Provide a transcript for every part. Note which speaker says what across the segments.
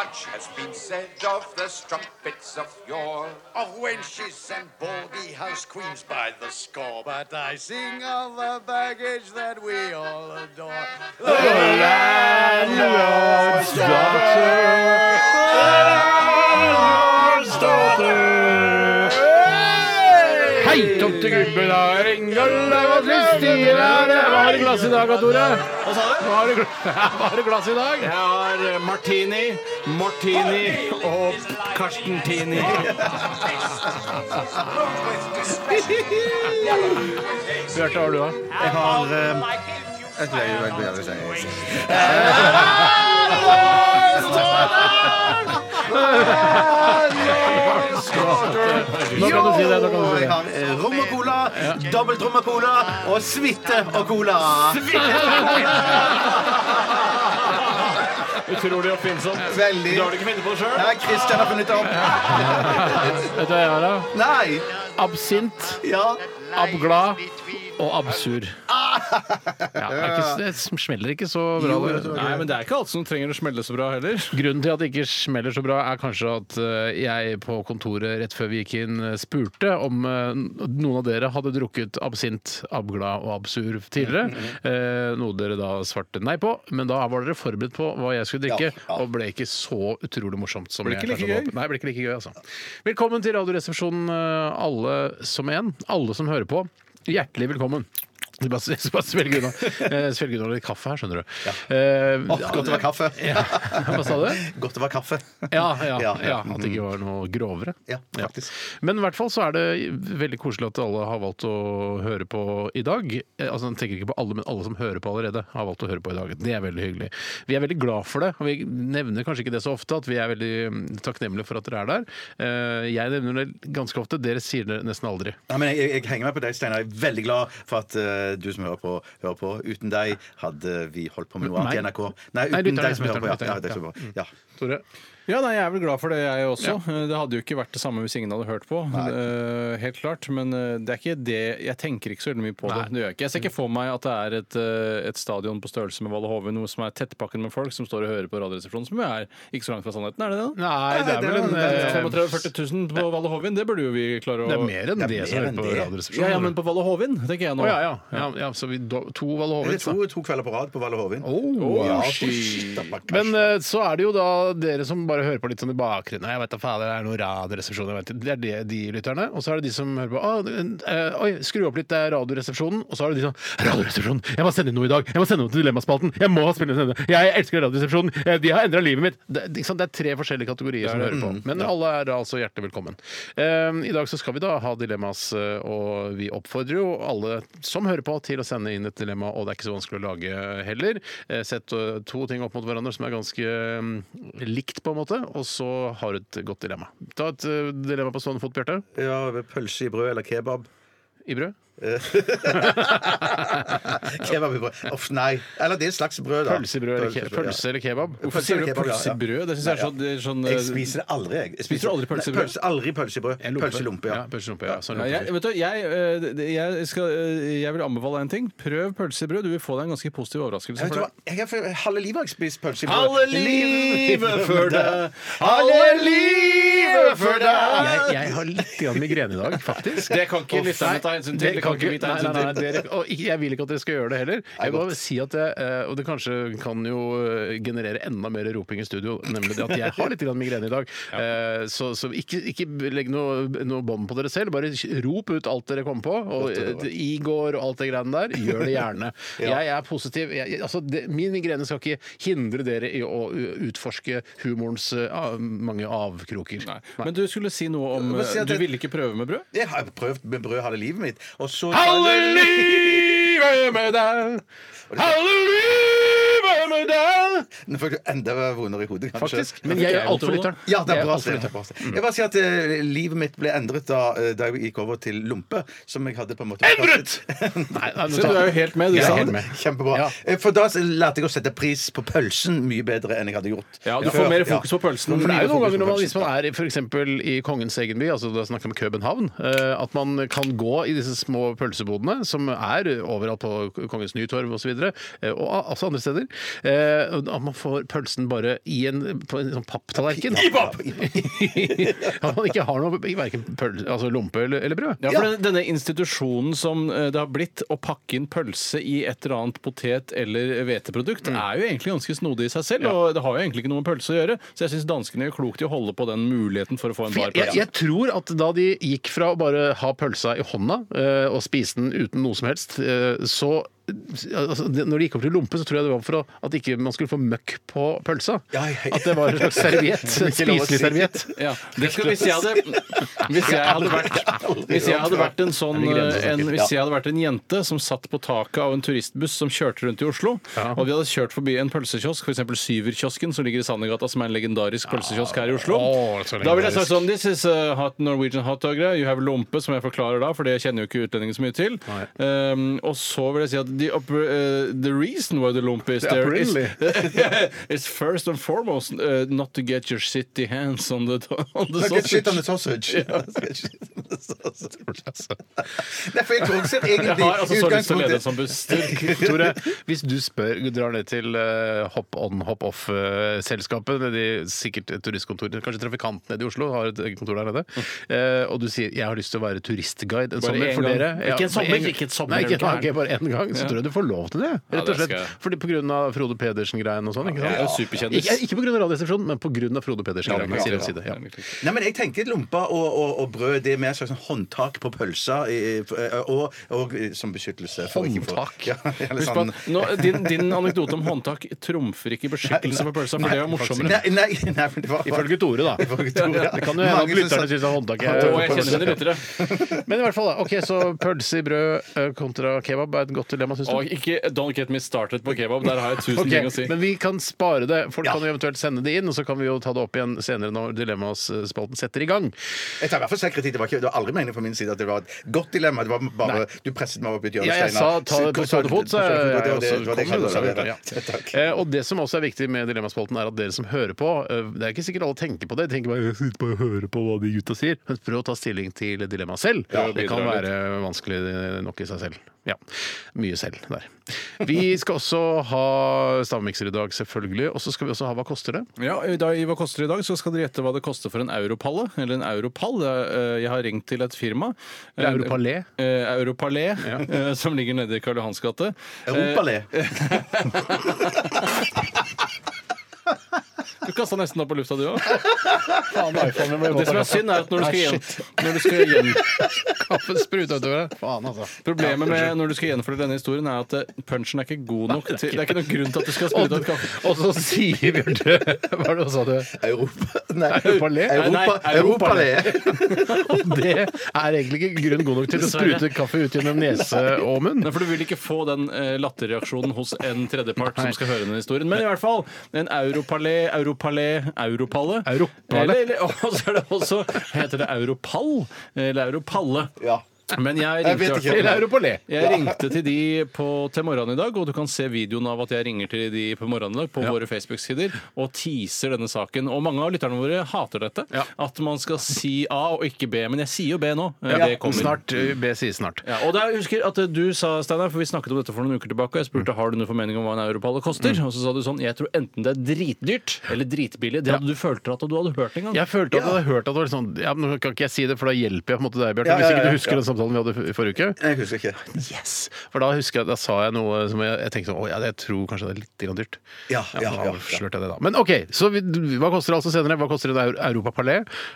Speaker 1: Much has been said of the strumpets of yore, of wenches and baldy house queens by the score. But I sing of the baggage that we all adore.
Speaker 2: Hei, tomtegubbe, da er det Ingolda og Kristina. Hva har du i glass i dag, Tore? Hva sa du? Hva har du, gl- hva har du i glass i dag? Jeg har martini, martini og karstentini. Bjarte, hva har du, da?
Speaker 3: Jeg har um,
Speaker 2: Nå kan du si det. Nå kan du si
Speaker 3: Jeg
Speaker 2: det.
Speaker 3: har eh, rom og cola, dobbelt rom og cola og suite og cola.
Speaker 2: Utrolig oppfinnsomt.
Speaker 3: Veldig.
Speaker 2: Du har det ikke funnet på det sjøl?
Speaker 3: Nei, Christian har funnet det opp.
Speaker 2: Vet du hva jeg har, da?
Speaker 3: Nei!
Speaker 2: Absint,
Speaker 3: Ja.
Speaker 2: abglad og absur. Ja, det, er ikke, det smeller ikke så bra. det.
Speaker 4: Nei, men det er ikke alt som trenger å smelle så bra heller.
Speaker 2: Grunnen til at det ikke smeller så bra, er kanskje at eh, jeg på kontoret rett før vi gikk inn eh, spurte om eh, noen av dere hadde drukket absint, abgla og absur
Speaker 4: Mm,
Speaker 2: tidligere. Eh, Noe dere da svarte nei på. Men da var dere forberedt på hva jeg skulle drikke,
Speaker 3: Ja, ja.
Speaker 2: og ble ikke så utrolig morsomt som
Speaker 4: Ble
Speaker 2: jeg
Speaker 4: ikke like
Speaker 2: kanskje hadde
Speaker 4: gøy.
Speaker 2: håpet. Nei, ble ikke like gøy, altså. Velkommen til Radioresepsjonen, eh, alle som en. Alle som hører på. Hjertelig velkommen. Jeg skal bare- jeg skal bare svelge unna eh, svelge unna litt kaffe her, skjønner du. Eh,
Speaker 3: Åh, godt det var kaffe.
Speaker 2: Ja. Hva sa du?
Speaker 3: Godt det var kaffe.
Speaker 2: Ja, ja, ja,
Speaker 3: Ja, ja.
Speaker 2: at det ikke var noe grovere.
Speaker 3: Ja, faktisk.
Speaker 2: Men i hvert fall så er det veldig koselig at alle har valgt å høre på i dag. Eh, Altså, Jeg tenker ikke på alle, men alle som hører på allerede, har valgt å høre på i dag. Det er veldig hyggelig. Vi er veldig glad for det, og vi nevner kanskje ikke det så ofte, at vi er veldig mm, takknemlige for at dere er der. Eh, Jeg nevner det ganske ofte, dere sier det nesten aldri.
Speaker 3: Nei, men jeg, jeg, jeg henger meg på deg, Steinar. Jeg er veldig glad for at eh, du som hører på, hører på. Uten deg hadde vi holdt på med noe annet i
Speaker 2: Meg?
Speaker 3: NRK. Nei, uten
Speaker 2: Nei, lytterne,
Speaker 3: deg som hører på. Ja,
Speaker 2: lytterne,
Speaker 3: ja, det er så bra. ja.
Speaker 2: Tore?
Speaker 4: Ja, nei, Jeg er vel glad for det, jeg også. Eh, Det hadde jo ikke vært det samme hvis ingen hadde hørt på. Eh, helt klart, Men eh, det er ikke det jeg tenker ikke så veldig mye på det. det gjør jeg, ikke. jeg ser ikke for meg at det er et, eh, et stadion på størrelse med Valle Hove, noe som er tettpakket med folk som står og hører på Radioresepsjonen, som jo er ikke så langt fra sannheten, er det det? da?
Speaker 2: Nei, det er vel en eh,
Speaker 4: 35 000-40 000 på Valle Hovin, det burde jo vi klare å
Speaker 2: Det er mer enn det,
Speaker 3: mer
Speaker 2: som hører
Speaker 3: enn
Speaker 2: på
Speaker 3: det.
Speaker 2: Radioresepsjonen.
Speaker 4: Ja, ja, men på Valle Hovin, tenker jeg
Speaker 2: Å,
Speaker 4: nå.
Speaker 2: ja, ja. ja, ja så vi do, to Valle
Speaker 3: Det
Speaker 2: Hovin.
Speaker 3: er to, to kvelder på rad på Valle Hovin.
Speaker 2: Oh,
Speaker 3: ja,
Speaker 2: shit.
Speaker 3: shit, da, man-
Speaker 2: Men eh, så er det jo da dere som bare hører på litt sånn i bakgrunnen. Nei, Jeg vet da faen, det er noen radioresepsjon. jeg vet ikke. Det er det, de lytterne. Og så er det de som hører på. «Å, det- eh, oi, skru opp litt, det er Radioresepsjonen. Og så er det de sånn Radioresepsjonen! Jeg må sende inn noe i dag! Jeg må sende noe til Dilemmaspalten! Jeg må spille inn denne! Jeg elsker Radioresepsjonen! Eh, De har endra livet mitt! Det, det- ikke sant? det er sånn tre forskjellige kategorier som hører
Speaker 3: Mm,
Speaker 2: på. Men alle er altså hjertelig velkommen. Eh, I dag så skal vi da ha dilemmas, eh, og vi oppfordrer jo alle som hører på, til å sende inn et dilemma, og det er ikke så vanskelig å lage heller. Eh, Sett eh, to ting opp mot hverandre som er ganske mm, likt, på en måte, og så har du et godt dilemma. Ta et eh, dilemma på stående fot, Bjarte.
Speaker 3: Ja, pølse i brød eller kebab.
Speaker 2: I brød.
Speaker 3: Kebab i brød. Uff, nei. Eller det er et slags brød, da.
Speaker 2: Pølse i brød eller,
Speaker 3: Pølse i
Speaker 2: ke
Speaker 3: brød, ja.
Speaker 2: pølse eller kebab.
Speaker 3: Pølse
Speaker 4: Hvorfor sier
Speaker 3: eller
Speaker 4: du
Speaker 3: kebab, ja,
Speaker 4: pølse
Speaker 3: ja.
Speaker 4: i brød? Det syns jeg er sånn, det er sånn
Speaker 3: Jeg
Speaker 4: eh,
Speaker 3: spiser det aldri, jeg. jeg
Speaker 4: Spiser du aldri pølse i
Speaker 3: Nei,
Speaker 4: brød?
Speaker 3: aldri pølse i brød.
Speaker 2: En lompe.
Speaker 3: Pølse i lompe, ja.
Speaker 2: Pølselompe, ja. Sånn
Speaker 4: Ja,
Speaker 2: lompe.
Speaker 4: jeg, vet du, jeg, eh, det- jeg, skal, eh, jeg vil anbefale en ting. Prøv pølsebrød. Du vil få deg en ganske positiv overraskelse.
Speaker 3: Jeg vet
Speaker 4: For
Speaker 3: hva,
Speaker 4: det.
Speaker 3: jeg har for- halve livet har jeg spist pølse i brød.
Speaker 4: Halve livet for deg.
Speaker 3: Halve livet for deg!
Speaker 2: jeg, jeg har litt grann migrene i dag, faktisk.
Speaker 4: Det kan ikke
Speaker 2: Og-
Speaker 4: lytterne
Speaker 2: Nei,
Speaker 4: ta hensyn til.
Speaker 2: det
Speaker 4: Det
Speaker 2: kan
Speaker 4: kan ikke vi ta
Speaker 2: nei,
Speaker 4: hensyn
Speaker 2: nei, nei,
Speaker 4: til.
Speaker 2: dere- og ikke- jeg vil ikke at dere skal gjøre det heller. Jeg vil bare si at jeg, eh, Og det kanskje kan jo eh, generere enda mer roping i studio, nemlig det at jeg har litt grann migrene i dag. Eh, Så, så ikke, ikke legg noe, noe bånd på dere selv. Bare rop ut alt dere kommer på. Og eh, i går og alt det greiene der. Gjør det gjerne. Jeg er positiv. Jeg, jeg- altså, det, min migrene skal ikke hindre dere i å utforske humorens eh, av- mange avkroker.
Speaker 4: Nei. Men du skulle si noe om
Speaker 3: Men si
Speaker 4: eh,
Speaker 3: at
Speaker 4: Du
Speaker 3: det-
Speaker 4: ville ikke prøve med brød?
Speaker 3: Jeg har prøvd med brød halve livet mitt, og så
Speaker 2: Halve livet med deg! Halve livet summer down!
Speaker 3: Nå får du enda vondere i hodet, kanskje.
Speaker 2: Faktisk. Men jeg
Speaker 4: fikk
Speaker 2: gjør
Speaker 4: jeg
Speaker 2: alt for
Speaker 4: vondt i
Speaker 2: lytteren.
Speaker 3: Ja, det
Speaker 2: Jeg
Speaker 3: er
Speaker 2: gjør
Speaker 3: bra.
Speaker 2: alt
Speaker 3: det
Speaker 2: for
Speaker 3: er
Speaker 2: lytteren.
Speaker 3: bra. Jeg bare sier at eh, livet mitt ble endret da, eh, da jeg gikk over til lompe, som jeg hadde på en måte
Speaker 2: Endret! Nei, nei, nå
Speaker 4: Se, du er jo helt med. Du
Speaker 3: Ja,
Speaker 4: sa
Speaker 2: helt
Speaker 4: det.
Speaker 2: med.
Speaker 3: altså, Kjempebra.
Speaker 2: Ja.
Speaker 3: Eh, For da lærte jeg å sette pris på pølsen mye bedre enn jeg hadde gjort.
Speaker 4: Ja, du
Speaker 3: før.
Speaker 4: får mer fokus på pølsen.
Speaker 2: For det er jo
Speaker 3: Mye
Speaker 2: noen
Speaker 3: fokus
Speaker 2: ganger når
Speaker 3: på
Speaker 2: man, hvis
Speaker 3: pølsen.
Speaker 2: man er f.eks. i kongens egen by, altså da snakker vi om København, eh, at man kan gå i disse små pølsebodene som er overalt på Kongens Nytorv osv., og, eh, og a- også andre steder, eh, og at man får pølsen bare i en, på en sånn papptallerken. I papp! At man ikke har noe i verken pøl, altså lompe eller, eller brød.
Speaker 4: Ja, for den- Denne institusjonen som eh, det har blitt å pakke inn pølse i et eller annet potet- eller hveteprodukt,
Speaker 3: Mm.
Speaker 4: er jo egentlig ganske snodig i seg selv, og det har jo egentlig ikke noe med pølse å gjøre. Så jeg syns danskene gjør klokt i å holde på den muligheten for å få en
Speaker 2: For
Speaker 4: bar
Speaker 2: jeg, jeg,
Speaker 4: pølse.
Speaker 2: jeg tror at da de gikk fra å bare ha pølsa i hånda eh, og spise den uten noe som helst, eh, så altså, det- Når de gikk opp til lompe, så tror jeg det var for å, at ikke man skulle få møkk på pølsa.
Speaker 3: Ja, ja, ja.
Speaker 2: At det var en slags serviett. en
Speaker 3: Ikke lov å si.
Speaker 2: Spiselig serviett.
Speaker 4: Ja, det skal, hvis, jeg hadde, hvis, jeg hadde vært, hvis jeg hadde vært en sånn eh, en, Hvis jeg hadde vært en jente som satt på taket av en turistbuss som kjørte rundt i Oslo, og vi hadde kjørt forbi en pølsekiosk, f.eks. Syverkiosken som ligger i Sandegata, som er en legendarisk pølsekiosk her i Oslo,
Speaker 2: Å, så legendarisk.
Speaker 4: da ville jeg sagt sånn This is a hot Norwegian hot dog. You have lompe, som jeg forklarer da, for det kjenner jo ikke utlendinger så mye til. Um, og så vil jeg si at the, upper, eh, the reason why the lompe is there is, is first and foremost eh, not to get your shitty hands on the, on the
Speaker 3: Look at shit on the
Speaker 4: sausage.
Speaker 3: sausage. Shit on the sausage.
Speaker 2: Altså.
Speaker 3: Nei, for jeg tror også egentlig
Speaker 4: Jeg har altså
Speaker 3: i
Speaker 4: så lyst til å
Speaker 3: utgangspunktet-
Speaker 4: lede en sånn buss.
Speaker 2: Tore, hvis du spør, drar ned til eh, hopp on, hopp eh, off-selskapet, de, sikkert turistkontorene, kanskje Trafikant nede i Oslo har et eget kontor der nede, eh, og du sier 'jeg har lyst til å være turistguide en
Speaker 4: Bare
Speaker 2: sommer
Speaker 4: en
Speaker 2: for
Speaker 4: gang.
Speaker 2: dere'.
Speaker 4: Ikke en
Speaker 2: bare
Speaker 4: sommer, ikke et sommer,
Speaker 2: Nei,
Speaker 4: er du
Speaker 2: ikke,
Speaker 4: gæren?
Speaker 2: ok, bare en gang. Så tror jeg du får lov til det, rett
Speaker 4: det
Speaker 2: og slett.
Speaker 4: skal jeg.
Speaker 2: Fordi på grunn av Frode Pedersen-greien og sånn. Ikke
Speaker 4: Jeg er jo
Speaker 2: sant?
Speaker 4: superkjendis.
Speaker 2: Ikke, ikke på grunn av Radioresepsjonen, men på grunn av Frode Pedersen-greien.
Speaker 4: Ja,
Speaker 2: side om
Speaker 4: ja.
Speaker 2: side, ja.
Speaker 3: Nei, men jeg tenker lompa og, og, og brød det er mer et slags sånn håndtak på pølsa eh, eh, og, og eh, som beskyttelse. for ikke å få-
Speaker 2: Håndtak?
Speaker 3: Ja, eller
Speaker 4: Husk på
Speaker 3: sånn
Speaker 4: at nå, din, din anekdote om håndtak trumfer ikke beskyttelse for pølsa, for det er jo morsommere.
Speaker 3: Nei, nei, nei, men det var
Speaker 2: Ifølge Tore, da.
Speaker 3: Ifølge Tore, ja.
Speaker 2: Det kan jo hende at
Speaker 3: Mange som
Speaker 2: lytterne
Speaker 3: sa-
Speaker 2: syns håndtaket
Speaker 4: Og
Speaker 2: er
Speaker 4: jeg kjenner mine lyttere.
Speaker 2: Men i hvert fall, da. Ok, Så pølse i brød eh, kontra kebab er et godt dilemma, syns du?
Speaker 4: Og ikke Don't get me started på kebab. Der har jeg tusen
Speaker 2: Ok,
Speaker 4: ting å si.
Speaker 2: Men vi kan spare det. Folk kan jo eventuelt sende det inn, og så kan vi jo ta det opp igjen senere når Dilemmaspalten setter i gang.
Speaker 3: Jeg tar i hvert fall sekretid. Det var, ikke, det var aldri meningen fra min side at det var et godt dilemma. Det var bare, Du presset meg opp i et hjørne,
Speaker 2: Ja, jeg sa
Speaker 3: Steinar.
Speaker 2: ta det på
Speaker 3: Så-
Speaker 2: stående fot, så
Speaker 3: på
Speaker 2: jeg,
Speaker 3: stående fot,
Speaker 2: jeg
Speaker 3: det var det- det var det jeg
Speaker 2: også
Speaker 3: sa,
Speaker 2: kommer
Speaker 3: det var det.
Speaker 2: til å
Speaker 3: Takk.
Speaker 2: gjøre. Eh, Og det som også er viktig med Dilemmaspalten, er at dere som hører på eh, Det er ikke sikkert alle tenker på det. De tenker bare «Jeg sitter bare og hører på hva de gutta sier. Men prøv å ta stilling til dilemmaet selv.
Speaker 4: Ja,
Speaker 2: det kan
Speaker 4: bidra litt.
Speaker 2: være vanskelig nok i seg selv. Ja. Mye selv der. Vi skal også ha stavmikser i dag, selvfølgelig. Og så skal vi også ha Hva koster det?
Speaker 4: Ja, i dag, I Hva koster det i dag? så skal dere gjette hva det koster for en europalle. Eller en europall. Eh, Jeg har ringt til et firma.
Speaker 2: Eller europalé.
Speaker 4: Eh, Europalé, eh, som ligger nede i Karl Johans gate.
Speaker 3: Europalé.
Speaker 2: Eh,
Speaker 4: Du kasta nesten opp på lufta, du òg. Det
Speaker 2: Det
Speaker 4: som er synd, er at når du skal, gjen, når du skal gjen,
Speaker 2: Kaffen spruta utover deg. Faen, altså.
Speaker 4: Problemet med når du skal gjenfortelle denne historien, er at eh, punchen er ikke god nok. Til, det er ikke noen grunn til at du skal
Speaker 2: Og,
Speaker 4: sprute ut kaffe.
Speaker 2: og så sier Bjarte Hva var det han sa du?
Speaker 3: Europa... Nei,
Speaker 2: Europalé?
Speaker 3: Europa-
Speaker 4: Nei, nei,
Speaker 3: Europalé.
Speaker 2: Og det er egentlig ikke grunn god nok til å sprute kaffe ut gjennom nese og munn.
Speaker 4: Nei, for Du vil ikke få den eh, latterreaksjonen hos en tredjepart som skal høre denne historien. Men i hvert fall en europalé, europalé, europalle.
Speaker 2: Europalle.
Speaker 4: Eller, eller, og så er det også Heter det europall eller europalle?
Speaker 3: Ja.
Speaker 4: Men jeg
Speaker 3: Jeg
Speaker 4: ringte,
Speaker 3: vet
Speaker 4: i hvert
Speaker 3: ikke.
Speaker 4: fall-
Speaker 2: Eller europalé.
Speaker 4: jeg ringte til de på, til morgenen i dag, og du kan se videoen av at jeg ringer til de på morgenen i dag på våre Facebook-sider og teaser denne saken. Og mange av lytterne våre hater dette.
Speaker 2: Ja.
Speaker 4: At man skal si A og ikke B. Men jeg sier jo B nå. Eh,
Speaker 2: Ja,
Speaker 4: det kommer.
Speaker 2: snart. uh, B sier snart.
Speaker 4: Ja, og der, jeg husker at eh, du sa, Steinar, for vi snakket om dette for noen uker tilbake, og jeg spurte har du noen formening om hva en europalle koster.
Speaker 2: Mm.
Speaker 4: Og så sa du sånn jeg tror enten det er dritdyrt eller dritbillig. Det hadde du følt at du hadde hørt en gang.
Speaker 2: Jeg følte at jeg hadde hørt at det var litt sånn ja, Nå kan ikke jeg si det, for da hjelper jeg på en måte deg, Bjarte.
Speaker 3: Ja, ja, ja,
Speaker 2: Hvis ikke du
Speaker 3: ja.
Speaker 2: husker den samtalen vi hadde i forrige uke.
Speaker 3: Jeg husker ikke.
Speaker 2: Yes! For da husker jeg at da sa jeg noe som jeg, jeg tenkte sånn Å ja, jeg tror kanskje det er litt grann dyrt.
Speaker 3: Ja, ja,
Speaker 2: så
Speaker 3: ja,
Speaker 2: avslørte jeg det da. Men OK, så vi, hva koster det altså senere? Hva koster en europapalé?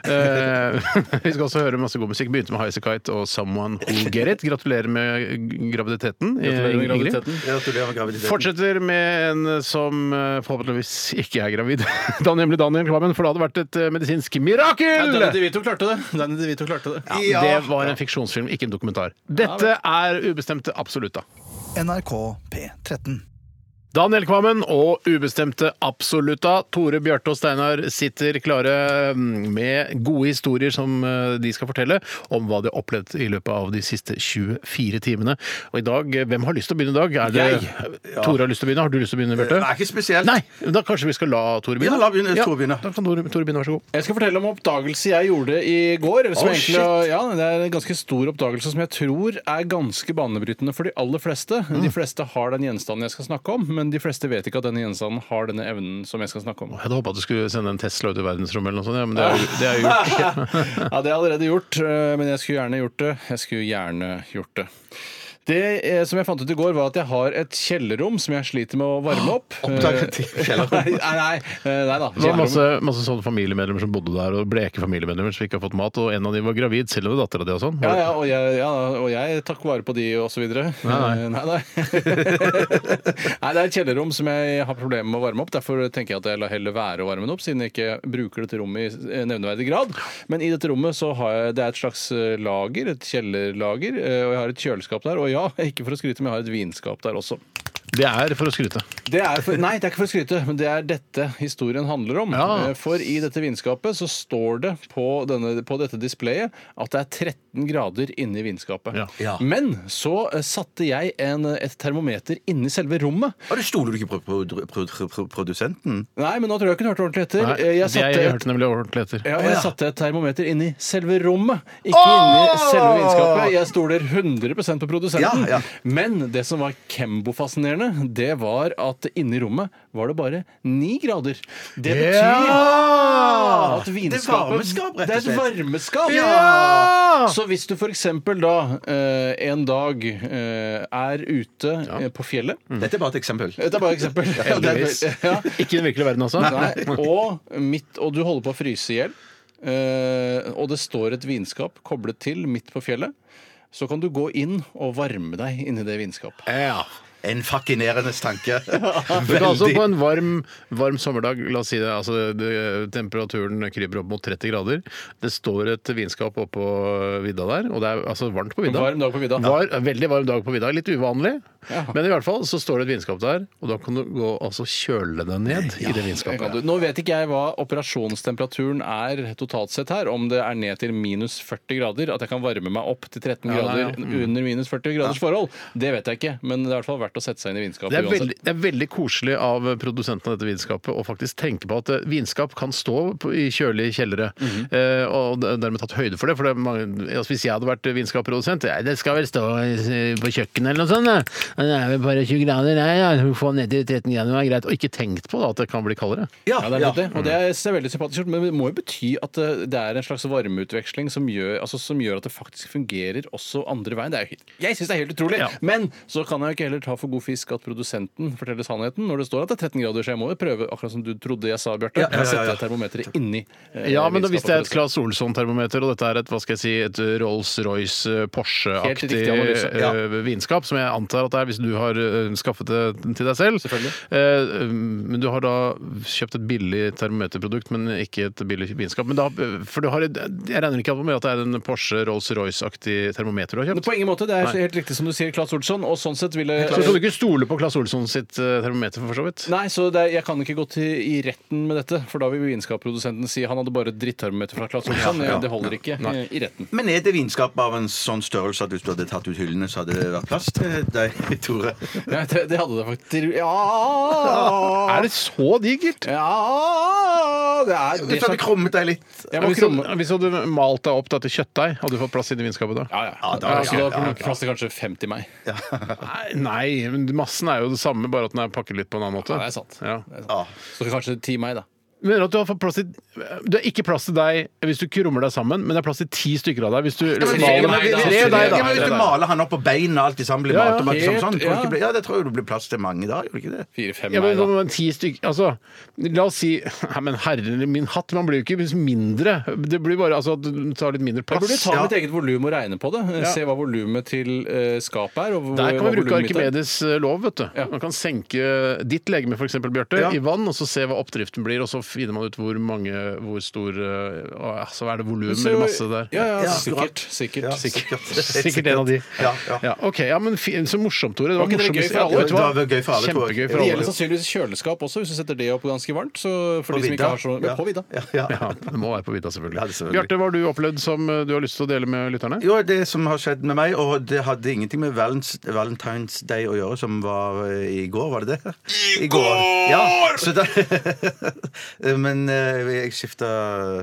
Speaker 2: Eh, vi skal også høre masse god musikk. Begynte med Highasakite og Someone Who'll Get It. Gratulerer med graviditeten. eh,
Speaker 4: Gratulerer med
Speaker 2: Ingrid.
Speaker 4: graviditeten.
Speaker 3: Gratulerer med graviditeten.
Speaker 2: Fortsetter med en som eh, forhåpentligvis ikke er gravid. Da nemlig Daniel Kvammen, for det hadde vært et eh, medisinsk
Speaker 4: Ja,
Speaker 2: mirakel!
Speaker 4: Danny DeVito klarte det. Danny DeVito klarte det.
Speaker 2: Ja, det var en fiksjonsfilm, ikke en dokumentar. Dette er ubestemte absolutta.
Speaker 5: NRK P13.
Speaker 2: Daniel Kvammen og ubestemte Absolutta. Tore Bjarte og Steinar sitter klare mm, med gode historier som eh, de skal fortelle om hva de har opplevd i løpet av de siste 24 timene. Og i dag, eh, hvem har lyst til å begynne i dag? Er det Tore har lyst til å begynne? Har du lyst til å begynne, Bjarte?
Speaker 3: Nei, ikke spesielt.
Speaker 2: Nei, men da kanskje vi skal la Tore begynne?
Speaker 3: Ja, la begynne- Tore begynne.
Speaker 2: Da kan Tore, Tore begynne, vær så god.
Speaker 4: Jeg skal fortelle om en oppdagelse jeg gjorde i går. Som
Speaker 2: Oh,
Speaker 4: egentlig, ja, det er en ganske stor oppdagelse som jeg tror er ganske banebrytende for de aller fleste. De fleste har den gjenstanden jeg skal snakke om, men de fleste vet ikke at denne gjenstanden har denne evnen som jeg skal snakke om.
Speaker 2: Jeg hadde håpa du skulle sende en Tesla ut i verdensrommet eller noe sånt, ja, men det er, jo- det er jo gjort.
Speaker 4: Ja, Det har jeg allerede gjort, eh, men jeg skulle gjerne gjort det. Jeg skulle gjerne gjort det. Det eh, som jeg fant ut i går, var at jeg har et kjellerrom som jeg sliter med å varme opp.
Speaker 3: Oppdaget i kjellerrom.
Speaker 4: Nei, nei, nei, eh, nei da.
Speaker 2: Det var
Speaker 4: Kjellerrom.
Speaker 2: masse, masse sånne familiemedlemmer som bodde der, og bleke familiemedlemmer som ikke har fått mat, og en av dem var gravid, selv om det var dattera di og sånn.
Speaker 4: Ja, ja, og jeg, ja, og jeg tar ikke vare på de og så videre.
Speaker 2: Nei,
Speaker 4: nei. nei. Nei, det er et kjellerrom som jeg har problemer med å varme opp. Derfor tenker jeg at jeg lar heller være å varme det opp, siden jeg ikke bruker dette rommet i eh, nevneverdig grad. Men i dette rommet så har jeg det er et slags eh, lager, et kjellerlager, eh, og jeg har et kjøleskap der. Og ja, ikke for å skryte, men jeg har et vinskap der også.
Speaker 2: Det er for å skryte.
Speaker 4: Det er for, nei, det er ikke for å skryte, men det er dette historien handler om.
Speaker 2: Ja.
Speaker 4: Eh, For i dette vinskapet så står det på, denne, på dette displayet at det er 13 grader inne i vinskapet.
Speaker 2: Ja.
Speaker 4: Men så eh, satte jeg en, eh, et termometer inni selve rommet.
Speaker 3: Og det stoler du ikke på produ- produ- produ- produsenten?
Speaker 4: Nei, men nå tror jeg ikke du hørte ordentlig etter.
Speaker 2: Nei,
Speaker 4: Eh, jeg
Speaker 2: det
Speaker 4: satte
Speaker 2: jeg
Speaker 4: et-
Speaker 2: hørte nemlig ordentlig etter.
Speaker 4: Ja, jeg satte et termometer inni selve rommet, ikke inni selve vinskapet. Jeg stoler 100 på produsenten.
Speaker 3: Ja, ja.
Speaker 4: Men det som var Kembo-fascinerende, det var at inni rommet var det bare ni grader. Det betyr
Speaker 2: Ja!
Speaker 4: at
Speaker 3: Det er
Speaker 4: vinskapet
Speaker 3: varmeskap,
Speaker 4: Det
Speaker 3: rett
Speaker 4: er
Speaker 3: og
Speaker 4: et
Speaker 3: slett.
Speaker 4: varmeskap!
Speaker 2: Ja!
Speaker 4: Så hvis du f.eks. da eh, en dag eh, er ute eh, på fjellet
Speaker 3: Dette er bare et eksempel.
Speaker 4: Dette er bare et eksempel. Ja, det er- Ja,
Speaker 2: Ikke i den virkelige verden, altså?
Speaker 4: Nei, og, midt, og du holder på å fryse i hjel, eh, og det står et vinskap koblet til midt på fjellet. Så kan du gå inn og varme deg inni det vinskapet.
Speaker 2: Ja.
Speaker 3: En fascinerende tanke.
Speaker 2: Men altså
Speaker 3: Veldig.
Speaker 2: På en varm, varm sommerdag, la oss si det, altså det, temperaturen kryper opp mot 30 grader. Det står et vinskap oppå vidda der, og det er altså varmt på vidda.
Speaker 4: Varm dag på vidda.
Speaker 2: Var, veldig varm dag på vidda. Litt uvanlig. Men i hvert fall så står det et vinskap der, og da kan du gå altså kjøle deg ned i det
Speaker 4: Det kan
Speaker 2: vinskapet.
Speaker 4: du. Nå vet ikke jeg hva operasjonstemperaturen er totalt sett her. Om det er ned til minus 40 grader, at jeg kan varme meg opp til 13
Speaker 2: Ja, nei, ja. Mm.
Speaker 4: grader under minus 40 graders forhold, det vet jeg ikke. Men det er i hvert fall verdt å sette seg inn i vinskapet
Speaker 2: Det er,
Speaker 4: uansett.
Speaker 2: veldig, det er veldig koselig av produsenten av dette vinskapet å faktisk tenke på at eh, vinskap kan stå på- i kjølige kjellere, eh, og d- dermed tatt høyde for det. For det er mange, altså hvis jeg hadde vært vinskapprodusent «Nei, Det skal vel stå i- på kjøkkenet eller noe sånt. da. Men Det er vel bare 20 grader. Nei, ja, få ned til 13 grader, det er greit. Og ikke tenkt på da, at det kan bli kaldere.
Speaker 3: Ja,
Speaker 4: Ja, det er nettopp det. Og det er det er veldig sympatisk gjort, men det må jo bety at eh, det er en slags varmeutveksling som gjør, altså, som gjør at det faktisk fungerer også andre veien. Det er, jo helt- jeg syns det er helt utrolig!
Speaker 2: Ja.
Speaker 4: Men så kan jeg jo ikke heller ta for god fisk at produsenten forteller sannheten når det står at det er 13 grader, så jeg må jo prøve, akkurat som du trodde jeg sa, Bjarte,
Speaker 3: Ja, ja, ja, ja.
Speaker 4: å sette termometeret inni. eh,
Speaker 2: Ja, men da, hvis det er et
Speaker 4: vinskapet.
Speaker 2: Claes Olsson-termometer, og dette er et hva skal jeg si, et Rolls-Royce eh,
Speaker 4: Helt
Speaker 2: Porsche-aktig
Speaker 4: riktig analyse, ja.
Speaker 2: eh, vinskap, som jeg antar at det er hvis du har eh, skaffet det til deg selv
Speaker 4: Selvfølgelig.
Speaker 2: Eh, Men du har da kjøpt et billig termometerprodukt, men ikke et billig vinskap. Men da, for du har, et- jeg regner ikke med at det er en Porsche Rolls-Royce-aktig termometer du har kjøpt?
Speaker 4: På ingen måte. Det er helt riktig som du sier, Claes Olsson, og sånn sett ville
Speaker 2: Så skal du ikke stole på Claes Olsson sitt eh, termometer, for så vidt?
Speaker 4: Nei, så det er, jeg kan ikke gå til, i retten med dette, for da vil vinskapprodusenten si han hadde bare et drittarmometer fra Claes Olsson.
Speaker 3: Ja, ja.
Speaker 4: det holder ikke eh, i retten.
Speaker 3: Men er det vinskap av en sånn størrelse at hvis du hadde tatt ut hyllene, så hadde det vært plass til deg, Tore?
Speaker 4: Ja, det, det hadde det faktisk. Ja
Speaker 2: Er det så digert?
Speaker 4: Ja Det er
Speaker 3: Hvis du hadde krummet deg litt
Speaker 4: Jeg må
Speaker 2: Hvis du,
Speaker 4: krumme.
Speaker 2: hvis du hadde malt deg opp da, til kjøttdeig, hadde du fått plass i det vinskapet da?
Speaker 4: Ja, ja.
Speaker 3: Ja, da-
Speaker 4: Ja, så
Speaker 3: ja,
Speaker 4: da kunne plass til kanskje 50 meg.
Speaker 2: Nei, Nei, men massen er jo det samme, bare at den er pakket litt på en annen måte.
Speaker 4: Ja, det er sant.
Speaker 2: Ja.
Speaker 3: Ja.
Speaker 4: Så kanskje 10 meg, da.
Speaker 2: Mener du at du har fått plass til Du har ikke plass til deg hvis du krummer deg sammen, men det er plass til ti stykker av deg hvis du
Speaker 3: men
Speaker 4: Tre
Speaker 2: maler
Speaker 4: meg,
Speaker 2: med-
Speaker 4: da.
Speaker 2: Tre
Speaker 4: Tre
Speaker 2: deg, da.
Speaker 3: Ja, men hvis
Speaker 2: Tre
Speaker 3: du
Speaker 2: deg.
Speaker 3: maler han opp på beina, alt i sammen blir
Speaker 2: Ja, ja,
Speaker 3: malt opp alt
Speaker 4: helt,
Speaker 3: sammen sånn, tror du
Speaker 4: ja.
Speaker 3: ikke det- ja, det tror jeg det blir plass til mange da, gjør det ikke det?
Speaker 4: 4-5
Speaker 2: Ja, men
Speaker 4: meg, da.
Speaker 2: sånn ti stykker Altså, la oss si Nei, men herre min hatt, man blir jo ikke mindre. Det blir bare altså, at du tar litt mindre
Speaker 4: Jeg
Speaker 2: plass.
Speaker 4: burde ta
Speaker 3: Ja.
Speaker 4: mitt eget volum og regne på det. Se hva volumet til eh, skapet er. Og hvor-
Speaker 2: Der kan
Speaker 4: hva
Speaker 2: vi bruke
Speaker 4: volumet mitt er.
Speaker 2: Arkimedes eh, lov. vet du.
Speaker 4: Ja.
Speaker 2: Man kan senke ditt legeme for eksempel, Bjarte,
Speaker 3: Ja.
Speaker 2: i vann, og så se hva oppdriften blir, og så finner man ut hvor mange Hvor stor eh, altså, Er det volum
Speaker 4: Så-
Speaker 2: eller masse der?
Speaker 4: Ja, ja,
Speaker 3: Ja, akkurat.
Speaker 4: sikkert. sikkert,
Speaker 3: Ja,
Speaker 4: sikkert.
Speaker 2: Sikkert en av de.
Speaker 3: Ja, ja.
Speaker 2: ok, ja, men fi, Så morsomt, Tore. Det
Speaker 4: Var ikke det
Speaker 2: morsomt.
Speaker 4: gøy for
Speaker 2: Ja,
Speaker 4: alle?
Speaker 2: vet du hva?
Speaker 3: Det var gøy for alle, tror jeg.
Speaker 2: Kjempegøy
Speaker 4: Det
Speaker 2: for
Speaker 4: gjelder
Speaker 2: alle.
Speaker 4: sannsynligvis kjøleskap også, hvis du setter det opp ganske varmt. Så for
Speaker 3: På
Speaker 4: de som ikke
Speaker 3: vidda.
Speaker 4: har så ja. På vidda.
Speaker 3: Ja, ja.
Speaker 2: Ja, det må være på vidda,
Speaker 3: Ja,
Speaker 2: selvfølgelig.
Speaker 3: det selvfølgelig.
Speaker 2: Bjarte, hva har du opplevd som eh, du har lyst til å dele med lytterne?
Speaker 3: Jo, det som har skjedd med meg, og det hadde ingenting med Valens, Valentine's Day å gjøre, som var eh, i går, var det det? I går! Ja, så da, men eh, jeg skifta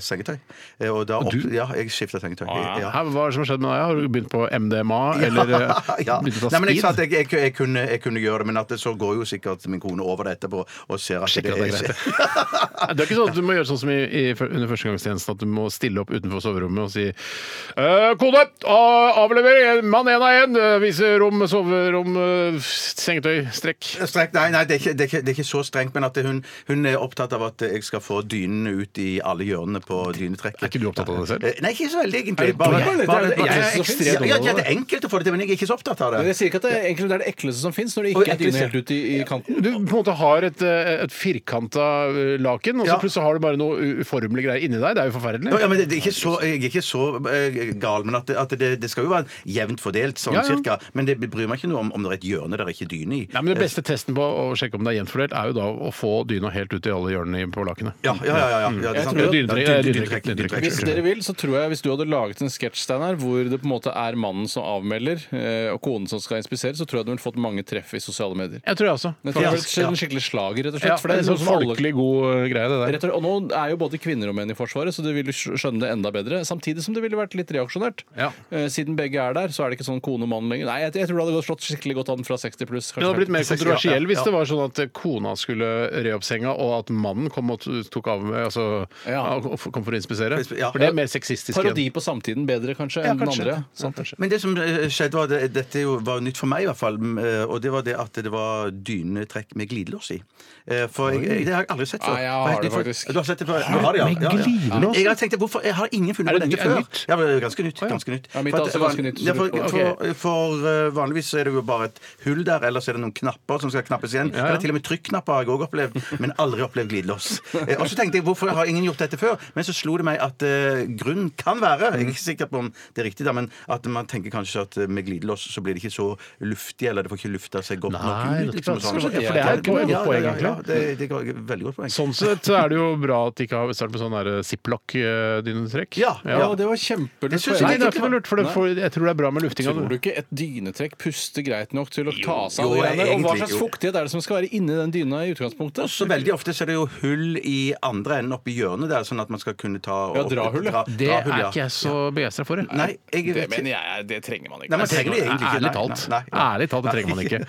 Speaker 3: sengetøy. Eh, Og da opp, ja, jeg skifta sengetøy. Ja.
Speaker 2: Hæ, hva er det som har skjedd med deg? Har du begynt på MDMA, eller eh,
Speaker 3: ja.
Speaker 2: begynt å ta
Speaker 3: Nei, men jeg sa at
Speaker 2: speed?
Speaker 3: jeg, jeg, jeg, kunne, jeg kunne gjøre det, men at det, så går jo sikkert min kone over det etterpå og ser at
Speaker 2: Sjekker
Speaker 3: det,
Speaker 2: at det er greit. Nei, Det er ikke sånn at du må gjøre sånn som i, i, under førstegangstjenesten, at du må stille opp utenfor soverommet og si «Eh, Kone! a- Avlevering! Mann én av én! Vise rom, soverom, eh, sengetøy, strekk.
Speaker 3: Strengt, nei, nei det, er ikke, det, er ikke, det er ikke så strengt, men at det- hun, hun er opptatt av at jeg skal få dynene ut i alle hjørnene på dynetrekket.
Speaker 2: Er ikke du opptatt av det selv?
Speaker 3: Eh, Nei, ikke så veldig,
Speaker 4: Er
Speaker 3: egentlig.
Speaker 4: det bare det? Det er
Speaker 3: jeg er
Speaker 4: det enkleste som finnes.
Speaker 3: ekstremt- ja, ja, det er enkelt å få det til, men jeg er ikke så opptatt av
Speaker 4: Men
Speaker 3: det.
Speaker 4: jeg sier ikke at det er, egentlig det er det ekleste som fins, når det
Speaker 3: Og
Speaker 4: ikke er dyne
Speaker 3: ekleste.
Speaker 4: helt ut i, i kanten.
Speaker 2: Du på en måte har et, eh, et firkanta eh, laken, og så
Speaker 3: Ja.
Speaker 2: plutselig har du bare noe u- uformelige greier inni deg. Det er jo forferdelig.
Speaker 3: Ja, ja, men det, det er ikke så, jeg er ikke så eh, gal, men at, det, at det, det skal jo være jevnt fordelt, sånn
Speaker 2: Ja, ja.
Speaker 3: cirka. Men det bryr meg ikke noe om om det er et hjørne der det ikke er dyne i.
Speaker 2: Nei, men Den beste testen på å sjekke om det er gjenfordelt, er jo da å få dyna helt ut i alle hjørnene i- på lakenet.
Speaker 3: Ja, ja, ja. ja, ja, det er
Speaker 4: Jeg
Speaker 3: sant.
Speaker 4: tror-
Speaker 3: Ja,
Speaker 2: Dynetrekk-
Speaker 3: dyn-
Speaker 2: dynetrekk-
Speaker 3: dynetrekk-
Speaker 2: dynetrekk.
Speaker 4: Hvis dere vil, så tror jeg hvis du hadde laget en sketsj Steinar, hvor det på en måte er mannen som avmelder, eh, og konen som skal inspisere, så tror jeg du ville fått mange treff i sosiale medier.
Speaker 2: Jeg tror jeg også.
Speaker 4: Men jeg tror det
Speaker 2: Ja.
Speaker 4: ville skjedd en skikkelig slager, rett og
Speaker 2: Ja,
Speaker 4: slett. For det er
Speaker 2: en
Speaker 4: noe
Speaker 2: sånn
Speaker 4: som alle-
Speaker 2: folkelig god eh, greie, det der.
Speaker 4: Rett og, slett- og nå er jo både kvinner og menn i Forsvaret, så du vil jo skj- skjønne det enda bedre. Samtidig som det ville vært litt reaksjonært.
Speaker 2: Ja.
Speaker 4: Eh, Siden begge er der, så er det ikke sånn kone og mann lenger. Nei, jeg, jeg tror det hadde slått skikkelig godt an fra 60 pluss.
Speaker 2: Det hadde blitt mer
Speaker 3: Ja,
Speaker 2: kontroversiell
Speaker 3: ja,
Speaker 2: hvis
Speaker 3: ja.
Speaker 2: det var sånn at kona skulle re opp senga, og at mannen kom og t- tok av med altså,
Speaker 4: Ja.
Speaker 2: og kom for å inspisere.
Speaker 3: Ja.
Speaker 2: For det er mer sexistisk. igjen. Sånn
Speaker 4: Parodi på samtiden bedre, kanskje,
Speaker 2: Ja,
Speaker 4: enn den
Speaker 2: kanskje.
Speaker 4: andre.
Speaker 2: Ja, kanskje.
Speaker 3: Men det som eh, skjedde var, det, dette er jo, var jo nytt for meg i hvert fall, m, eh, og det var det at det var dynetrekk med glidelås i. Eh, For jeg, jeg, det har jeg aldri sett før.
Speaker 4: Nei, jeg har
Speaker 3: Og helt
Speaker 4: det
Speaker 3: nytt for-
Speaker 4: faktisk.
Speaker 3: Du har sett det før? Du har det, ja.
Speaker 2: Med
Speaker 3: Ja, ja.
Speaker 2: glidelås?
Speaker 3: Jeg har tenkt, hvorfor, jeg har ingen funnet
Speaker 2: Er
Speaker 3: på
Speaker 2: det ny-
Speaker 3: dette
Speaker 2: er det
Speaker 3: før.
Speaker 2: nytt?
Speaker 3: Ja, det er ganske nytt. Ganske nytt.
Speaker 4: Ja, mitt
Speaker 3: For
Speaker 4: er
Speaker 3: at-
Speaker 4: også ganske nytt, så
Speaker 3: Ja,
Speaker 4: du-
Speaker 3: for,
Speaker 2: ok.
Speaker 3: for, for eh, vanligvis er det jo bare et hull der, ellers er det noen knapper som skal knappes igjen.
Speaker 2: ja.
Speaker 3: Eller til og med trykknapper har jeg også opplevd, men aldri opplevd glidelås. Eh, Og så tenkte jeg, hvorfor har ingen gjort dette før? Men så slo det meg at eh, grunnen kan være, jeg er ikke sikker på om det er riktig da, men at man tenker kanskje at eh, med glidelås så blir det ikke så luftig, eller det får ikke lufta seg godt nok
Speaker 2: Nei,
Speaker 3: ut. Liksom, og sånn.
Speaker 2: nettopp. Ja, for det er et poeng-
Speaker 3: Ja,
Speaker 2: poeng,
Speaker 3: ja, ja, ja,
Speaker 2: egentlig.
Speaker 3: det, det er et veldig godt poeng.
Speaker 2: Sånn sett så er det jo bra at de ikke har startet med sånn der eh, ziplock-dynetrekk.
Speaker 3: Ja,
Speaker 4: Ja, det var kjempelurt.
Speaker 3: Det synes
Speaker 4: poeng.
Speaker 2: Nei, det er
Speaker 3: egentlig
Speaker 2: ikke noe lurt, for, det,
Speaker 4: Nei.
Speaker 2: for jeg tror det er bra med luftinga.
Speaker 4: Tror du ikke et dynetrekk puster greit nok til å ta seg av
Speaker 3: jo,
Speaker 4: det greiene der? Og hva
Speaker 3: egentlig,
Speaker 4: slags
Speaker 3: jo.
Speaker 4: fuktighet er det som skal være inni den dyna i utgangspunktet?
Speaker 3: Så veldig ofte så er det jo hull i andre enden oppi hjørnet der, sånn at man skal kunne ta
Speaker 4: Ja, drahull, ja.
Speaker 2: Det er ikke jeg så begeistra for. jeg.
Speaker 3: Nei, jeg
Speaker 4: Det
Speaker 3: vet ikke.
Speaker 4: mener jeg, er- det trenger man ikke.
Speaker 3: Nei, man trenger det egentlig ikke.
Speaker 2: Ærlig
Speaker 3: Nei,
Speaker 2: talt.
Speaker 3: nei, nei.
Speaker 2: Ærlig talt, det trenger man ikke.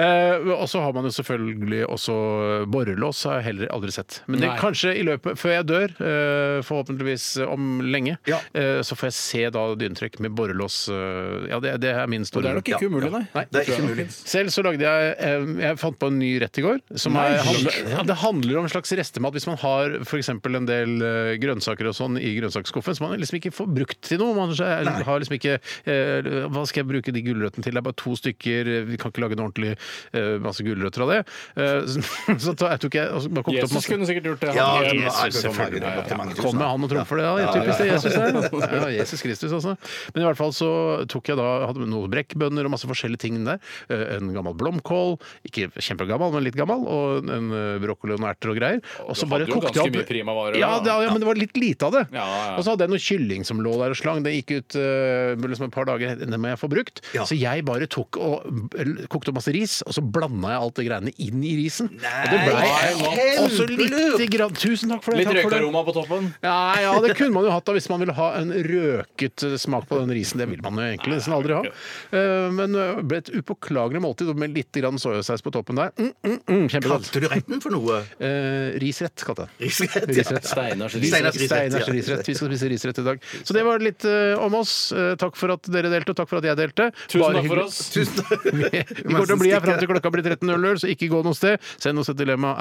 Speaker 2: Eh, og så har man jo selvfølgelig også borrelås, har jeg heller aldri sett. Men det,
Speaker 4: Nei.
Speaker 2: kanskje i løpet, før jeg dør, eh, forhåpentligvis om lenge,
Speaker 3: Ja.
Speaker 2: eh, så får jeg se da dynetrekk med borrelås. eh, ja, det, det er min
Speaker 4: Og
Speaker 2: store
Speaker 4: det er nok ikke
Speaker 3: Ja,
Speaker 4: umulig, nei.
Speaker 2: Nei,
Speaker 3: Det er ikke mulig.
Speaker 2: Selv så lagde jeg eh, Jeg fant på en ny rett i går. Som er, handler, ja, det handler om en slags restemat. Hvis man har f.eks. en del eh, grønnsaker og sånn i grønnsaksskuffen som man liksom ikke får brukt til noe. Man er- har liksom ikke eh, Hva skal jeg bruke de gulrøttene til? Det er bare to stykker, vi kan ikke lage en ordentlig eh, masse gulrøtter av det. Eh, så, så da- jeg tok jeg og så bare kokte opp
Speaker 4: Jesus
Speaker 2: masse
Speaker 4: kunne sikkert gjort det.
Speaker 3: Ja,
Speaker 4: Han-
Speaker 3: det
Speaker 2: Jesus,
Speaker 3: er
Speaker 2: selvfølgelig.
Speaker 3: mange- det er mange tusen.
Speaker 2: Kom med han og trumfer det, da. Typisk det Jesus er. Ja, Jesus Kristus, altså. Men i hvert fall så tok jeg da hadde noen brekkbønner og masse forskjellige ting der. Eh, En gammel blomkål, ikke kjempegammel, men litt gammel, og en eh, brokkoli og noen erter og greier. Og
Speaker 4: Du
Speaker 2: så bare
Speaker 4: hadde jo
Speaker 2: kokte
Speaker 4: ganske
Speaker 2: jeg
Speaker 4: mye
Speaker 2: opp
Speaker 4: primavarer,
Speaker 2: Ja,
Speaker 4: da.
Speaker 2: det, ja, men det var litt lite av det.
Speaker 4: Ja, ja.
Speaker 2: Og så hadde jeg noe kylling som lå der og slang. Det gikk ut eh, liksom et par dager, det må jeg få brukt.
Speaker 3: Ja.
Speaker 2: Så jeg bare tok og eh, kokte opp masse ris, og så blanda jeg alt det greiene inn i risen. og det
Speaker 4: Nei,
Speaker 2: blei også lite grann Tusen takk for det.
Speaker 4: Litt
Speaker 2: takk for det.
Speaker 4: røykaroma på toppen.
Speaker 2: Ja, ja, det kunne man jo hatt da hvis man ville ha en røket eh, smak på den risen. Det vil man jo egentlig nesten aldri ha. Eh, Men det ble et upåklagelig måltid med litt grann soyasaus på toppen der. Mm, mm, mm, kjempegodt.
Speaker 3: Kalte du retten for noe?
Speaker 2: Eh, risrett, kalte jeg det.
Speaker 3: Risrett? ja.
Speaker 2: Risrett.
Speaker 4: Steinars ris.
Speaker 3: Steinars risrett,
Speaker 2: Steinars
Speaker 3: ja.
Speaker 2: risrett. Vi skal spise risrett i dag. Så det var litt eh, om oss. Eh, takk for at dere delte, og takk for at jeg delte.
Speaker 4: Tusen
Speaker 2: Bare
Speaker 4: takk for
Speaker 2: hyggelig.
Speaker 4: oss.
Speaker 3: Tusen
Speaker 2: Vi kommer til å bli her fram til klokka blir 13.00, så ikke gå noe sted. Send oss et dilemma.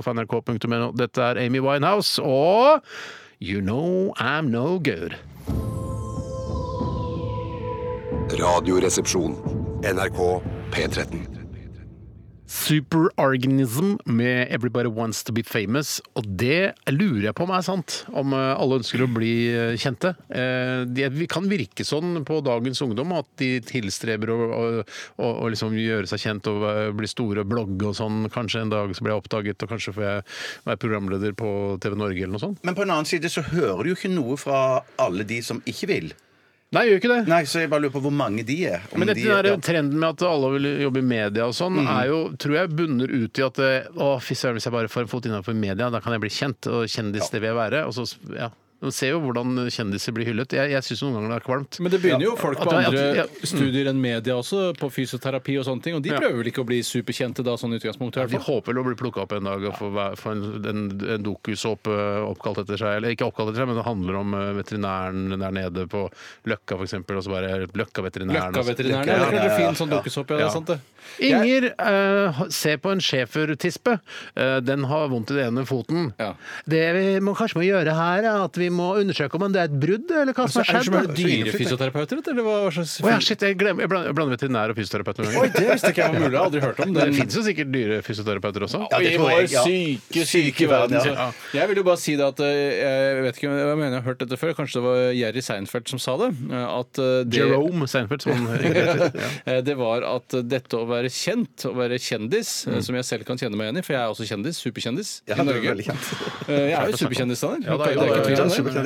Speaker 2: rrkrøllalfa.nrk.no. Dette er Amy Winehouse og You Know I'm No Good.
Speaker 6: Radioresepsjon. NRK P13.
Speaker 2: Superorganism med 'Everybody Wants To Be Famous'. Og det lurer jeg på om er sant. Om eh, alle ønsker å bli eh, kjente. Eh, Det kan virke sånn på dagens ungdom at de tilstreber å, å, å, å liksom gjøre seg kjent og eh, bli store, blogge og sånn. Kanskje en dag så blir jeg oppdaget, og kanskje får jeg være programleder på TV Norge eller noe sånt.
Speaker 3: Men på den annen side så hører du jo ikke noe fra alle de som ikke vil.
Speaker 2: Nei, gjør ikke det.
Speaker 3: Nei, Så jeg bare lurer på hvor mange de er. Om
Speaker 2: Men dette
Speaker 3: de er-
Speaker 2: der trenden med at alle vil jobbe i media og sånn,
Speaker 4: Mhm.
Speaker 2: er jo, tror jeg bunner ut i at eh, Å, fy søren, hvis jeg bare får en fot innenfor media, da kan jeg bli kjent, og kjendis det vil jeg være. Og så, ja. Man ser jo hvordan kjendiser blir hyllet. Jeg, jeg syns noen ganger det er kvalmt.
Speaker 4: Men det begynner jo folk på
Speaker 2: At- at- ja.
Speaker 4: andre studier enn media også, på fysioterapi og sånne ting, og de
Speaker 2: Ja.
Speaker 4: prøver vel ikke å bli superkjente da, sånn i utgangspunktet? i
Speaker 2: Vi
Speaker 4: hvert fall.
Speaker 2: håper vel å bli plukka opp en dag og få væ- få en, en, en dokusåpe eh, oppkalt etter seg. Eller ikke oppkalt etter seg, men det handler om eh, veterinæren der nede på Løkka f.eks. Og så bare Løkka-veterinæren. og så-
Speaker 4: Løkkaveterinæren. Ja, det er klart det finnes sånn dukkesopp, ja. Det
Speaker 2: Ja.
Speaker 4: er sant, det.
Speaker 2: Inger eh, ser på en schæfertispe. Eh, den har vondt i den ene foten.
Speaker 4: Ja.
Speaker 2: Det vi må, kanskje må gjøre her, er at vi må undersøke om det er et brudd, eller hva som
Speaker 4: Så
Speaker 2: har
Speaker 4: er
Speaker 2: skjedd.
Speaker 4: det som er
Speaker 2: da.
Speaker 4: dyrefysioterapeuter, vet du, eller hva slags
Speaker 2: Å ja, shit, jeg, glemmer, jeg blander jeg blander veterinær og fysioterapeut noen
Speaker 4: Oi,
Speaker 2: ganger.
Speaker 4: det visste ikke jeg var mulig, jeg har aldri hørt om
Speaker 2: Det
Speaker 4: det.
Speaker 2: finnes jo sikkert dyre fysioterapeuter også.
Speaker 3: Ja, det
Speaker 4: I
Speaker 3: tror
Speaker 4: vår
Speaker 3: jeg, ja.
Speaker 4: syke,
Speaker 3: Syke
Speaker 4: syke
Speaker 3: verden,
Speaker 4: verden.
Speaker 3: ja.
Speaker 4: Så jeg vil jo bare si det at eh, jeg vet ikke om jeg mener jeg har hørt dette før, kanskje det var Jerry Seinfeld som sa det. eh, At eh, det,
Speaker 2: Jerome Seinfeld, som han heter. Ja.
Speaker 4: Eh, det var at dette å være kjent, å være kjendis, eh, som jeg selv kan kjenne meg igjen i, for jeg er også kjendis, superkjendis
Speaker 3: Mm. Ja, du
Speaker 4: i
Speaker 3: er
Speaker 4: Norge.
Speaker 3: veldig kjent.
Speaker 4: Eh, Jeg er jo superkjendis, Daniel.
Speaker 2: Ja, det er jo-
Speaker 4: Det er ikke tvil om det.
Speaker 3: ja, ja,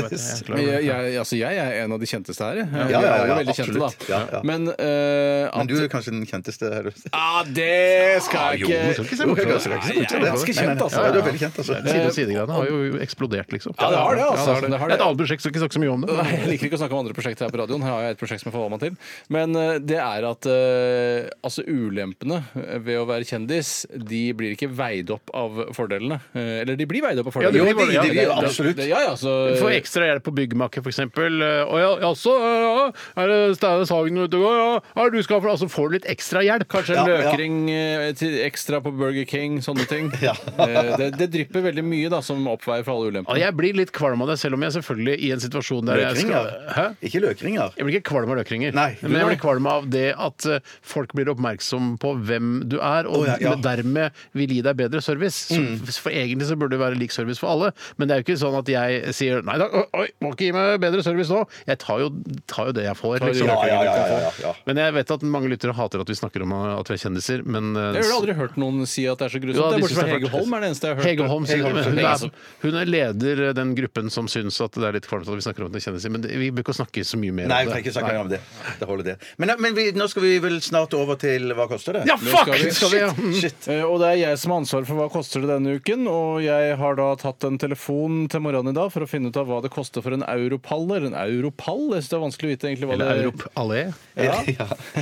Speaker 3: ja.
Speaker 4: Jeg, jeg, altså jeg er en av de kjenteste her. jeg.
Speaker 3: ja,
Speaker 4: Vi er
Speaker 3: ja,
Speaker 4: jo veldig kjente, da.
Speaker 3: absolutt. Ja, ja.
Speaker 4: Men eh, at
Speaker 3: Men du er kanskje den kjenteste her.
Speaker 4: Ah, det skal
Speaker 2: Jo,
Speaker 4: jeg
Speaker 2: du skal ikke
Speaker 4: ikke
Speaker 2: se bort fra det.
Speaker 4: Nei, jeg er ganske kjent, altså.
Speaker 3: Ja, du er veldig kjent, altså.
Speaker 2: Side- og sidegreiene har jo eksplodert, liksom.
Speaker 4: Ja, det har det, altså.
Speaker 2: Ja,
Speaker 4: Det har
Speaker 2: Det er
Speaker 4: det.
Speaker 2: et annet prosjekt, så ikke snakke så mye om det.
Speaker 4: Nei, jeg liker ikke å snakke om andre prosjekter her på radioen. Her har jeg et prosjekt som jeg forholder meg til. Men eh, det er at eh, altså ulempene ved å være kjendis, de blir ikke veid opp av fordelene. Eh, eller de blir veid opp av
Speaker 2: Ja, det
Speaker 3: Jo,
Speaker 4: fordelene.
Speaker 2: blir
Speaker 3: de,
Speaker 2: bare- ja,
Speaker 3: de, de,
Speaker 2: det-
Speaker 3: absolutt.
Speaker 4: Det- Ja, altså, ja, så,
Speaker 2: Du får ekstra hjelp på byggmakke, f.eks. Og ja, jaså, ja, ja, er det Steine Sagen ute og går? Ja, ja, du skal for Altså får du litt ekstra hjelp.
Speaker 4: Kanskje
Speaker 3: Ja,
Speaker 4: en
Speaker 3: ja.
Speaker 4: løkring eh, til ekstra på Burger King, sånne ting.
Speaker 3: Ja.
Speaker 4: Eh, det, det drypper veldig mye da, som oppveier for alle
Speaker 2: Ja,
Speaker 4: ulempene.
Speaker 2: jeg blir litt kvalm av det, selv om jeg selvfølgelig i en situasjon der jeg skal
Speaker 3: Løkringer?
Speaker 2: Hæ?
Speaker 3: Ikke løkringer.
Speaker 2: Jeg blir ikke kvalm av løkringer,
Speaker 3: Nei.
Speaker 2: men jeg blir kvalm av det at eh, folk blir oppmerksom på hvem du er, og
Speaker 3: Å, ja, Mm. ja.
Speaker 2: men dermed vil gi deg bedre service. Så, For Egentlig så burde det være lik service for alle, men det er jo ikke sånn at jeg sier nei da, oi, oi, må ikke gi meg bedre service nå. Jeg tar jo, tar jo det jeg får. liksom.
Speaker 3: Ja, ja, ja, ja, ja, ja.
Speaker 2: Men jeg vet at mange lyttere hater at vi snakker om at vi er kjendiser, men eh,
Speaker 4: Jeg har aldri hørt noen si at det er så grusomt.
Speaker 2: Jo,
Speaker 4: det
Speaker 2: de
Speaker 4: er bortsett
Speaker 2: synes
Speaker 4: fra
Speaker 2: det er
Speaker 4: Hege
Speaker 2: fælt.
Speaker 4: Holm er det eneste jeg har hørt.
Speaker 2: Hege Holm, sier-
Speaker 3: Hege Holm,
Speaker 2: men hun,
Speaker 3: Hege
Speaker 2: er, hun er leder eh, den gruppen som syns at det er litt kvalmt at vi snakker om at det er kjendiser, men det- vi bør ikke snakke så mye mer
Speaker 3: Nei, vi
Speaker 2: om det.
Speaker 3: trenger ikke snakke mer om det. Det holder, det. Men, men vi, nå skal vi vel snart over til Hva koster det?
Speaker 2: Ja, fuck!
Speaker 4: skal vi-
Speaker 2: Skal vi, ja.
Speaker 3: Shit.
Speaker 4: Eh, Og det er jeg som har ansvaret for hva koster det denne uken. Og jeg har da tatt en telefon til morgenen i dag for å finne ut av hva det koster for en europall. Eller en europall? Jeg synes det er vanskelig å vite egentlig hva
Speaker 2: Eller
Speaker 4: det
Speaker 2: Europ Allé.
Speaker 3: Ja.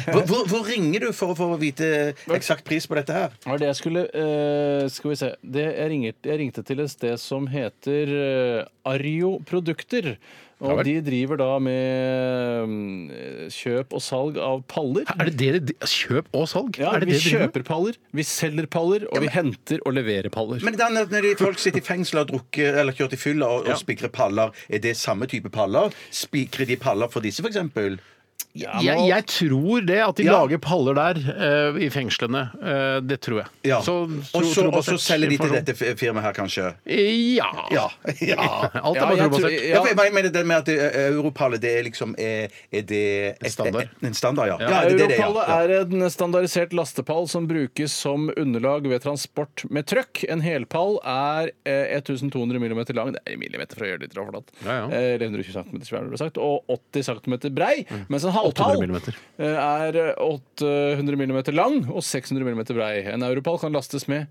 Speaker 3: Hvor, hvor, hvor ringer du for å få vite eksakt pris på dette her?
Speaker 4: var det jeg skulle eh, Skal vi se. Det jeg, ringer, jeg ringte til et sted som heter eh, Arjo Produkter. Og
Speaker 2: Ja vel.
Speaker 4: de driver da med mm, kjøp og salg av paller.
Speaker 2: Er det det de Kjøp og salg?
Speaker 4: Ja,
Speaker 2: er det det
Speaker 4: vi
Speaker 2: de driver med?
Speaker 4: kjøper paller, vi selger paller, og vi henter og leverer paller.
Speaker 3: Men det er at når de folk sitter i fengsel og har drukket eller kjørt i fylla og, og spikrer paller, er det samme type paller? Spikrer de paller for disse, f.eks.?
Speaker 4: Ja, nå-
Speaker 2: Jeg, jeg tror det, at de
Speaker 3: Ja.
Speaker 2: lager paller der eh, i fengslene. Eh, det tror jeg.
Speaker 3: Ja.
Speaker 2: Så, tro-
Speaker 3: og så- og så
Speaker 2: trobasert
Speaker 3: selger de til
Speaker 2: informasjon.
Speaker 3: dette fi- firmaet her, kanskje?
Speaker 2: Ja.
Speaker 3: Ja. ja.
Speaker 2: Alt er
Speaker 4: Ja,
Speaker 2: bare
Speaker 4: jeg tror-
Speaker 2: trobasert.
Speaker 3: Ja, for jeg mener det med at eh, Europallet, det er liksom eh, Er det et-
Speaker 2: standard.
Speaker 3: et- En standard, ja. ja. det er det det er,
Speaker 4: Europallet
Speaker 3: ja.
Speaker 4: er en standardisert lastepall som brukes som underlag ved transport med trøkk. En helpall er eh, 1200 mm lang, det er i millimeter for å gjøre det litt råflatt,
Speaker 2: Ja, ja.
Speaker 4: Eh, eller 120 cm svær, ble det sagt, og 80 cm brei,
Speaker 3: Mm.
Speaker 4: mens en halvpall
Speaker 2: 800 millimeter.
Speaker 4: eh, er 800 mm lang og 600 mm brei. En europall kan lastes med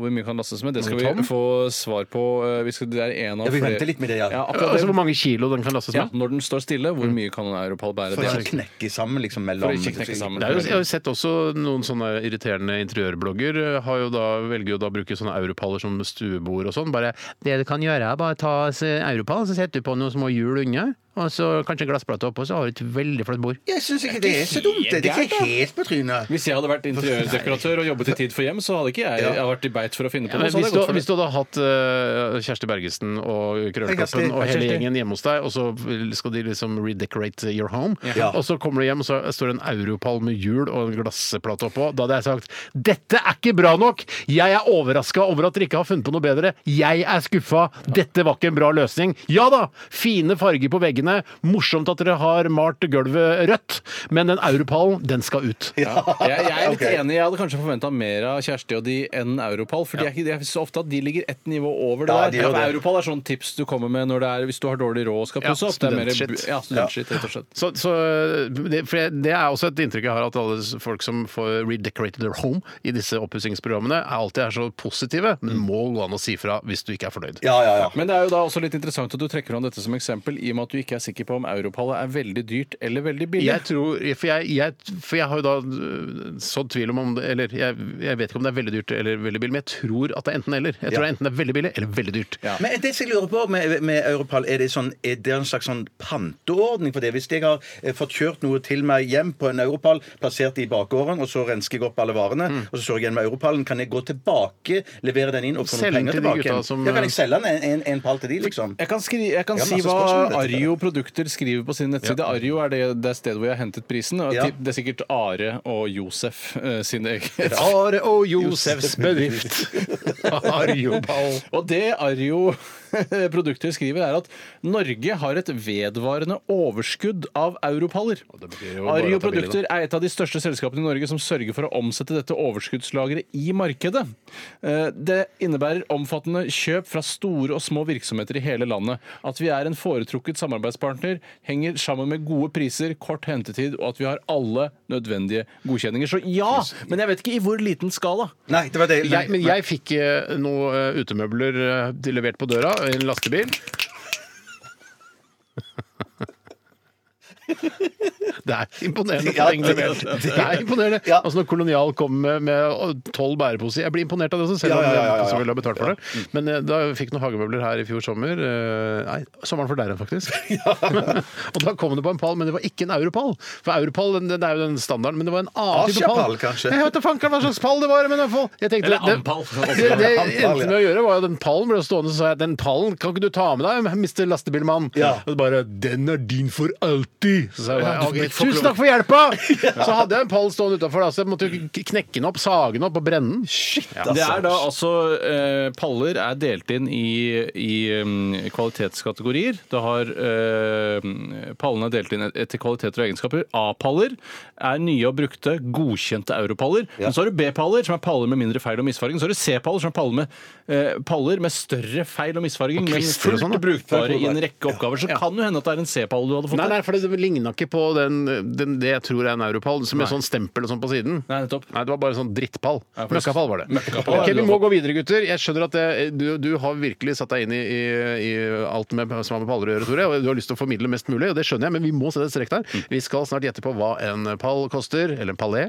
Speaker 4: hvor mye kan lastes med? Det skal
Speaker 2: Mange
Speaker 4: vi
Speaker 2: tonn?
Speaker 4: få svar på. eh, Vi skal, det er en av
Speaker 3: Ja, vi
Speaker 4: flere-
Speaker 3: venter litt med det, ja.
Speaker 4: akkurat det.
Speaker 2: Altså hvor mange kilo den kan lastes
Speaker 4: Ja,
Speaker 2: med?
Speaker 4: når den står stille,
Speaker 3: Mm.
Speaker 4: hvor mye kan en europall bære?
Speaker 3: For
Speaker 4: Det
Speaker 3: ikke
Speaker 4: er-
Speaker 3: å knekke sammen liksom mellom
Speaker 4: For å ikke knekke sammen.
Speaker 2: Det er jo, jeg har jo sett også noen sånne irriterende interiørblogger eh, har jo da, velger jo da å bruke sånne europaller som eh, stuebord og sånn. Bare 'Det du kan gjøre, er bare ta s- europall, så setter du på noen små hjul unna, og og så kanskje en glassplate oppå, så har du et veldig flott bord.
Speaker 3: Jeg syns ikke det er så dumt. Det er ikke helt på trynet.
Speaker 4: Hvis jeg hadde vært interiørdekoratør og jobbet i Tid for hjem, så hadde ikke jeg, jeg hadde vært i beit for å finne på
Speaker 2: Men
Speaker 4: noe. Så
Speaker 2: hvis,
Speaker 4: hadde jeg
Speaker 2: du,
Speaker 4: gått for
Speaker 2: hvis
Speaker 4: det.
Speaker 2: du hadde hatt eh, Kjersti Bergesen og Krøllkloppen
Speaker 3: Kjersti.
Speaker 2: og hele
Speaker 3: Kjersti.
Speaker 2: gjengen hjemme hos deg, og så vil- skal de liksom redecorate your home,
Speaker 3: Ja.
Speaker 2: og så kommer du hjem, og så står det en europall med hjul og en glassplate oppå, da hadde jeg sagt dette er ikke bra nok! Jeg er overraska over at dere ikke har funnet på noe bedre. Jeg er skuffa! Dette var ikke en bra løsning. Ja da! Fine farger på veggene, morsomt at dere har malt gulvet rødt, men den europallen, den skal ut.
Speaker 4: Jeg, jeg er litt
Speaker 3: Ok.
Speaker 4: enig. Jeg hadde kanskje forventa mer av Kjersti og de enn Europall. For de er ikke, de er så ofte at de ligger ett nivå over det
Speaker 3: Ja, de
Speaker 4: der.
Speaker 3: gjør
Speaker 4: For
Speaker 3: det.
Speaker 4: Europall er sånn tips du kommer med når det er, hvis du har dårlig råd og skal
Speaker 2: Ja,
Speaker 4: pusse opp. Det er mer bu-
Speaker 2: studentshit.
Speaker 4: Ja, studentshit, rett og slett.
Speaker 2: Så, så det, for jeg- det er også et inntrykk jeg har at alle s- folk som får redecorated their home i disse oppussingsprogrammene, er alltid er så positive, men må gå an å si fra hvis du ikke er fornøyd.
Speaker 3: Ja, ja, ja.
Speaker 4: Men det er jo da også litt interessant at du trekker fram dette som eksempel, i og med at du ikke er sikker på om Europallet er veldig dyrt eller veldig billig.
Speaker 2: Jeg tror, for, jeg, jeg, for jeg har jo da øh, sådd tvil om om det Eller jeg, jeg vet ikke om det er veldig dyrt eller veldig billig, men jeg tror at det er enten-eller. Jeg tror
Speaker 3: Ja.
Speaker 2: enten det er veldig billig eller veldig dyrt.
Speaker 3: Men det som jeg lurer på med, med Europall, er det, sånn, er det en slags sånn panteordning for det? Hvis jeg har eh, fått kjørt noe til meg hjem på en Europall, plassert i bakgården, og så rensker jeg opp alle varene,
Speaker 2: Mm.
Speaker 3: og så står jeg igjen med Europallen, kan jeg gå tilbake, levere den inn og få
Speaker 2: Selge
Speaker 3: noen
Speaker 2: den
Speaker 3: penger
Speaker 2: til de
Speaker 3: tilbake?
Speaker 2: gutta
Speaker 3: igjen?
Speaker 2: som- eh,
Speaker 3: ja, kan jeg selge den en, en, en pall til de, liksom?
Speaker 4: Jeg kan, skri, jeg kan
Speaker 3: Ja,
Speaker 4: si
Speaker 3: masse spørsmål
Speaker 4: hva
Speaker 3: om dette.
Speaker 4: Ario Produkter skriver på sin nettside. Ario er det, det er stedet hvor jeg har hentet prisen. Og
Speaker 3: Ja.
Speaker 4: ti- Det er sikkert Are og Josef eh, sine egne.
Speaker 2: Are og E Josefs bedrift. Arjoball.
Speaker 4: Og det Ario Produkter skriver, er at Norge har et vedvarende overskudd av europaller.
Speaker 2: betyr jo bare at det er
Speaker 4: Ario
Speaker 2: billig,
Speaker 4: Produkter er et av de største selskapene i Norge som sørger for å omsette dette overskuddslageret i markedet. Eh, Det innebærer omfattende kjøp fra store og små virksomheter i hele landet. At vi er en foretrukket samarbeidspartner, henger sammen med gode priser, kort hentetid, og at vi har alle nødvendige godkjenninger. Så ja, men jeg vet ikke i hvor liten skala.
Speaker 3: Nei, det var det.
Speaker 2: Jeg, men jeg fikk eh, noe eh, utemøbler eh, til- levert på døra, i en lastebil. Det er imponerende.
Speaker 3: Ja,
Speaker 2: for lenge levert. Det er imponerende.
Speaker 3: Ja.
Speaker 2: Altså Når Kolonial kom med- med tolv bæreposer Jeg blir imponert av det, også, selv om
Speaker 3: Ja, ja, ja, ja,
Speaker 2: jeg
Speaker 3: ja.
Speaker 2: ikke så vel har betalt for det. Men eh, da jeg fikk noen hagemøbler her i fjor sommer eh, Nei, sommeren for der igjen, faktisk. Og da kom det på en pall, men det var ikke en europall. For europall den, den er jo den standarden, men det var en annen type
Speaker 3: Asiapall,
Speaker 2: pall.
Speaker 3: kanskje.
Speaker 2: Jeg vet da fanken hva slags pall det var, men i hvert fall jeg tenkte,
Speaker 4: Eller
Speaker 2: det-
Speaker 4: ampall.
Speaker 2: Det, det, det jeg
Speaker 3: Ampall, ja.
Speaker 2: endte med å gjøre, var at den pallen ble stående, så sa jeg den pallen kan ikke du ta med deg, mister lastebilmann.
Speaker 3: Ja.
Speaker 2: Og det bare den er din for alltid. Så sa jeg bare,
Speaker 4: Ja, du
Speaker 2: «Ok,
Speaker 4: blir for
Speaker 2: tusen takk for hjelpa! Så hadde jeg en pall stående utafor, så jeg måtte jo k- knekke den opp, sage den opp og brenne den. Shit,
Speaker 4: Det er da altså eh, Paller er delt inn i, i um, kvalitetskategorier. Da har eh, Pallene er delt inn et- etter kvaliteter og egenskaper. A-paller er nye og brukte, godkjente europaller. Men så har du B-paller, som er paller med mindre feil og misfarging. Så har du C-paller, som er paller med, eh, paller med større feil og misfarging, men
Speaker 2: kvister og
Speaker 4: fullt
Speaker 2: sånn, da.
Speaker 4: brukbare i en rekke oppgaver. Så kan jo hende at det er en C-pall du hadde fått.
Speaker 2: Nei,
Speaker 4: der.
Speaker 2: nei, for det ligna ikke på den, den, det jeg tror er en europall, som med sånn stempel og sånn på siden.
Speaker 4: Nei, nettopp.
Speaker 2: Nei, det var bare en sånn drittpall.
Speaker 4: for-
Speaker 2: Møkkapall var det.
Speaker 4: Møkkapall,
Speaker 2: Ok,
Speaker 4: ja,
Speaker 2: Vi
Speaker 4: du
Speaker 2: må
Speaker 4: har
Speaker 2: gå videre, gutter. Jeg skjønner at det, du, du har virkelig satt deg inn i, i, i alt med, som har med paller å gjøre, Tore. Og du har lyst til å formidle mest mulig, og det skjønner jeg, men vi må sette et strek der.
Speaker 4: Mm.
Speaker 2: Vi skal snart gjette på hva en pall koster, eller en palé.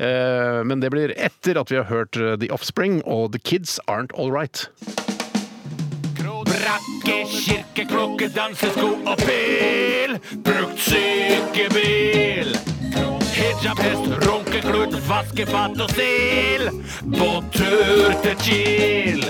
Speaker 2: Eh, men det blir etter at vi har hørt eh, The Offspring og The Kids Aren't All Right.
Speaker 7: Brakke, kirke, klokke, dansesko og pil. Brukt sykebil. Hijab, hest, runkeklut, vaskefat og stil. På tur til Kiel.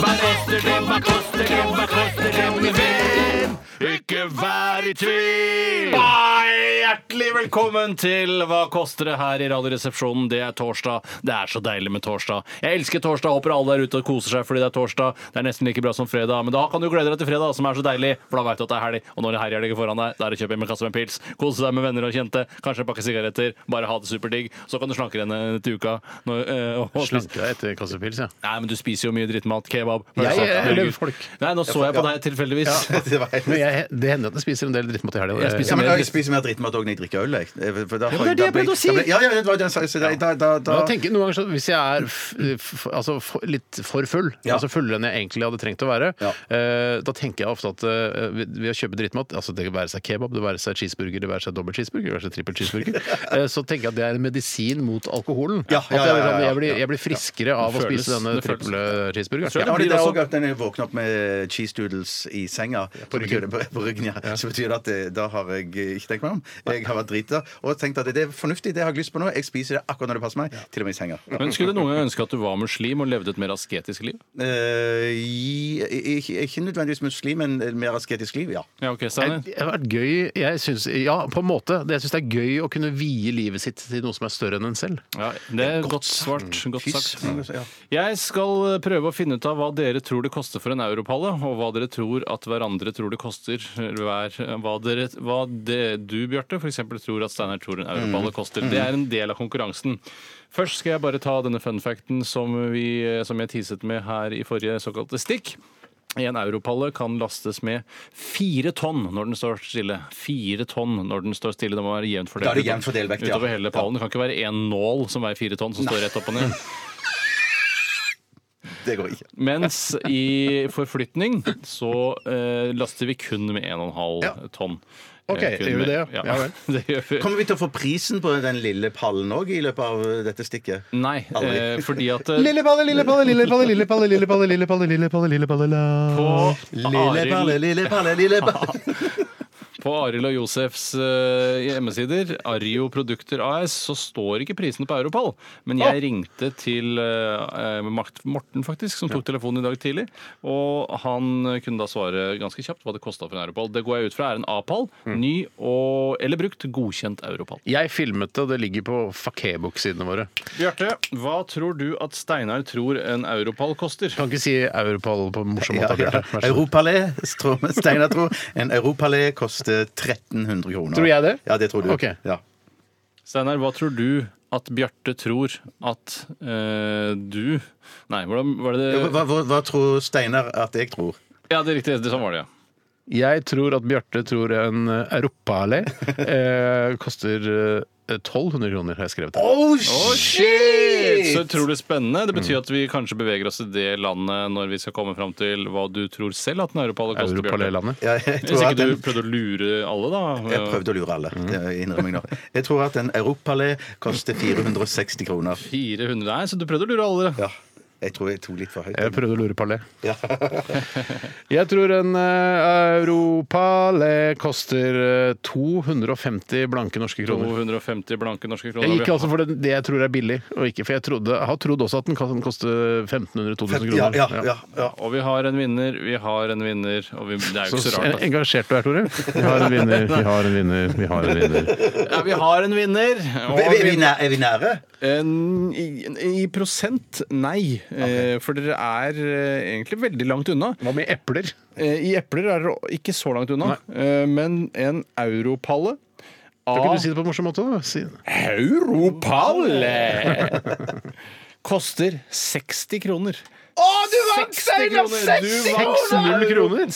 Speaker 7: Hva koster det, hva koster det, hva koster det, min venn? Ikke vær i tvil.
Speaker 4: Hei, hjertelig velkommen til Hva koster det her i Radioresepsjonen. Det er torsdag. Det er så deilig med torsdag. Jeg elsker torsdag. Håper alle der ute og koser seg fordi det er torsdag. Det er nesten like bra som fredag, men da kan du glede deg til fredag, som er så deilig, for da veit du at det er helg. Og når det er helg ligger foran deg, da er det å kjøpe hjem en kasse med pils, kose deg med venner og kjente, kanskje en pakke sigaretter, bare ha det superdigg. Så kan du slanke deg til uka. Når, eh, og-
Speaker 2: Slanke deg etter kassepils, ja.
Speaker 4: Nei, men du spiser jo mye drittmat. Kebab.
Speaker 2: Jeg-
Speaker 4: pølser,
Speaker 7: eh,
Speaker 2: jeg- eller
Speaker 4: burger.
Speaker 2: folk.
Speaker 4: Nei, nå så jeg på deg tilfeldigvis.
Speaker 3: Det var helt...
Speaker 2: Men jeg, det hender at jeg spiser en del drittmat i helga.
Speaker 4: Jeg
Speaker 2: Det-
Speaker 4: spiser
Speaker 3: Ja, men
Speaker 4: mer
Speaker 3: jeg spiser mer drittmat òg når jeg drikker drikke øl, jeg. Eh, for da-
Speaker 2: Ja, men det er det jeg
Speaker 3: da blir-
Speaker 2: prøvde å si!
Speaker 3: da blir- Ja, ja, det var det jeg sa. Så da, da, da,
Speaker 2: Men jeg tenker noen ganger sånn, Hvis jeg er f f altså for, litt for full,
Speaker 3: Ja.
Speaker 2: altså fullere enn jeg egentlig hadde trengt å være,
Speaker 3: Ja.
Speaker 2: eh, da tenker jeg ofte at eh, ved- ved å kjøpe drittmat, altså det være seg kebab, det være seg cheeseburger, det være seg dobbelt cheeseburger, det være seg trippel cheeseburger, eh, så tenker jeg at det er en medisin mot alkoholen.
Speaker 3: Ja, ja,
Speaker 2: At jeg,
Speaker 3: ja, ja,
Speaker 2: liksom,
Speaker 3: ja.
Speaker 2: jeg, blir, jeg blir friskere av å
Speaker 4: Det føles-
Speaker 2: spise denne
Speaker 4: det føles-
Speaker 2: triple cheeseburgeren.
Speaker 3: Ja, men
Speaker 4: blir
Speaker 3: det er
Speaker 4: også-
Speaker 3: også at når jeg våkner opp med cheese doodles i senga På ryggen. På, på ryggen ja. Så betyr det at det, da har jeg ikke tenkt meg om. Jeg har vært drita og tenkt at det er fornuftig, det har jeg lyst på nå. Jeg spiser det akkurat når det passer meg, til og med i senga.
Speaker 4: Men Skulle du noen gang ønske at du var muslim og levde et mer asketisk liv?
Speaker 3: Eh, i- i- ikke, ikke nødvendigvis muslim, men eh, mer asketisk liv, ja.
Speaker 4: Ja, ok, Steiner.
Speaker 2: Det har vært gøy jeg synes, Ja, på en måte. Det- Jeg syns det er gøy å kunne vie livet sitt til noe som er større enn en selv.
Speaker 4: Ja, det er godt svart. Godt sagt.
Speaker 3: Ja.
Speaker 4: Jeg skal eh, prøve å finne ut av hva dere tror det koster for en europalle, og hva dere tror at hverandre tror det koster eller hver. Hva, dere, hva det, du, Bjarte, f.eks. tror at Steinar tror en
Speaker 3: Mm.
Speaker 4: europalle koster. Det er en del av konkurransen. Først skal jeg bare ta denne fun facten som, vi, eh, som jeg teaset med her i forrige såkalte stikk. En europalle kan lastes med fire tonn når den står stille. Fire tonn når den står stille. Det må være jevnt fordelt
Speaker 3: Da er det jevnt fordelt vekt, ja.
Speaker 4: utover hele pallen. Det kan ikke være én nål som veier fire tonn, som står rett opp og ned.
Speaker 3: Det går ikke.
Speaker 4: Mens i forflytning så eh, laster vi kun med 1,5
Speaker 2: Ja.
Speaker 4: tonn.
Speaker 2: Ok,
Speaker 4: Eh, kun
Speaker 2: gjør vi
Speaker 4: med-
Speaker 2: det, ja? Ja vel.
Speaker 4: det gjør vi.
Speaker 3: Kommer vi til å få prisen på den lille pallen òg i løpet av dette stikket?
Speaker 4: Nei,
Speaker 3: Aldri.
Speaker 4: eh, fordi at eh,
Speaker 2: Lillepalle, lillepalle, lillepalle, lillepalle, lillepalle, lillepalle, lillepalle, lillepalle,
Speaker 4: på
Speaker 3: Lille palle,
Speaker 4: Arild,
Speaker 3: lille palle, lille palle.
Speaker 4: på Arild og Josefs eh, hjemmesider, Ario Produkter AS, så står ikke prisene på Europall. Men jeg ringte til eh, Mart- Morten, faktisk, som tok telefonen i dag tidlig. Og han eh, kunne da svare ganske kjapt hva det kosta for en Europall. Det går jeg ut fra er en A-pall.
Speaker 2: Mm.
Speaker 4: Ny og, eller brukt, godkjent Europall.
Speaker 2: Jeg filmet det, og det ligger på Fakebook-sidene våre.
Speaker 4: Bjarte, hva tror du at Steinar tror en europall koster?
Speaker 2: Kan ikke si Europall på en morsom
Speaker 3: Ja,
Speaker 2: måte.
Speaker 3: ja.
Speaker 2: Bjarte. Vær så god.
Speaker 3: Europalé, tror vi- Steinar tror. En europalé koster 1300 kroner.
Speaker 2: Tror jeg det?
Speaker 3: Ja, det tror du.
Speaker 2: Ok.
Speaker 3: Ja.
Speaker 4: Steinar, hva tror du at Bjarte tror at eh, du Nei, hvordan var det det
Speaker 3: Hva, hva, hva tror Steinar at jeg tror?
Speaker 4: Ja, det er riktig. Det, sånn var det, ja.
Speaker 2: Jeg tror at Bjarte tror en europalé eh, koster eh, 1200 kroner, har jeg skrevet. her.
Speaker 3: Oh, shit! Mm.
Speaker 4: Så utrolig spennende. Det betyr at vi kanskje beveger oss i det landet når vi skal komme fram til hva du tror selv at en europall koster, Bjarte.
Speaker 2: Europalé-landet.
Speaker 3: Ja, jeg
Speaker 4: Hvis
Speaker 3: tror
Speaker 4: ikke
Speaker 3: at
Speaker 4: du Mm.
Speaker 3: en,
Speaker 4: prøvde å lure alle, da.
Speaker 3: jeg prøvde å lure alle. Det innrømmer jeg nå. Jeg tror at en europalé koster 460 kroner.
Speaker 4: 400 Eh, Nei, så du prøvde å lure alle.
Speaker 3: Ja. Jeg tror jeg tok litt for høyt.
Speaker 2: Jeg prøvde å lure palé.
Speaker 3: Ja.
Speaker 2: Jeg tror en eh, europalé koster eh, 250 blanke norske kroner.
Speaker 4: 250 blanke norske kroner.
Speaker 2: Jeg gikk altså for det, det jeg tror er billig, og ikke for jeg, trodde, jeg har trodd også at den kan koste 1500-2000 kroner.
Speaker 3: Ja, ja, ja, ja.
Speaker 4: Og vi har en vinner, vi har en vinner, og vi, det er jo
Speaker 2: Så
Speaker 4: ikke så rart. altså.
Speaker 2: en- engasjert du er, Tore. Vi har en vinner, vi har en vinner, vi har en vinner.
Speaker 4: Ja, vi har en vinner.
Speaker 3: Er vi- er vi næ- er vi nære?
Speaker 4: En, i, I prosent nei. Eh, For dere er eh, egentlig veldig langt unna.
Speaker 2: Hva med epler?
Speaker 4: Eh, I epler er dere ikke så langt unna, eh, men en europalle
Speaker 2: Kan ikke
Speaker 4: av
Speaker 2: du si det på en morsom måte? da? Si
Speaker 4: Europalle koster 60 kroner. Å, du vant, Steinar! 60
Speaker 2: 6-0 kroner!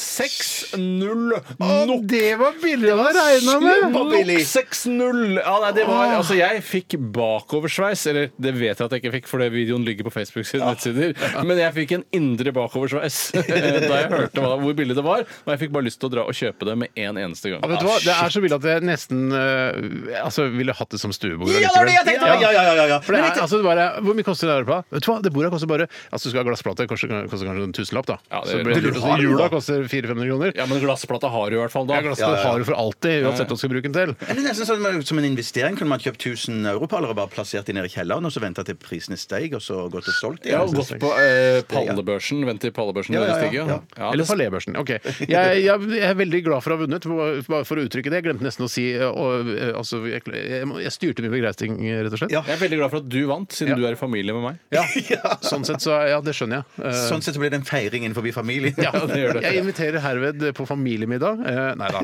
Speaker 4: 6-0.
Speaker 2: Å, det var billig å regne med!
Speaker 3: billig.
Speaker 4: 6-0! Ja, nei, det var, altså, jeg fikk bakoversveis. Eller det vet jeg at jeg ikke fikk, for det videoen ligger på Facebook sine nettsider. Men jeg fikk en indre bakoversveis eh, da jeg hørte hva, hvor billig det var. Og jeg fikk bare lyst til å dra og kjøpe det med en eneste gang.
Speaker 2: Ja, vet du hva? Det er så billig at jeg nesten eh, altså, ville hatt det som stuebord.
Speaker 3: Ja, det var
Speaker 2: allikevel.
Speaker 3: det jeg tenkte! Ja, ja, ja, ja, ja.
Speaker 2: For det er, altså, det bare, hvor mye koster det her på? Vet du hva, det bordet koster bare Altså, du skal ha glassplate, koster, koster kanskje en tusenlapp, da.
Speaker 4: Ja, det-
Speaker 2: så blir det dyrt.
Speaker 3: har
Speaker 2: Så
Speaker 3: det,
Speaker 2: Jula
Speaker 3: da.
Speaker 2: koster 400-500 kroner.
Speaker 4: Ja, men glassplata har du i hvert fall da.
Speaker 2: Ja, glassplate har du for alltid, uansett hva du skal bruke den til.
Speaker 3: Men Det er nesten sånn Som en investering kunne man kjøpt 1000 europaller og bare plassert dem nede i kjelleren, og så venta til prisene steig, og så gått og solgt
Speaker 4: Ja,
Speaker 3: dem.
Speaker 4: og gått på eh, pallebørsen. Vent til pallebørsen
Speaker 3: Ja, ja, ja.
Speaker 4: stiger. Ja,
Speaker 3: Ja.
Speaker 4: Ja,
Speaker 2: Eller
Speaker 4: det-
Speaker 2: palébørsen. Ok. Jeg, jeg, jeg er veldig glad for å ha vunnet, bare for å uttrykke det. Jeg glemte nesten å si eh, og, eh, altså, jeg, jeg, må- jeg styrte min begeistring, eh, rett og slett.
Speaker 3: Ja.
Speaker 4: Jeg er veldig glad for at du vant, siden
Speaker 2: Ja.
Speaker 4: du er i familie med meg.
Speaker 2: Ja. Sånn sett, så Ja, det skjønner jeg. Eh,
Speaker 3: Sånn sett så blir det en feiring innenfor familien.
Speaker 2: ja,
Speaker 4: det gjør det.
Speaker 2: Jeg inviterer herved på familiemiddag. Eh, Nei da,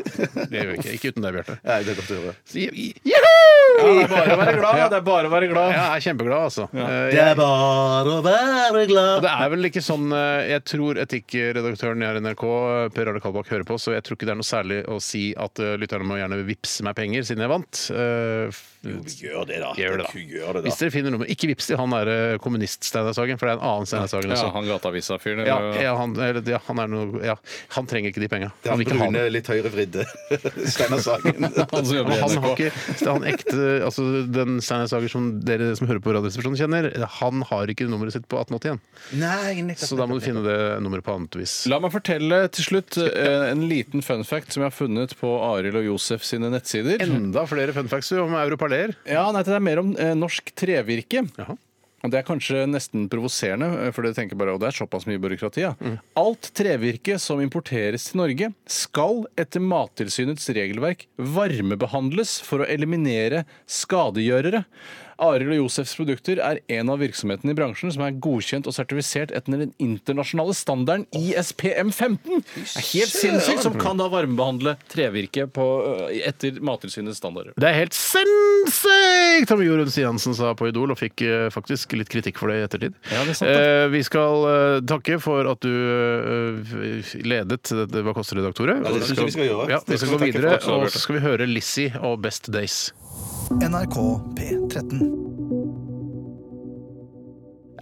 Speaker 2: det gjør vi ikke. Ikke uten deg, Bjarte.
Speaker 3: Nei, det er godt å høre.
Speaker 2: Så- Juhu!
Speaker 4: det er bare å være glad. Det er bare å være glad.
Speaker 2: Jeg er kjempeglad, altså. Eh,
Speaker 3: Det er bare å være
Speaker 2: Og
Speaker 3: glad.
Speaker 2: Det er vel ikke sånn eh, Jeg tror etikkredaktøren i her i NRK, eh, Per Arne Kalbakk, hører på, så jeg tror ikke det er noe særlig å si at eh, lytterne må gjerne vippse meg penger, siden jeg vant. Eh, Gjør det, da. Gjør det, da. Hvis dere finner noe Ikke vips til han derre kommunist-Steinar Sagen, for det er en annen Steinar Sagen
Speaker 4: Ja,
Speaker 2: også.
Speaker 4: han øh, gateavisa-fyren.
Speaker 2: Ja,
Speaker 4: eller-
Speaker 2: ja, han, eller, ja, han, er noe, ja, han trenger ikke de penga.
Speaker 3: Det er
Speaker 2: Han vil ikke ha dem.
Speaker 3: brune, litt høyrevridde Steinar Sagen.
Speaker 4: Han som jobber i
Speaker 2: Han har
Speaker 4: NRK.
Speaker 2: ikke så Han ekte Altså, den Steinar Sager som dere som hører på Radioresepsjonen kjenner, han har ikke nummeret sitt på 1881.
Speaker 3: Nei, nettopp,
Speaker 2: Så da må du finne det nummeret på annet vis.
Speaker 4: La meg fortelle til slutt eh, en liten fun fact som jeg har funnet på Arild og Josef sine nettsider.
Speaker 2: Enda flere fun facts om europaleer.
Speaker 4: Ja, nei, Det er mer om eh, norsk trevirke.
Speaker 2: Jaha.
Speaker 4: Og Det er kanskje nesten provoserende, eh, for dere tenker bare at det er såpass mye byråkrati. Ja. Alt trevirke som importeres til Norge, skal etter Mattilsynets regelverk varmebehandles for å eliminere skadegjørere. Arild og Josefs produkter er en av virksomhetene i bransjen som er godkjent og sertifisert etter den internasjonale standarden ISPM 15. Det er helt sinnssykt, som kan da varmebehandle trevirke på, eh, etter Mattilsynets standarder.
Speaker 2: Det er helt sinnssykt! Som Jorunn Stiansen sa på Idol, og fikk eh, faktisk litt kritikk for det i ettertid.
Speaker 4: Ja, det er sant, det.
Speaker 2: eh, vi skal eh, takke for at du eh, ledet dette Hva koster redaktoret.
Speaker 3: det synes jeg vi skal gjøre.
Speaker 2: Ja, vi
Speaker 3: Det
Speaker 2: skal
Speaker 3: skal
Speaker 2: gå
Speaker 3: vi takke
Speaker 2: videre,
Speaker 3: for også,
Speaker 2: og
Speaker 3: Bjarte.
Speaker 2: så skal vi høre Lizzie og Best Days.
Speaker 5: NRK P13.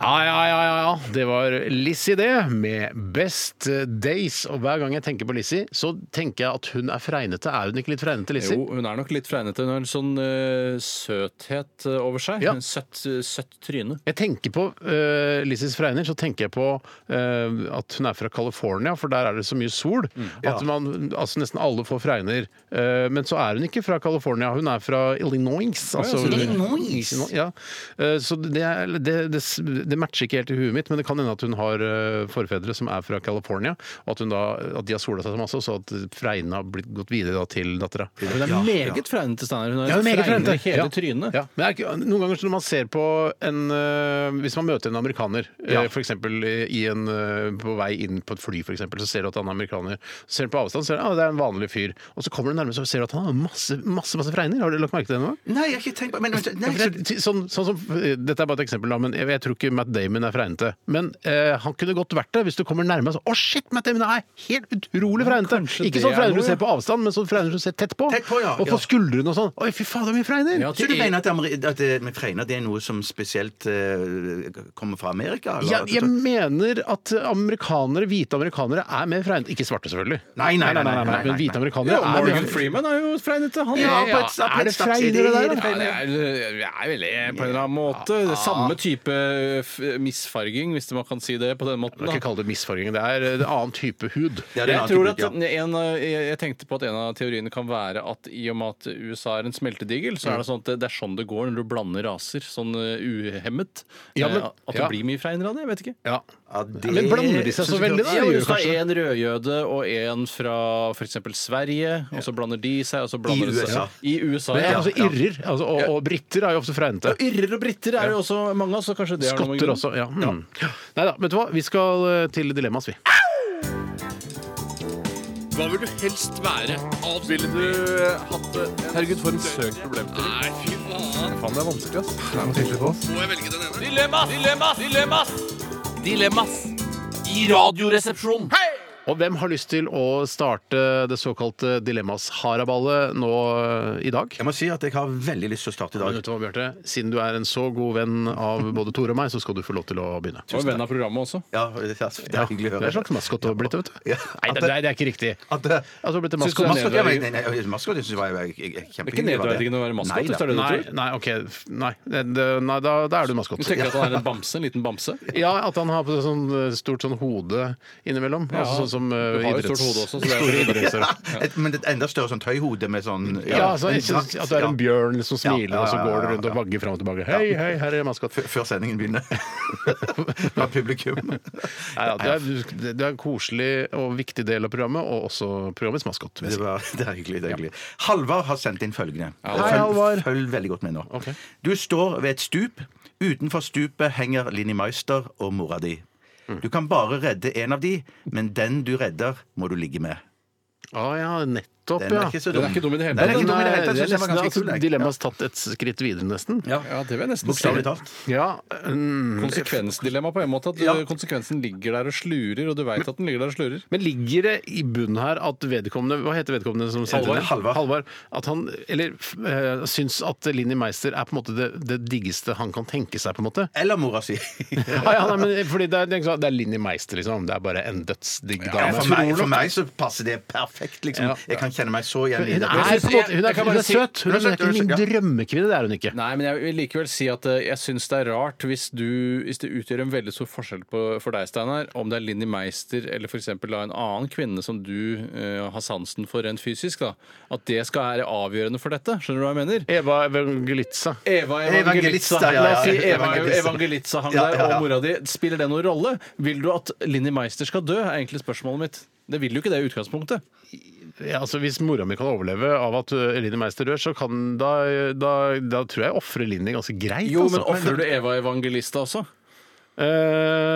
Speaker 2: Ja, ja, ja, ja, ja. Det var Lizzie, det, med Best Days. Og hver gang jeg tenker på Lizzie, så tenker jeg at hun er fregnete. Er hun ikke litt fregnete, Lizzie?
Speaker 4: Jo, hun er nok litt fregnete. Hun har en sånn eh, søthet eh, over seg.
Speaker 2: Ja.
Speaker 4: En søtt, eh, søtt tryne.
Speaker 2: Jeg tenker på uh, Lizzys fregner, så tenker jeg på eh, at hun er fra California, for der er det så mye sol at man, altså nesten alle får fregner. Eh, men så er hun ikke fra California, hun er fra Illinois. Altså,
Speaker 4: så
Speaker 2: Illinois. Ja. Eh, så det, er- det, det, det matcher ikke helt i huet mitt, men det kan hende at hun har eh, forfedre som er fra California, og at, hun da, at de har sola seg så masse, og så at fregnene har blitt, gått videre da, til dattera.
Speaker 4: Hun er meget fregnete, Steinar. Hun har
Speaker 2: Ja,
Speaker 4: en
Speaker 2: meget
Speaker 4: fregne
Speaker 2: frente.
Speaker 4: hele
Speaker 2: Ja.
Speaker 4: trynet.
Speaker 2: Ja. Men det er ikke, noen ganger så når man ser på en øh, Hvis man møter en amerikaner, ja. f.eks. I en, øh, på vei inn på et fly, for eksempel, så ser du at han er amerikaner. Så ser du på avstand, så ser du at ah, det er en vanlig fyr. Og så kommer du nærmere, så ser du at han har masse masse, masse fregner. Har du lagt merke til det nå?
Speaker 3: Nei, jeg har ikke tenkt på men, men-
Speaker 2: Ja,
Speaker 3: nei,
Speaker 2: for
Speaker 3: så,
Speaker 2: det er Sånn, sånn som, dette er bare et eksempel, da, men jeg, jeg tror ikke Matt Damon er fregnete. Men eh, han kunne godt vært det hvis du kommer nærme. så, Å, shit, Matt Damon er helt utrolig fregnete!
Speaker 4: kanskje
Speaker 2: Ikke
Speaker 4: det
Speaker 2: sånn
Speaker 4: er
Speaker 2: fregner
Speaker 4: noe,
Speaker 2: du ser
Speaker 4: ja.
Speaker 2: på avstand, men sånn fregner du ser tett på.
Speaker 3: Tett på, ja,
Speaker 2: Og
Speaker 3: ja.
Speaker 2: på skuldrene og sånn. Oi, fy faen, det er mye fregner!
Speaker 4: Ja,
Speaker 3: så
Speaker 4: det
Speaker 3: du
Speaker 4: er-
Speaker 3: mener at, Ameri- at det med fregner det er noe som spesielt eh, kommer fra Amerika? eller?
Speaker 2: Ja, jeg mener at amerikanere, hvite amerikanere er mer fregnete. Ikke svarte, selvfølgelig.
Speaker 3: Nei, nei, nei, nei, nei, nei,
Speaker 2: Men
Speaker 3: nei.
Speaker 2: hvite amerikanere
Speaker 4: Ja,
Speaker 2: er
Speaker 4: Morgan
Speaker 2: mer
Speaker 4: Freeman er jo fregnete. Han
Speaker 3: Ja,
Speaker 4: er-
Speaker 3: på et- på
Speaker 2: Er
Speaker 3: et
Speaker 2: det
Speaker 3: slags-
Speaker 2: fregnere der,
Speaker 3: er
Speaker 2: da?
Speaker 3: det
Speaker 4: Ja,
Speaker 3: fregnere?
Speaker 4: det er, vi er vel på en eller annen måte. Samme type f- misfarging, hvis man kan si det på den måten.
Speaker 2: Man kan
Speaker 4: Da.
Speaker 2: ikke kalle det misfarging. Det er en annen type hud.
Speaker 3: Ja, det er en
Speaker 4: Jeg,
Speaker 3: annen
Speaker 4: tror at
Speaker 3: type, ja.
Speaker 4: en, av- jeg jeg tenkte på at en av teoriene kan være at i og med at USA er en smeltedigel, så er det sånn at det- det er sånn det går når du blander raser sånn uh, uhemmet.
Speaker 2: Ja,
Speaker 4: Eh,
Speaker 2: men-
Speaker 4: At det
Speaker 2: ja.
Speaker 4: blir mye fregnere av det. Jeg vet ikke.
Speaker 2: Ja.
Speaker 3: Ja, det-
Speaker 2: Men blander de seg så
Speaker 3: synes jeg
Speaker 2: veldig, da?
Speaker 3: ikke-
Speaker 4: Ja,
Speaker 2: gjør
Speaker 4: hvis
Speaker 2: jo
Speaker 4: det er en rødjøde og en fra f.eks. Sverige, og så blander de seg og så blander
Speaker 3: I
Speaker 4: det
Speaker 3: USA.
Speaker 4: Seg. I USA.
Speaker 2: Men
Speaker 4: ja.
Speaker 2: altså irrer. Altså, og, og briter er jo ofte fregnete.
Speaker 4: Og Irrer og briter er jo også mange av oss, så kanskje det har noe med
Speaker 2: Skotter
Speaker 4: grunnen.
Speaker 2: også. Ja. Mm. Nei da, vet du hva? Vi skal eh, til dilemmas, vi.
Speaker 7: Hva vil du helst være? Ville du
Speaker 4: eh,
Speaker 7: hatt det? Herregud, for en søk problem. Nei, fy faen. Faen, det er vanskelig, ass. Det er noe tydelig på oss. Må jeg velge den ene? Dilemmas! Dilemmas! Dilemmas! Dilemmas! I radioresepsjonen. Hei!
Speaker 2: Og hvem har lyst til å starte det såkalte dilemmas-haraballet nå eh, i dag?
Speaker 3: Jeg må si at jeg har veldig lyst til å starte i
Speaker 2: Men
Speaker 3: dag.
Speaker 2: vet du hva, Bjarte? Siden du er en så god venn av både Tore og meg, så skal du få lov til å begynne.
Speaker 4: Og venn av programmet også.
Speaker 3: Ja, det er, det
Speaker 2: Ja,
Speaker 3: er hyggelig å høre.
Speaker 2: Det er en slags maskot du har blitt, vet du.
Speaker 3: Ja.
Speaker 2: Nei, det, nei, det er ikke riktig.
Speaker 3: At det-
Speaker 2: Altså, du har blitt en
Speaker 4: Syns du
Speaker 2: maskot.
Speaker 4: det
Speaker 3: Maskot, jeg, nei, nei, nei, maskot jeg synes jeg var jeg- jeg- jeg- kjempehyggelig.
Speaker 4: Det er ikke nedverdigende å være maskot, hvis det er det du
Speaker 2: Nei,
Speaker 4: tror.
Speaker 2: nei, ok. Nei, det, det- nei da, da er du maskot.
Speaker 4: Du tenker at han er en bamse, en liten bamse?
Speaker 2: Ja, at han har på seg sånn eh, stort sånn hode innimellom. altså sånn som eh,
Speaker 4: du har jo stort
Speaker 2: idretts-
Speaker 4: hode også, så det er-
Speaker 2: store idrettsutøvere.
Speaker 3: Et, men et enda større sånn tøyhode med sånn
Speaker 2: Ja, altså,
Speaker 3: en
Speaker 2: ikke
Speaker 3: drakt,
Speaker 2: sånn at du er
Speaker 3: ja.
Speaker 2: en bjørn som smiler,
Speaker 3: Ja, ja,
Speaker 2: og så
Speaker 3: ja,
Speaker 2: går du
Speaker 3: ja,
Speaker 2: rundt og
Speaker 3: ja.
Speaker 2: vagger fram og tilbake. Hei, hei, her er maskot.
Speaker 3: F- Før sendingen begynner. Fra publikum.
Speaker 2: Nei, ja, det, er, det er en koselig og viktig del av programmet, og også programmets maskot. vil jeg
Speaker 3: Det,
Speaker 2: si.
Speaker 3: var, det er hyggelig. det er hyggelig. Halvard har sendt inn følgende.
Speaker 2: Hei, Halvard.
Speaker 3: Følg, følg veldig godt med nå.
Speaker 2: Ok.
Speaker 3: Du står ved et stup. Utenfor stupet henger Linni Meister og mora di.
Speaker 4: Mm.
Speaker 3: Du kan bare redde en av de, men den du redder, må du ligge med.
Speaker 2: Å Ah, ja, nettopp. Nettopp,
Speaker 3: Den er
Speaker 2: ja.
Speaker 3: ikke så
Speaker 4: Den
Speaker 3: dum.
Speaker 4: er ikke dum i det hele
Speaker 3: Den er
Speaker 4: tatt.
Speaker 3: ikke dum i det hele tatt.
Speaker 2: Det
Speaker 3: Jeg
Speaker 2: er
Speaker 3: synes den var
Speaker 2: nesten
Speaker 3: ganske
Speaker 2: altså,
Speaker 3: kul. jeg.
Speaker 2: dilemmaet er tatt et skritt videre, nesten.
Speaker 3: Ja.
Speaker 4: Ja, det vil jeg nesten
Speaker 3: Bokstavelig
Speaker 4: si.
Speaker 3: talt.
Speaker 2: Ja, mm,
Speaker 4: Konsekvensdilemma på en måte. At eh, konsekvensen ligger der og slurer, og du veit at den ligger der og slurer.
Speaker 2: Men ligger det i bunnen her at vedkommende Hva heter vedkommende som sendte
Speaker 3: Halvard.
Speaker 2: det?
Speaker 3: Halvard.
Speaker 2: At han eller, f- eh, syns at Linni Meister er på en måte det, det diggeste han kan tenke seg, på en måte?
Speaker 3: Eller mora si.
Speaker 2: Ah, ja, nei, men, fordi det er, det er ikke sånn- det er Linni Meister, liksom. Det er bare en dødsdigg dame.
Speaker 3: for, meg, for meg så passer det perfekt. liksom.
Speaker 2: Ja.
Speaker 3: Jeg kan kjenne meg så igjen i
Speaker 2: Hun
Speaker 3: det.
Speaker 2: er, på en måte, hun
Speaker 4: Jeg
Speaker 2: er,
Speaker 4: kan bare
Speaker 2: hun er
Speaker 4: si-
Speaker 2: søt. Hun
Speaker 3: hun er
Speaker 2: er
Speaker 3: søt,
Speaker 2: ikke
Speaker 3: hun er søt,
Speaker 2: min
Speaker 3: ja.
Speaker 2: drømmekvinne, det er hun ikke.
Speaker 4: Nei, men jeg vil likevel si at eh, jeg syns det er rart hvis, du, hvis det utgjør en veldig stor forskjell på, for deg, Steinar, om det er Linni Meister eller f.eks. en annen kvinne som du eh, har sansen for rent fysisk, da. At det skal være avgjørende for dette. Skjønner du hva jeg mener?
Speaker 2: Eva Evangelitza.
Speaker 4: Eva
Speaker 3: Evangelista,
Speaker 4: Evangelista.
Speaker 3: ja, ja,
Speaker 4: La oss si
Speaker 3: ja,
Speaker 4: Eva
Speaker 3: Evangelista.
Speaker 4: Evangelista hang
Speaker 3: Ja,
Speaker 4: der,
Speaker 3: ja, ja.
Speaker 4: og mora di. Spiller det noen rolle? Vil du at Linni Meister skal dø, er egentlig spørsmålet mitt. Det vil jo ikke det i utgangspunktet.
Speaker 2: Ja, altså, hvis mora mi kan overleve av at uh, Linni Meister dør, så kan da, da, da tror jeg jeg ofrer Linni ganske greit.
Speaker 4: Jo, men
Speaker 2: altså.
Speaker 4: ofrer du Eva Evangelista også?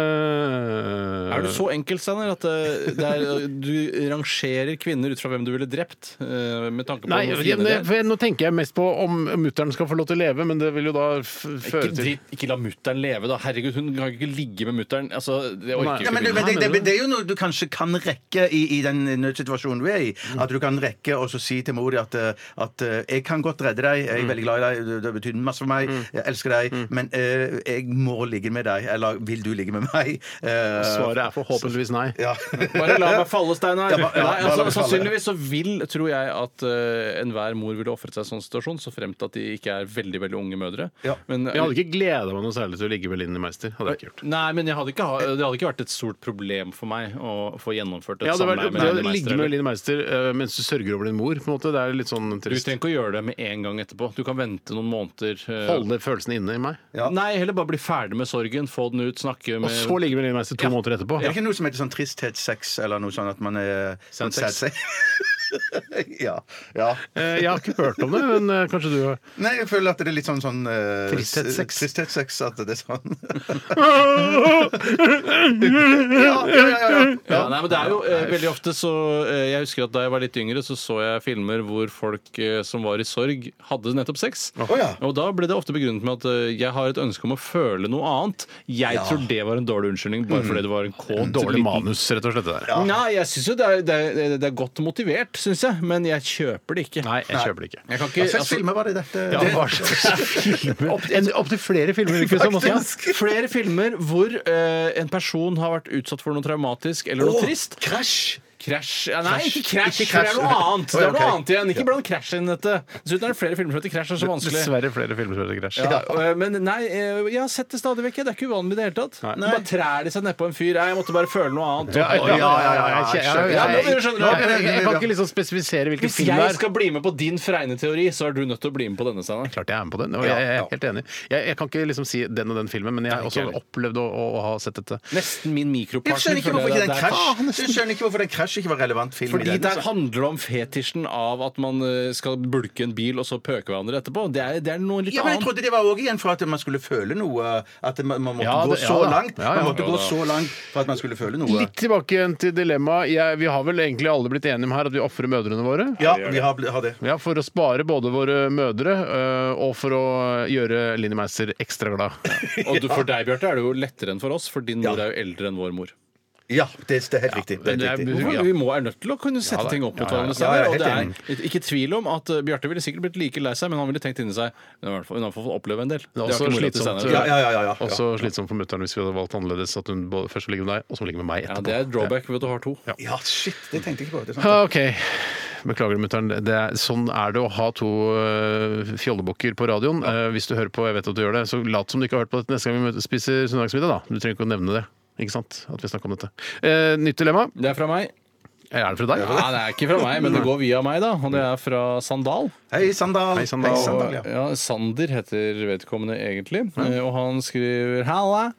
Speaker 2: Eh,
Speaker 4: Er du så enkel, Steinar, at eh, det er, du rangerer kvinner ut fra hvem du ville drept? eh, Med tanke på
Speaker 2: Nei,
Speaker 4: hvor
Speaker 2: jeg,
Speaker 4: fine de er?
Speaker 2: for jeg, nå tenker jeg mest på om mutter'n skal få lov til å leve, men det vil jo da f føre
Speaker 4: Ikke,
Speaker 2: til
Speaker 4: dritt, ikke la mutter'n leve, da. Herregud, hun kan jo ikke ligge med mutter'n. Altså, det
Speaker 2: Nei.
Speaker 4: orker
Speaker 3: Ja,
Speaker 4: jo
Speaker 3: men det,
Speaker 4: ikke.
Speaker 3: men det, det, det er jo noe du kanskje kan rekke i, i den nødsituasjonen du er i.
Speaker 4: Mm.
Speaker 3: At du kan rekke og så si til mor di at, eh, at eh, 'jeg kan godt redde deg,
Speaker 4: Mm.
Speaker 3: jeg er veldig glad i deg, du- du har betydd masse for meg, jeg elsker deg, men eh, jeg må ligge med deg', eller 'vil du ligge med meg'? Eh,
Speaker 2: Svaret er forhåpentligvis nei.
Speaker 3: ja.
Speaker 4: Bare la meg falle, Steinar.
Speaker 3: Ja, ba- ja, bare
Speaker 4: Nei,
Speaker 3: la
Speaker 4: altså,
Speaker 3: meg falle.
Speaker 4: sannsynligvis så vil, tror jeg, at eh, enhver mor ville ofret seg i en sånn situasjon, så fremt at de ikke er veldig veldig unge mødre.
Speaker 3: Ja.
Speaker 4: Men,
Speaker 2: Jeg hadde ikke gleda meg noe særlig til å ligge med Linni Meister. Hadde jeg ikke gjort.
Speaker 4: Nei, men jeg hadde ikke, ha- det hadde ikke vært et stort problem for meg å få gjennomført et
Speaker 2: Jeg hadde vært,
Speaker 4: samleie med
Speaker 2: det å
Speaker 4: Linni Meister,
Speaker 2: ligge
Speaker 4: eller?
Speaker 2: med Linni Meister eh, mens du sørger over din mor, på en måte, det er litt sånn
Speaker 4: Du
Speaker 2: trist.
Speaker 4: trenger ikke å gjøre det med en gang etterpå. Du kan vente noen måneder. eh,
Speaker 2: Holde følelsene inne i meg.
Speaker 3: Ja.
Speaker 4: Nei, heller bare bli ferdig med sorgen, få den ut, snakke
Speaker 2: Og
Speaker 4: med
Speaker 2: så ligge med Linni Meister to måneder etterpå.
Speaker 3: Er det ikke noe som heter sånn tristhetsex, eller noe sånn at man er
Speaker 2: Sad sex.
Speaker 3: sad sex? ja. ja.
Speaker 2: Eh, Jeg har ikke hørt om det, men eh, kanskje du har
Speaker 3: Nei, jeg føler at det er litt sånn, sånn eh,
Speaker 2: Tristhetssex.
Speaker 3: Tristhetssex. At det er sånn ja, ja, ja, ja.
Speaker 4: Ja, nei, men det er jo eh, veldig ofte så eh, Jeg husker at da jeg var litt yngre, så så jeg filmer hvor folk eh, som var i sorg, hadde nettopp sex.
Speaker 3: Å, ja.
Speaker 4: Og da ble det ofte begrunnet med at eh, jeg har et ønske om å føle noe annet. Jeg tror det var en dårlig unnskyldning, bare fordi det var en kåt
Speaker 2: dårlig
Speaker 4: liten-
Speaker 2: manus, rett og slett. det der.
Speaker 4: Nei, jeg syns jo det er, det, er, det er godt motivert, syns jeg, men jeg kjøper det ikke.
Speaker 2: Nei, jeg kjøper det ikke.
Speaker 4: Jeg
Speaker 3: Hva
Speaker 4: kan ikke
Speaker 3: slags
Speaker 4: altså,
Speaker 3: filmer var det i dette?
Speaker 2: Ja, hva slags filmer? Opp- en- Opptil flere filmer. Ikke, som
Speaker 4: ja,
Speaker 2: også.
Speaker 4: flere filmer hvor eh, en person har vært utsatt for noe traumatisk eller noe trist.
Speaker 3: Krasj!
Speaker 4: Krasj ja, Nei, ikke krasj,
Speaker 3: Ikke
Speaker 4: for det
Speaker 3: Crash.
Speaker 4: er noe annet.
Speaker 3: Oi,
Speaker 4: Det er noe
Speaker 3: ok.
Speaker 4: annet igjen. Ikke blant krasj inn i dette. Dessuten er det flere filmer som heter krasj. Det er så vanskelig.
Speaker 2: Dessverre flere filmer som heter Crash.
Speaker 4: Ja, øh, men nei, øh, jeg har sett det stadig vekk. jeg. Det er ikke uvanlig i det hele tatt. Bare trær de seg nedpå en fyr. Nei, jeg måtte bare føle noe annet.
Speaker 2: Ja, ja, ja, ja, ja, jeg kjenner-
Speaker 3: skjønner.
Speaker 4: Ja, nå
Speaker 2: jeg-
Speaker 4: begynner du å skjønne.
Speaker 2: jeg- jeg- Jeg kan ikke liksom spesifisere hvilken
Speaker 4: Hvis
Speaker 2: film det
Speaker 4: jeg
Speaker 2: er.
Speaker 4: skal bli med på din fregne teori, så er du nødt til å bli med på denne. Steinar.
Speaker 2: Klart jeg er med på den. og Jeg, jeg er helt enig. Jeg, jeg kan ikke liksom si den og den filmen, men jeg har
Speaker 4: ikke
Speaker 2: også
Speaker 4: heller.
Speaker 2: opplevd å, å, å ha sett dette.
Speaker 4: Nesten min
Speaker 3: Jeg
Speaker 4: mikropartner.
Speaker 3: skjønner ikke
Speaker 4: føler
Speaker 3: hvorfor
Speaker 4: jeg
Speaker 3: ikke
Speaker 4: det
Speaker 3: den
Speaker 4: er-
Speaker 3: krasj Jeg skjønner ikke hvorfor den krasj ikke var relevant film
Speaker 4: Fordi
Speaker 3: i den. altså.
Speaker 4: der
Speaker 2: altså.
Speaker 4: handler det om fetisjen av at man øh, skal bulke en bil og så pøke hverandre etterpå. Det er, det er noe litt
Speaker 3: Ja, men jeg
Speaker 4: annet.
Speaker 3: trodde det var også igjen for at man skulle føle noe. At man, man måtte
Speaker 2: Ja,
Speaker 3: gå
Speaker 2: det- ja
Speaker 3: så
Speaker 2: da.
Speaker 3: langt
Speaker 2: Ja, ja,
Speaker 3: Man måtte
Speaker 2: ja
Speaker 3: gå
Speaker 2: da.
Speaker 3: så langt for at man skulle føle noe.
Speaker 2: Litt tilbake igjen til dilemmaet. Jeg- Vi har vel egentlig alle blitt enige om her at vi ofrer mødrene våre?
Speaker 3: Ja, vi har, bl- har det.
Speaker 2: Ja, For å spare både våre mødre øh, og for å gjøre Linni Meister ekstra glad.
Speaker 4: Og du, for deg, Bjarte, er det jo lettere enn for oss, for din mor er jo eldre enn vår mor.
Speaker 3: Ja, det, det er helt riktig. Det er
Speaker 2: det er-
Speaker 3: helt riktig.
Speaker 4: Hvorfor? Vi må er nødt til å kunne sette
Speaker 2: da.
Speaker 4: ting opp mot
Speaker 2: Ja, ja, ja.
Speaker 4: hverandre. Steinar,
Speaker 3: Ja, ja,
Speaker 4: og
Speaker 3: helt
Speaker 4: det er ikke tvil om at uh, Bjarte ville sikkert blitt like lei seg, men han ville tenkt inni seg Hun har i hvert fall- hun har fått oppleve en del.
Speaker 2: Det er
Speaker 4: har
Speaker 2: også
Speaker 4: ikke mora til
Speaker 2: slitsomt, eh,
Speaker 4: Steinar.
Speaker 3: Ja, ja, ja, ja, ja.
Speaker 2: Også slitsomt for mutter'n hvis vi hadde valgt annerledes. At hun både- først ligger med deg, og så ligger med meg
Speaker 4: Ja,
Speaker 2: etterpå.
Speaker 4: det er et drawback ved at du har to.
Speaker 3: Ja, shit, det tenkte jeg ikke på. Det er sant.
Speaker 2: Ah, OK. Beklager, mutter'n. Det er- Sånn er det å ha to uh, fjollebukker på radioen. Eh, hvis du hører på, jeg vet at du gjør det, så lat som du ikke har hørt på dette neste gang vi mø- spiser søndagsmiddag, da. Du trenger ikke å nevne det. Ikke sant? At vi snakker om dette. Eh, nytt dilemma.
Speaker 4: Det er fra meg.
Speaker 2: Er det fra deg?
Speaker 4: Nei, det er ikke fra meg, men det går via meg, da. Og det er fra Sandal.
Speaker 3: Hei, Sandal.
Speaker 2: Hei, Sandal.
Speaker 3: ja.
Speaker 4: Ja, Sander heter vedkommende egentlig. Eh, Og han skriver Halla!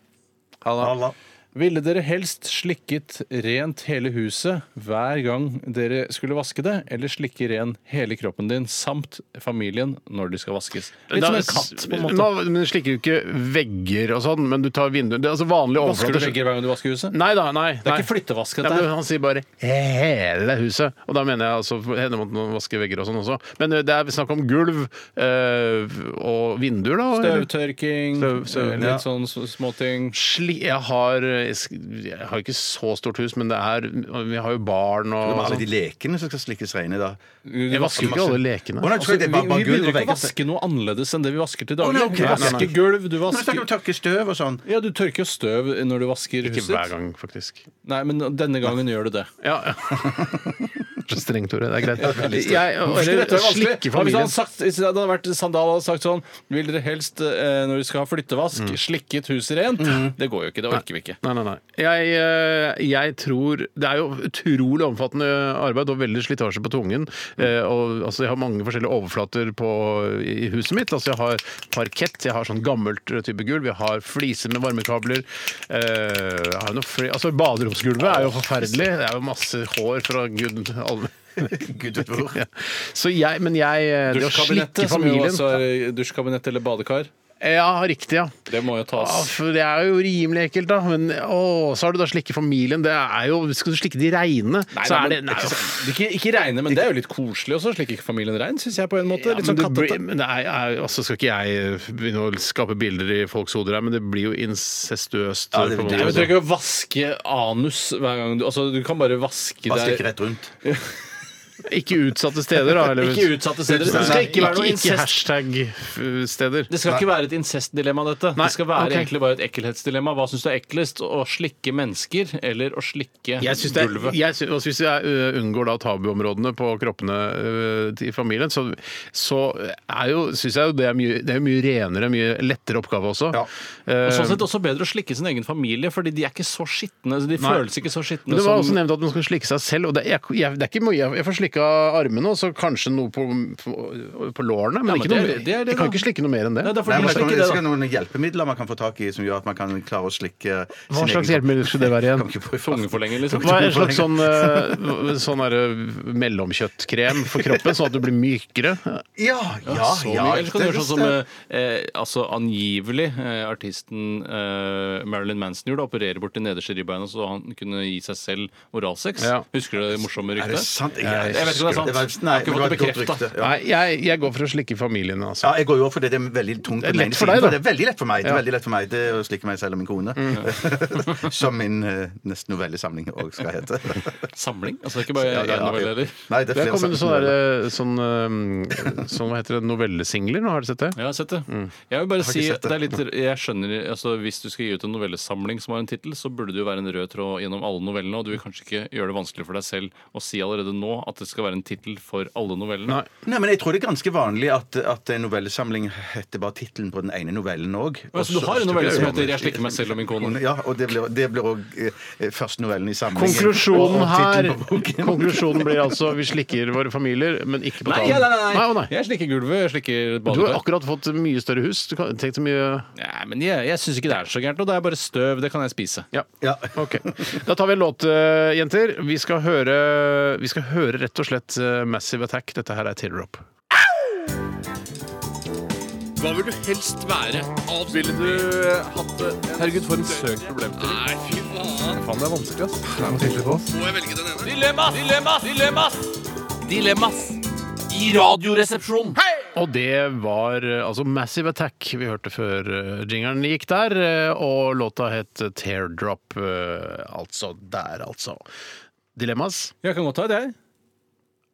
Speaker 3: Halla.
Speaker 4: Ville dere helst slikket rent hele huset hver gang dere skulle vaske det, eller slikke ren hele kroppen din samt familien når de skal vaskes? Litt som en katt, på en måte.
Speaker 2: Man, men du slikker jo ikke vegger og sånn, men du tar vinduer Det er altså vanlig
Speaker 4: Vasker du
Speaker 2: overflate.
Speaker 4: vegger hver gang du vasker huset?
Speaker 2: Nei da, nei.
Speaker 4: Det
Speaker 2: nei.
Speaker 4: er ikke flyttevask,
Speaker 2: Nei,
Speaker 4: dette
Speaker 2: men
Speaker 4: her.
Speaker 2: han sier bare 'hele huset', og da mener jeg altså henne måtte man vaske vegger og sånn også. Men eh, det er snakk om gulv eh, og vinduer, da. eller?
Speaker 4: Støvtørking,
Speaker 2: Støv- støv-
Speaker 4: eh,
Speaker 2: ja.
Speaker 4: litt sånn s- småting.
Speaker 2: Sli, jeg, har, jeg sk- jeg har ikke så stort hus, men det er Vi har jo barn
Speaker 3: Det
Speaker 2: og
Speaker 3: var alle de
Speaker 2: sånn.
Speaker 3: lekene som skal slikkes reine, da.
Speaker 2: Jeg vasker ikke alle lekene.
Speaker 3: Å, nei,
Speaker 4: Altså,
Speaker 3: sorry, det
Speaker 4: vi,
Speaker 3: er bare,
Speaker 4: vi
Speaker 3: bare gulv
Speaker 4: begynner
Speaker 3: og
Speaker 4: ikke å
Speaker 3: vegger.
Speaker 4: vaske noe annerledes enn det vi vasker til daglig.
Speaker 3: Å, nei, ok.
Speaker 4: Du
Speaker 3: Nei,
Speaker 4: vasker
Speaker 3: nei, nei.
Speaker 4: gulv,
Speaker 3: Nå
Speaker 4: du
Speaker 3: snakker vi
Speaker 4: vasker
Speaker 3: om tørke støv og sånn.
Speaker 4: Ja, du tørker jo støv når du vasker
Speaker 2: Ikke
Speaker 4: huset.
Speaker 2: hver gang, faktisk.
Speaker 4: Nei, men denne gangen gjør du det.
Speaker 2: Ja, ja. Så strengt, Tore. Det er greit. Jeg,
Speaker 4: Eller
Speaker 2: eller slikke
Speaker 4: Ja, Hvis han
Speaker 2: familien.
Speaker 4: hadde sagt, hvis det hadde vært Sandal hadde sagt sånn Vil dere helst, eh, når dere skal ha flyttevask, slikket huset rent? Det går jo ikke. Det orker vi ikke.
Speaker 2: Mm. Nei, nei, nei. Jeg, eh, jeg tror Det er jo utrolig omfattende arbeid og veldig slitasje på tungen. Eh, Og, altså, jeg har mange forskjellige overflater på, i huset mitt. Altså, jeg har parkett, jeg har sånn gammelt type gulv, jeg har fliser med varmekabler. Eh, jeg har noe fri, altså, baderomsgulvet er jo forferdelig. Det er jo masse hår fra gud alle Gud vet hvor. Ja. Så jeg, men jeg eh, Det å slikke
Speaker 4: Dusjkabinettet, som jo
Speaker 2: familien
Speaker 4: altså er eh, dusjkabinett eller badekar,
Speaker 2: Ja, riktig, ja.
Speaker 4: det må jo
Speaker 2: Ja,
Speaker 4: tas.
Speaker 2: Ah, for det er jo rimelig ekkelt, da. Men å, så har du da slikke familien. Det er jo, Skal du slikke de reine, så er det
Speaker 4: men-
Speaker 2: nei,
Speaker 4: ikke,
Speaker 2: uff.
Speaker 4: så- ikke, ikke regne, men det er jo litt koselig også. Slik ikke familien rein, syns jeg på en måte.
Speaker 2: ja,
Speaker 4: litt
Speaker 2: men
Speaker 4: sånn
Speaker 2: det
Speaker 4: kattete.
Speaker 2: blir- men det er, er, altså Skal ikke jeg begynne å skape bilder i folks hoder her, men det blir jo incestuøst.
Speaker 3: Ja, det
Speaker 2: på en
Speaker 3: blir-
Speaker 4: Nei,
Speaker 2: måte.
Speaker 4: men Du trenger ikke å vaske anus hver gang du Altså, du kan bare vaske
Speaker 3: Bare
Speaker 4: deg
Speaker 3: slikke rett rundt.
Speaker 2: Ikke utsatte steder, da. Eller,
Speaker 4: Ikke utsatte steder. Det skal
Speaker 2: Nei,
Speaker 4: ikke være noe
Speaker 2: ikke
Speaker 4: incest.
Speaker 2: hashtag-steder.
Speaker 4: Det skal ikke være et incestdilemma, dette.
Speaker 2: Nei,
Speaker 4: det skal være
Speaker 2: ok.
Speaker 4: egentlig bare et ekkelhetsdilemma. Hva syns du er eklest? Å slikke mennesker eller å slikke
Speaker 2: Jeg syns det er,
Speaker 4: gulvet?
Speaker 2: jeg syns- og hvis jeg ø, unngår da tabuområdene på kroppene ø, til familien, så, så er jo, syns jeg jo det er mye, det er mye renere, mye lettere oppgave også.
Speaker 3: Ja.
Speaker 2: Eh,
Speaker 4: Og sånn sett også bedre å slikke sin egen familie, fordi de er ikke så skitne. De
Speaker 2: Nei.
Speaker 4: føles ikke så skitne
Speaker 2: men det var også
Speaker 4: som
Speaker 2: nevnt at man skulle slikke seg selv. Og det, jeg, jeg, det er ikke mye. Jeg- Jeg får slikka armene og så kanskje noe på, på, på lårene. Men,
Speaker 4: Ja, men
Speaker 2: ikke
Speaker 4: det er-
Speaker 2: noe, mer-
Speaker 4: det er det
Speaker 2: jeg kan
Speaker 4: da.
Speaker 2: ikke slikke noe mer enn det.
Speaker 4: Nei, da får
Speaker 3: Nei,
Speaker 4: de
Speaker 3: men jeg
Speaker 4: slikke
Speaker 3: tror
Speaker 4: det,
Speaker 3: det
Speaker 4: da.
Speaker 3: skal noen hjelpemidler man kan få tak i som gjør at man kan klare å slikke
Speaker 2: Hva slags hjelpemiddel skulle det være igjen?
Speaker 4: Tungeforlenger, liksom.
Speaker 2: Hva er en slags sånn, eh, sånn derre mellomkjøttkrem for kroppen, sånn at du blir mykere?
Speaker 3: Ja, ja,
Speaker 4: Så
Speaker 3: ja.
Speaker 4: mye. Eller så kan du gjøre sånn som eh, eh, altså angivelig eh, artisten eh, Marilyn Manson gjorde. Operere bort de nederste ribbeina så han kunne gi seg selv oralsex.
Speaker 2: Ja.
Speaker 4: Husker du det morsomme
Speaker 3: Er det
Speaker 4: ryktet?
Speaker 3: sant?
Speaker 4: Eh, Jeg vet ikke om det er
Speaker 3: var-
Speaker 4: sant.
Speaker 3: Nei, men
Speaker 4: Jeg har ikke fått
Speaker 3: det var et
Speaker 4: det
Speaker 3: godt
Speaker 4: bekreftet.
Speaker 3: rykte. Ja.
Speaker 2: Nei, jeg, jeg går for å slikke familien, altså.
Speaker 3: Ja, jeg går jo for det. Det er veldig tungt.
Speaker 2: Det er
Speaker 3: på den
Speaker 2: lett
Speaker 3: ene
Speaker 2: for
Speaker 3: siden,
Speaker 2: deg, da.
Speaker 3: Det er veldig lett for meg. Det er
Speaker 2: Ja.
Speaker 3: veldig lett for meg det er å slikke meg selv og min kone.
Speaker 4: Mm.
Speaker 3: Som min eh, nesten novellesamling òg skal hete.
Speaker 4: Samling? Altså det er ikke bare
Speaker 3: Ja,
Speaker 4: én
Speaker 3: ja, ja.
Speaker 4: novelle, eller?
Speaker 3: Nei, det er
Speaker 2: Det
Speaker 3: flere
Speaker 2: er kommet
Speaker 3: samlinger.
Speaker 2: sånn der, sånn, um, sånn hva heter det, novellesingler nå, har du sett det?
Speaker 4: Ja, jeg har sett det. Jeg vil bare si,
Speaker 3: sett
Speaker 4: det.
Speaker 3: det.
Speaker 4: er litt, jeg skjønner, altså Hvis du skal gi ut en novellesamling som har en tittel, så burde det jo være en rød tråd gjennom alle novellene. Og du vil kanskje ikke gjøre det vanskelig for deg selv å si allerede nå at det skal være en tittel for alle novellene.
Speaker 2: Nei.
Speaker 3: Nei, men jeg tror det er ganske vanlig at, at en novellesamling heter bare tittelen på den ene novellen òg.
Speaker 4: Ja, så du har en novelle som heter 'Jeg slikker meg selv og min kone'?
Speaker 3: Ja, og det blir- det blir òg eh, første novellen i samlingen.
Speaker 2: Konklusjonen
Speaker 3: Og
Speaker 2: her
Speaker 3: tittelen på boken.
Speaker 2: Konklusjonen blir altså vi slikker våre familier, men ikke på
Speaker 4: Nei,
Speaker 2: talen.
Speaker 4: nei, nei, nei.
Speaker 2: å, nei.
Speaker 4: Jeg slikker gulvet, jeg
Speaker 2: Du
Speaker 4: slikker
Speaker 2: har
Speaker 4: badekar.
Speaker 2: akkurat fått mye større hus. Du kan tenk så mye
Speaker 4: Nei, men jeg, jeg syns ikke det er så gærent. Og det er bare støv. Det kan jeg spise.
Speaker 2: ja.
Speaker 3: Ja.
Speaker 2: OK. Da tar vi en låt, eh, jenter. Vi skal høre, vi skal høre rett og slett eh, Massive Attack. Dette her er Tear Up.
Speaker 4: Hva vil du helst være? Ville du eh, hatt det? Herregud, for en søk problem. Nei, fy faen. Faen, det er vanskelig, ass. Må jeg velge den ene? Dilemmas! Dilemmas! Dilemmas! Dilemmas! I radioresepsjonen.
Speaker 2: Og det var eh, altså Massive Attack vi hørte før eh, jingeren gikk der. eh, Og låta het Teardrop. eh, Altså der, altså. Dilemmas,
Speaker 4: Jeg kan godt ta det, jeg.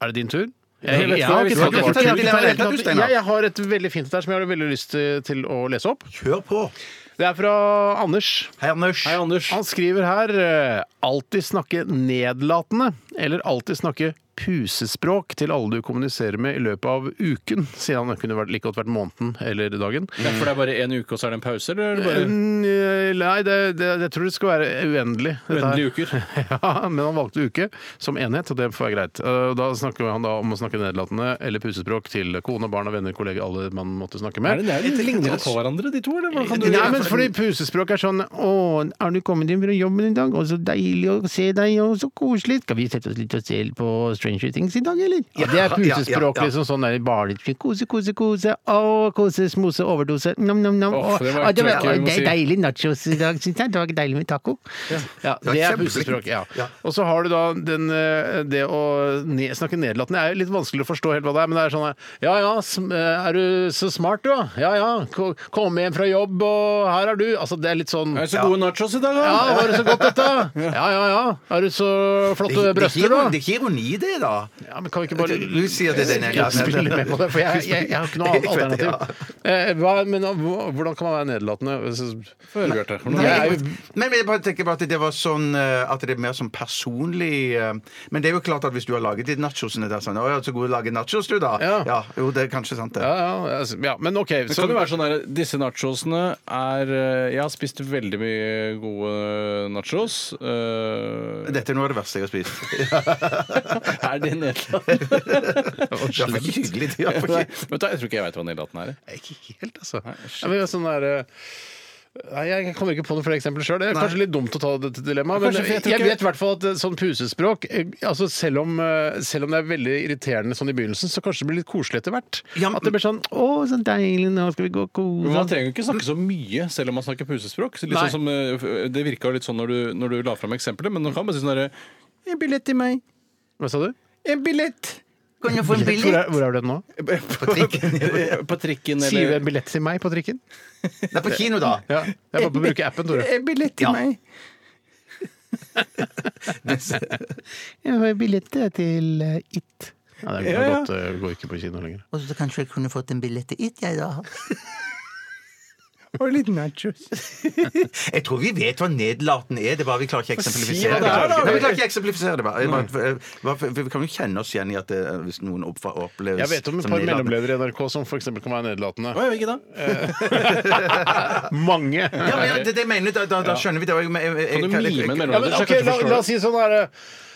Speaker 2: er det din tur?
Speaker 4: Jeg vet ikke,
Speaker 2: har
Speaker 4: jeg
Speaker 2: ikke
Speaker 4: visste
Speaker 2: tatt-
Speaker 4: ikke
Speaker 3: at det var
Speaker 2: jeg har ikke
Speaker 3: dilemma.
Speaker 2: tatt- jeg- jeg har et veldig fint et der som jeg har veldig lyst til- til å lese opp.
Speaker 3: Kjør på.
Speaker 2: Det er fra Anders.
Speaker 3: Hei, Anders.
Speaker 4: Hei, Anders.
Speaker 2: Han skriver her eh, alltid snakke nedlatende eller alltid snakke pusespråk til alle du kommuniserer med i løpet av uken, sier han. Det kunne vært, like godt vært måneden eller dagen.
Speaker 4: Ja, for det er bare én uke, og så er det en pause? Eller er det bare
Speaker 2: Eh, Nei, det, det, jeg tror det skal være uendelig. dette her.
Speaker 4: Uendelige uker?
Speaker 2: Ja, men han valgte uke som enhet, og det får være greit. Eh, Da snakker han da om å snakke nederlatende eller pusespråk til kone, barn og venner, kolleger, alle man måtte snakke med.
Speaker 4: Er det, det er litt ligner det på hverandre, de to? Eller? hva Kan du,
Speaker 2: Nei, men fordi pusespråk er sånn Å, er du kommet inn fra jobben i dag? Å, så deilig å se deg, og så koselig. Skal vi sette oss litt og se på Stranger Things i dag, eller? Ja, det er
Speaker 3: ja, ja,
Speaker 2: pusespråk,
Speaker 3: ja.
Speaker 2: liksom sånn der i barnet. Kose, kose, kose. Å, kose, smose, overdose. Nam, nam, nam.
Speaker 4: Åh,
Speaker 2: Å,
Speaker 4: det var
Speaker 2: å, det, var,
Speaker 4: ikke- vi må
Speaker 2: å, det
Speaker 4: si.
Speaker 2: er deilig nachos i dag, syns jeg. Det var deilig med taco. Ja, det
Speaker 3: Ja, kjempeflink.
Speaker 2: er pusespråk. Ja.
Speaker 3: Ja.
Speaker 2: Og så har du da den, eh, det å ne snakke nederlatende. er jo litt vanskelig å forstå helt hva det er, men det er sånn her, Ja ja, sm eh, er du så smart du, da? Ja ja, ko- kom hjem fra jobb, og her er du. Altså det er litt sånn
Speaker 4: Er det så gode nachos i dag, da?
Speaker 2: ja, var det så godt dette? Ja, ja, ja. Er du så flotte
Speaker 3: det er
Speaker 2: brøster, da?
Speaker 3: ikke ironi, det, da.
Speaker 2: Ja, men kan vi ikke
Speaker 3: Du,
Speaker 2: bare
Speaker 3: du sier det den
Speaker 2: Jeg spiller med på det, for jeg, jeg, jeg har ikke noe annet alternativ. Eh, hva, men hva- hvordan kan man være nederlatende?
Speaker 4: Få høre, Bjarte. Hvordan
Speaker 3: Nei,
Speaker 4: er det?
Speaker 3: jeg, men jeg bare tenker på at det var sånn eh, At det er mer sånn personlig eh, Men det er jo klart at hvis du har laget de nachosene der sånn, 'Å ja, så god å lage nachos, du, da.'
Speaker 2: Ja.
Speaker 3: jo, det er kanskje sant, det.
Speaker 2: Ja, ja, altså, ja, men OK.
Speaker 4: Men
Speaker 2: Så,
Speaker 4: kan det være sånn der, Disse nachosene er eh, Jeg har spist veldig mye gode nachos. eh,
Speaker 3: Dette er noe av det verste jeg har spist.
Speaker 4: er det nedlatende?
Speaker 3: Det var ikke hyggelig. Det var
Speaker 4: Nei,
Speaker 3: ikke...
Speaker 4: Vet du, jeg tror ikke jeg veit hva nedlatende er. jeg.
Speaker 2: Ikke helt, altså. Ja, men det er sånn der, eh, Nei, Jeg kommer ikke på noen flere eksempler sjøl. Det er kanskje litt dumt å ta dette dilemmaet. Men
Speaker 4: Kanskje, for
Speaker 2: jeg,
Speaker 4: jeg tror ikke-
Speaker 2: vet i hvert fall at eh, sånn pusespråk eh, altså selv, om, eh, selv om det er veldig irriterende sånn i begynnelsen, så kanskje det blir litt koselig etter hvert.
Speaker 3: Ja, men-
Speaker 2: At det blir sånn Å, så deilig, nå skal vi gå og
Speaker 4: Men
Speaker 2: kose
Speaker 4: Man
Speaker 2: oss».
Speaker 4: trenger jo ikke snakke så mye selv om man snakker pusespråk. Så Litt
Speaker 2: Nei.
Speaker 4: sånn som, eh, det virka litt sånn når du, når du la fram eksempelet, men man kan bare si sånn derre En billett til meg.
Speaker 2: Hva sa du?
Speaker 4: En billett!
Speaker 3: Kan jeg få en
Speaker 2: Hvor er, hvor er du nå?
Speaker 4: På trikken, på trikken
Speaker 2: Sier du
Speaker 4: eller
Speaker 2: en billett til meg på trikken?
Speaker 3: Nei, på kino, da.
Speaker 2: Ja. Jeg bare på å bruke appen, Tore.
Speaker 4: En billett til
Speaker 3: Ja.
Speaker 4: meg.
Speaker 2: Jeg har billett til eh, It. Ja, det er
Speaker 4: Ja, ja.
Speaker 2: godt. eh, Går ikke på kino lenger.
Speaker 8: Og så kanskje jeg kunne fått en billett til It, jeg, da.
Speaker 4: Og litt nachos.
Speaker 3: Jeg tror vi vet hva nedlatende er, det er bare vi klarer ikke å eksemplifisere
Speaker 4: hva det er, da.
Speaker 3: Nei, vi klarer ikke å eksemplifisere det. Bare. Bare- bare- for- Vi kan jo kjenne oss igjen i at det, eh, hvis noen opp- oppleves
Speaker 2: Jeg vet om et
Speaker 3: som
Speaker 2: par
Speaker 3: nedlatende.
Speaker 2: mellomledere i NRK som f.eks. kan være nederlatende.
Speaker 4: Å, jeg vet ikke da.
Speaker 2: Mange.
Speaker 3: Ja, men ja, det, det mener jeg, da, da, da skjønner vi det. eh, Jeg, jeg, jeg,
Speaker 4: Kan du
Speaker 3: jeg- jeg-
Speaker 4: mime en
Speaker 2: Ja, men,
Speaker 4: mellomleder? så jeg
Speaker 2: ok,
Speaker 4: kanskje
Speaker 2: la,
Speaker 4: forstår
Speaker 2: la
Speaker 4: det?
Speaker 2: oss si sånn her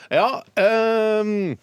Speaker 2: Ja, ehm,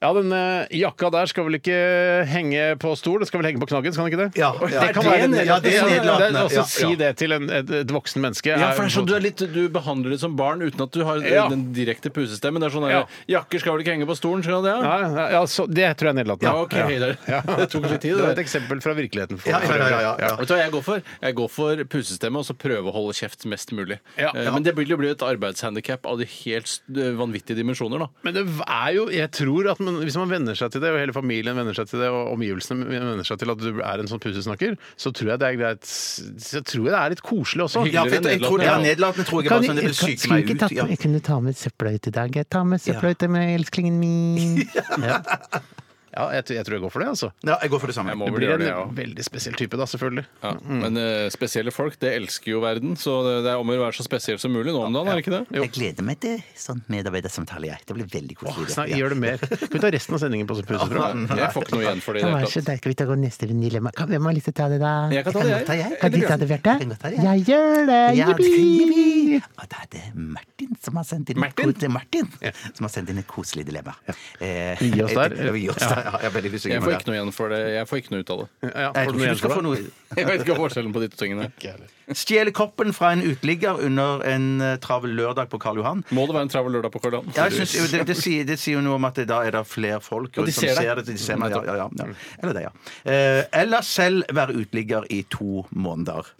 Speaker 2: ja denne jakka der skal vel ikke henge på stol, den skal vel henge på knaggen, skal den ikke det?
Speaker 3: Ja, ja.
Speaker 2: det kan
Speaker 3: Det er
Speaker 2: være
Speaker 3: ned- ja, det er
Speaker 2: Så-
Speaker 3: nedlatende.
Speaker 2: det er-
Speaker 3: Ja,
Speaker 2: Altså, si
Speaker 3: ja.
Speaker 2: det til en, et, et voksen menneske.
Speaker 4: Ja, for det er sånn, du, er litt, du behandler det som barn uten at du har eh,
Speaker 2: Ja.
Speaker 4: den direkte pusestemmen. Det er sånn der,
Speaker 2: Ja.
Speaker 4: Jakker skal vel ikke henge på stolen, skal det? Ja?
Speaker 2: Nei, nei, ja, så, det tror jeg er nedlatende.
Speaker 4: Ja, ok, det- det tok litt tid,
Speaker 2: Det er
Speaker 4: det.
Speaker 2: et eksempel fra virkeligheten. For
Speaker 3: Ja, ja, ja, ja, ja.
Speaker 4: Vet du hva jeg går for? Jeg går for pusestemme og så prøve å holde kjeft mest mulig.
Speaker 2: Ja.
Speaker 4: Eh, Men det blir jo bli et arbeidshandikap av de helt s- vanvittige dimensjoner, da.
Speaker 2: Men det er jo, jeg tror at man, hvis man venner seg til det, og hele familien venner seg til det, og omgivelsene venner seg til at du er en sånn pussesnakker, så tror jeg det er greit Så tror jeg det er litt koselig også.
Speaker 3: Ja, for jeg, jeg tror, ja,
Speaker 4: Nedlatende, ja.
Speaker 3: nedlatende tror jeg er bare sånn det vil syke meg ut. Ja.
Speaker 5: kunne ta med søpla ut i dag. Jeg tar med
Speaker 3: søpla
Speaker 5: ut med elsklingen min.
Speaker 2: Ja, jeg, jeg tror jeg går for det, altså.
Speaker 3: Ja, jeg går for det samme.
Speaker 4: Jeg må
Speaker 2: Det
Speaker 4: vel
Speaker 2: blir
Speaker 4: gjøre
Speaker 2: en
Speaker 4: det, ja.
Speaker 2: veldig spesiell type, da, selvfølgelig.
Speaker 4: ja. Men eh, spesielle folk, det elsker jo verden, så det, det er om å være så spesiell som mulig nå om dagen, er det ikke det?
Speaker 8: Jeg gleder meg til sånn medarbeidersamtale, jeg. Det blir veldig koselig.
Speaker 2: Snakk, gjør det mer. Kan vi ta resten av sendingen på pussespråk?
Speaker 4: Jeg får ikke noe igjen for det i
Speaker 5: Det
Speaker 4: det
Speaker 5: var
Speaker 4: hele
Speaker 5: så
Speaker 4: tatt.
Speaker 5: deilig. Skal vi ta gå neste dilemma? Kan, hvem har lyst til å ta det, da?
Speaker 4: Jeg kan ta det, jeg.
Speaker 5: Kan du ta det, Bjarte?
Speaker 8: Jeg kan godt ta det, jeg.
Speaker 5: Jeg gjør det!
Speaker 8: Ja, det kan
Speaker 5: Jippi!
Speaker 8: Og da er det Martin som har sendt inn,
Speaker 4: Martin?
Speaker 8: Det er Martin, som har sendt inn et koselig dilemma. Eh,
Speaker 2: Vi gir oss der.
Speaker 8: eh,
Speaker 3: Vi gir oss der. Ja, jeg er veldig usikker
Speaker 4: Jeg
Speaker 3: på
Speaker 4: får
Speaker 3: det.
Speaker 4: ikke noe igjen for det. Jeg får ikke noe ut av det.
Speaker 2: Ja,
Speaker 3: Jeg
Speaker 2: får
Speaker 3: tror ikke
Speaker 2: du noe igjen
Speaker 3: du skal
Speaker 2: for
Speaker 3: få
Speaker 2: det?
Speaker 3: noe
Speaker 4: Jeg vet ikke hva forskjellen på de to tingene. er.
Speaker 3: Stjele koppen fra en uteligger under en eh, travel lørdag på Karl Johan.
Speaker 4: Må det være en travel lørdag på Karl Johan?
Speaker 3: Ja, jeg synes, jo, det, det, sier, det sier jo noe om at det, da er det flere folk
Speaker 4: Og de
Speaker 3: som
Speaker 4: ser deg.
Speaker 3: det. De ser meg, ja, ja, ja. Eller det, ja. Eh, eller selv være uteligger i to måneder.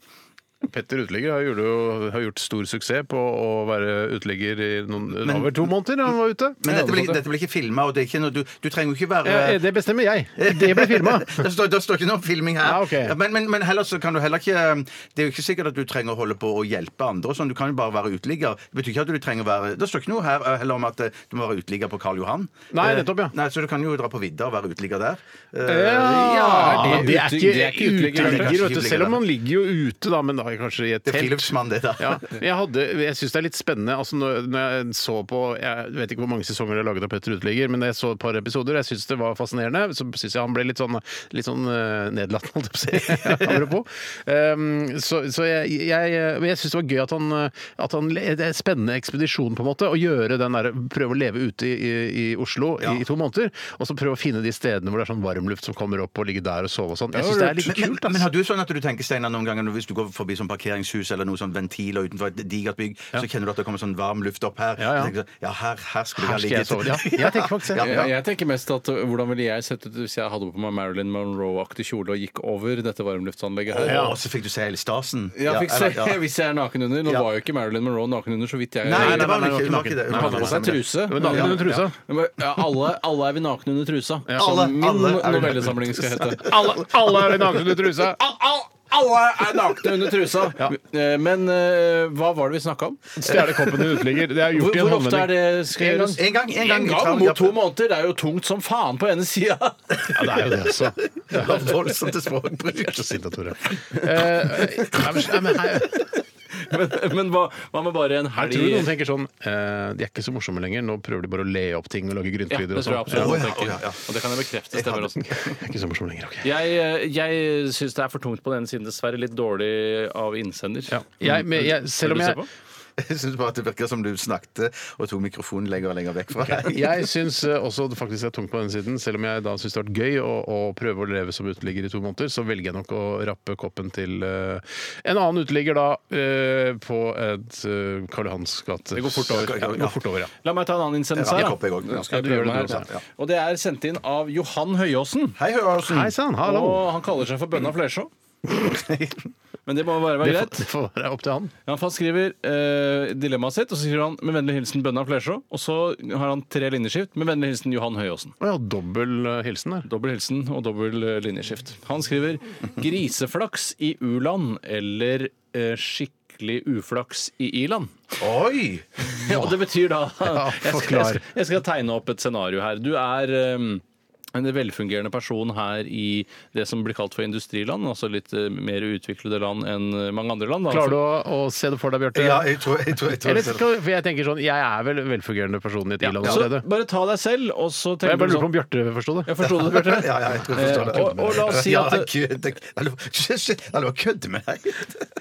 Speaker 2: Petter Uteligger har gjort, jo- har gjort stor suksess på å være uteligger i noen, over to måneder. Han var ute.
Speaker 3: Men
Speaker 2: Ja,
Speaker 3: dette blir, dette blir ikke filma, og det er ikke noe, du, du trenger jo ikke være
Speaker 2: ja, Det bestemmer jeg. Det ble filma.
Speaker 3: Det står, det står ikke noe om filming her.
Speaker 2: Ja, ok.
Speaker 3: Ja, men men, men heller så kan du heller ikke eh, Det er jo ikke sikkert at du trenger å holde på å hjelpe andre. og Sånn. Du kan jo bare være uteligger. Det betyr ikke at du trenger å være Det står ikke noe her eh, heller om at eh, du må være uteligger på Karl Johan.
Speaker 2: Nei,
Speaker 3: Eh,
Speaker 2: nettopp, ja.
Speaker 3: Nei, Så du kan jo dra på vidda og være uteligger der. Eh,
Speaker 2: Ja,
Speaker 4: er det
Speaker 2: det er
Speaker 4: ute-
Speaker 2: ikke,
Speaker 4: det er ikke uteligger,
Speaker 2: uteligger,
Speaker 3: kanskje.
Speaker 2: vet du. Selv om man ligger jo ute, da, men da er kanskje i et
Speaker 3: Det er
Speaker 2: telt.
Speaker 3: friluftsmann, det, da.
Speaker 2: Ja, jeg hadde, jeg syns det er litt spennende altså når, når jeg så på Jeg vet ikke hvor mange sesonger det er laget av Petter Uteligger, men jeg så et par episoder. Jeg syns det var fascinerende. Så syns jeg han ble litt sånn, litt sånn eh, nedlatt, holdt jeg på å si. Apropos. Um, så så jeg, jeg, men jeg syns det var gøy at han, at han Det er en spennende ekspedisjon, på en måte. Å gjøre den der, prøve å leve ute i, i Oslo i, i to måneder, og så prøve å finne de stedene hvor det er sånn varmluft som kommer opp, og ligge der og sove og sånn. Jeg syns det er litt
Speaker 3: men, men,
Speaker 2: kult. ass.
Speaker 3: men har du sånn at du tenker Steinar, noen ganger hvis du går forbi sånn parkeringshus eller noen sånn ventiler utenfor et digert bygg, så kjenner du at det kommer sånn varm luft opp her?
Speaker 2: Ja,
Speaker 3: Så
Speaker 2: ja.
Speaker 3: tenker du sånn, ja her, her skulle
Speaker 2: Her
Speaker 3: jeg
Speaker 2: skal
Speaker 3: ligget.
Speaker 2: jeg sove. Ja, jeg tenker faktisk det.
Speaker 3: Ja, ja.
Speaker 4: Jeg, jeg tenker mest at uh, Hvordan ville jeg sett ut hvis jeg hadde på meg Marilyn Monroe-aktig kjole og gikk over dette varmluftsanlegget her?
Speaker 3: Og så fikk du se hele stasen.
Speaker 4: Ja, fikk
Speaker 3: eller-
Speaker 4: se,
Speaker 3: ja.
Speaker 4: Hvis jeg er naken under. Nå
Speaker 3: Ja.
Speaker 4: var jo ikke Marilyn Monroe naken under, så vidt jeg
Speaker 3: Nei,
Speaker 2: Nei,
Speaker 3: det
Speaker 2: nei,
Speaker 3: var
Speaker 2: nei,
Speaker 3: hun ikke.
Speaker 2: nei,
Speaker 3: Hun var ikke det.
Speaker 4: Hun hadde på seg truse.
Speaker 2: Men naken under trusa.
Speaker 4: Men, Ja, alle, alle er vi nakne under trusa,
Speaker 3: Alle-
Speaker 4: som min
Speaker 3: alle er vi nakne
Speaker 4: novellesamling skal hete.
Speaker 2: Alle, alle er nakne under trusa!
Speaker 4: Al- al- Alle er nakne under trusa! Eh, Men eh, hva var det vi snakka om?
Speaker 3: Eh,
Speaker 2: Stjele koppen din uteligger. Det er
Speaker 4: Hvor,
Speaker 2: gjort i en
Speaker 4: hvor ofte er
Speaker 2: håndvending.
Speaker 4: det skal
Speaker 2: En gang.
Speaker 4: gjøres?
Speaker 3: En gang, en gang.
Speaker 4: En
Speaker 3: i
Speaker 4: gang
Speaker 3: tram,
Speaker 4: mot
Speaker 3: ja.
Speaker 4: to måneder! Det er jo tungt som faen på ene sida!
Speaker 2: Ja, det er jo det også.
Speaker 3: Det var voldsomt til språkbruk.
Speaker 2: Jeg er så sint av Tore. Eh, nei, men- nei, men her-
Speaker 4: Men, men hva, hva med bare en
Speaker 2: Jeg
Speaker 4: helg
Speaker 2: tror noen tenker sånn eh, De er ikke så morsomme lenger. Nå prøver de bare å le opp ting og lage
Speaker 4: Ja,
Speaker 2: gryntelyder
Speaker 4: det
Speaker 2: og
Speaker 4: tror jeg
Speaker 2: sånn.
Speaker 4: absolutt
Speaker 3: Å,
Speaker 4: man
Speaker 3: ja,
Speaker 4: tenker.
Speaker 3: å, ja, ja.
Speaker 4: Og det kan jeg bekrefte stemmer også.
Speaker 2: Det er Ikke så morsomme lenger, OK.
Speaker 4: Jeg, eh, jeg syns det er for tungt på den ene siden, dessverre. Litt dårlig av innsender. Mm.
Speaker 2: Ja. Jeg, men jeg, selv om
Speaker 4: Vil du se
Speaker 2: jeg
Speaker 4: på?
Speaker 3: Jeg syns bare at det virker som du snakket og tok mikrofonen lenger og lenger vekk fra deg.
Speaker 2: jeg syns eh, også det faktisk er tungt på den siden. Selv om jeg da syns det har vært gøy å, å prøve å leve som uteligger i to måneder, så velger jeg nok å rappe koppen til eh, en annen uteligger da eh, på et eh, Karl Johans gate.
Speaker 4: Det går fort over.
Speaker 2: Ja, det går fort over, ja.
Speaker 4: La meg ta en annen innsendelse
Speaker 3: Ja,
Speaker 4: her.
Speaker 3: jeg
Speaker 4: da.
Speaker 3: hopper i gang.
Speaker 4: Nå skal jeg
Speaker 2: sånn, Ja, du
Speaker 4: prøve
Speaker 2: gjør
Speaker 4: meg
Speaker 2: det, du
Speaker 4: her.
Speaker 2: også.
Speaker 4: Ja. Og det er sendt inn av Johan Høyåsen.
Speaker 3: sånn, Hei, Høyarsen.
Speaker 2: Hei sånn. sann, hallo!
Speaker 4: Og han kaller seg for Bønna Flesjå. Men det må bare være
Speaker 2: Det får,
Speaker 4: greit.
Speaker 2: det får være opp til han.
Speaker 4: Ja, for han skriver eh, dilemmaet sitt, og så skriver han 'Med vennlig hilsen Bønna Flesjå'. Og så har han tre linjeskift. 'Med vennlig hilsen Johan Høyåsen'.
Speaker 2: Å ja, dobbel eh, hilsen der.
Speaker 4: Dobbel hilsen og dobbel eh, linjeskift. Han skriver 'griseflaks i u-land' eller eh, 'skikkelig uflaks i i-land'.
Speaker 3: Oi!
Speaker 4: Ja, og det betyr da jeg, skal, jeg,
Speaker 2: forklar.
Speaker 4: skal, jeg skal tegne opp et scenario her. Du er ehm, en velfungerende person her i det som blir kalt for industriland, altså litt eh, mer utviklede land enn eh, mange andre land. da.
Speaker 2: Klarer du å, å se det for deg, Bjarte?
Speaker 3: Ja, jeg tror, jeg tror, jeg tror
Speaker 2: Eller skal, for jeg tenker sånn, jeg er vel velfungerende person i et i-land
Speaker 4: Så
Speaker 2: allerede.
Speaker 4: bare ta deg selv, og så
Speaker 2: Og
Speaker 4: tenker
Speaker 2: Jeg bare
Speaker 4: du
Speaker 2: lurer på
Speaker 4: sånn
Speaker 2: om Bjarte forsto det.
Speaker 4: Jeg forsto det, Bjarte.
Speaker 3: Ja, ja, jeg tror jeg forstår
Speaker 4: Eh,
Speaker 3: det.
Speaker 4: og- og la oss si at-
Speaker 3: Ja, gud, det- Eller, shit, shit, eller kødde med deg!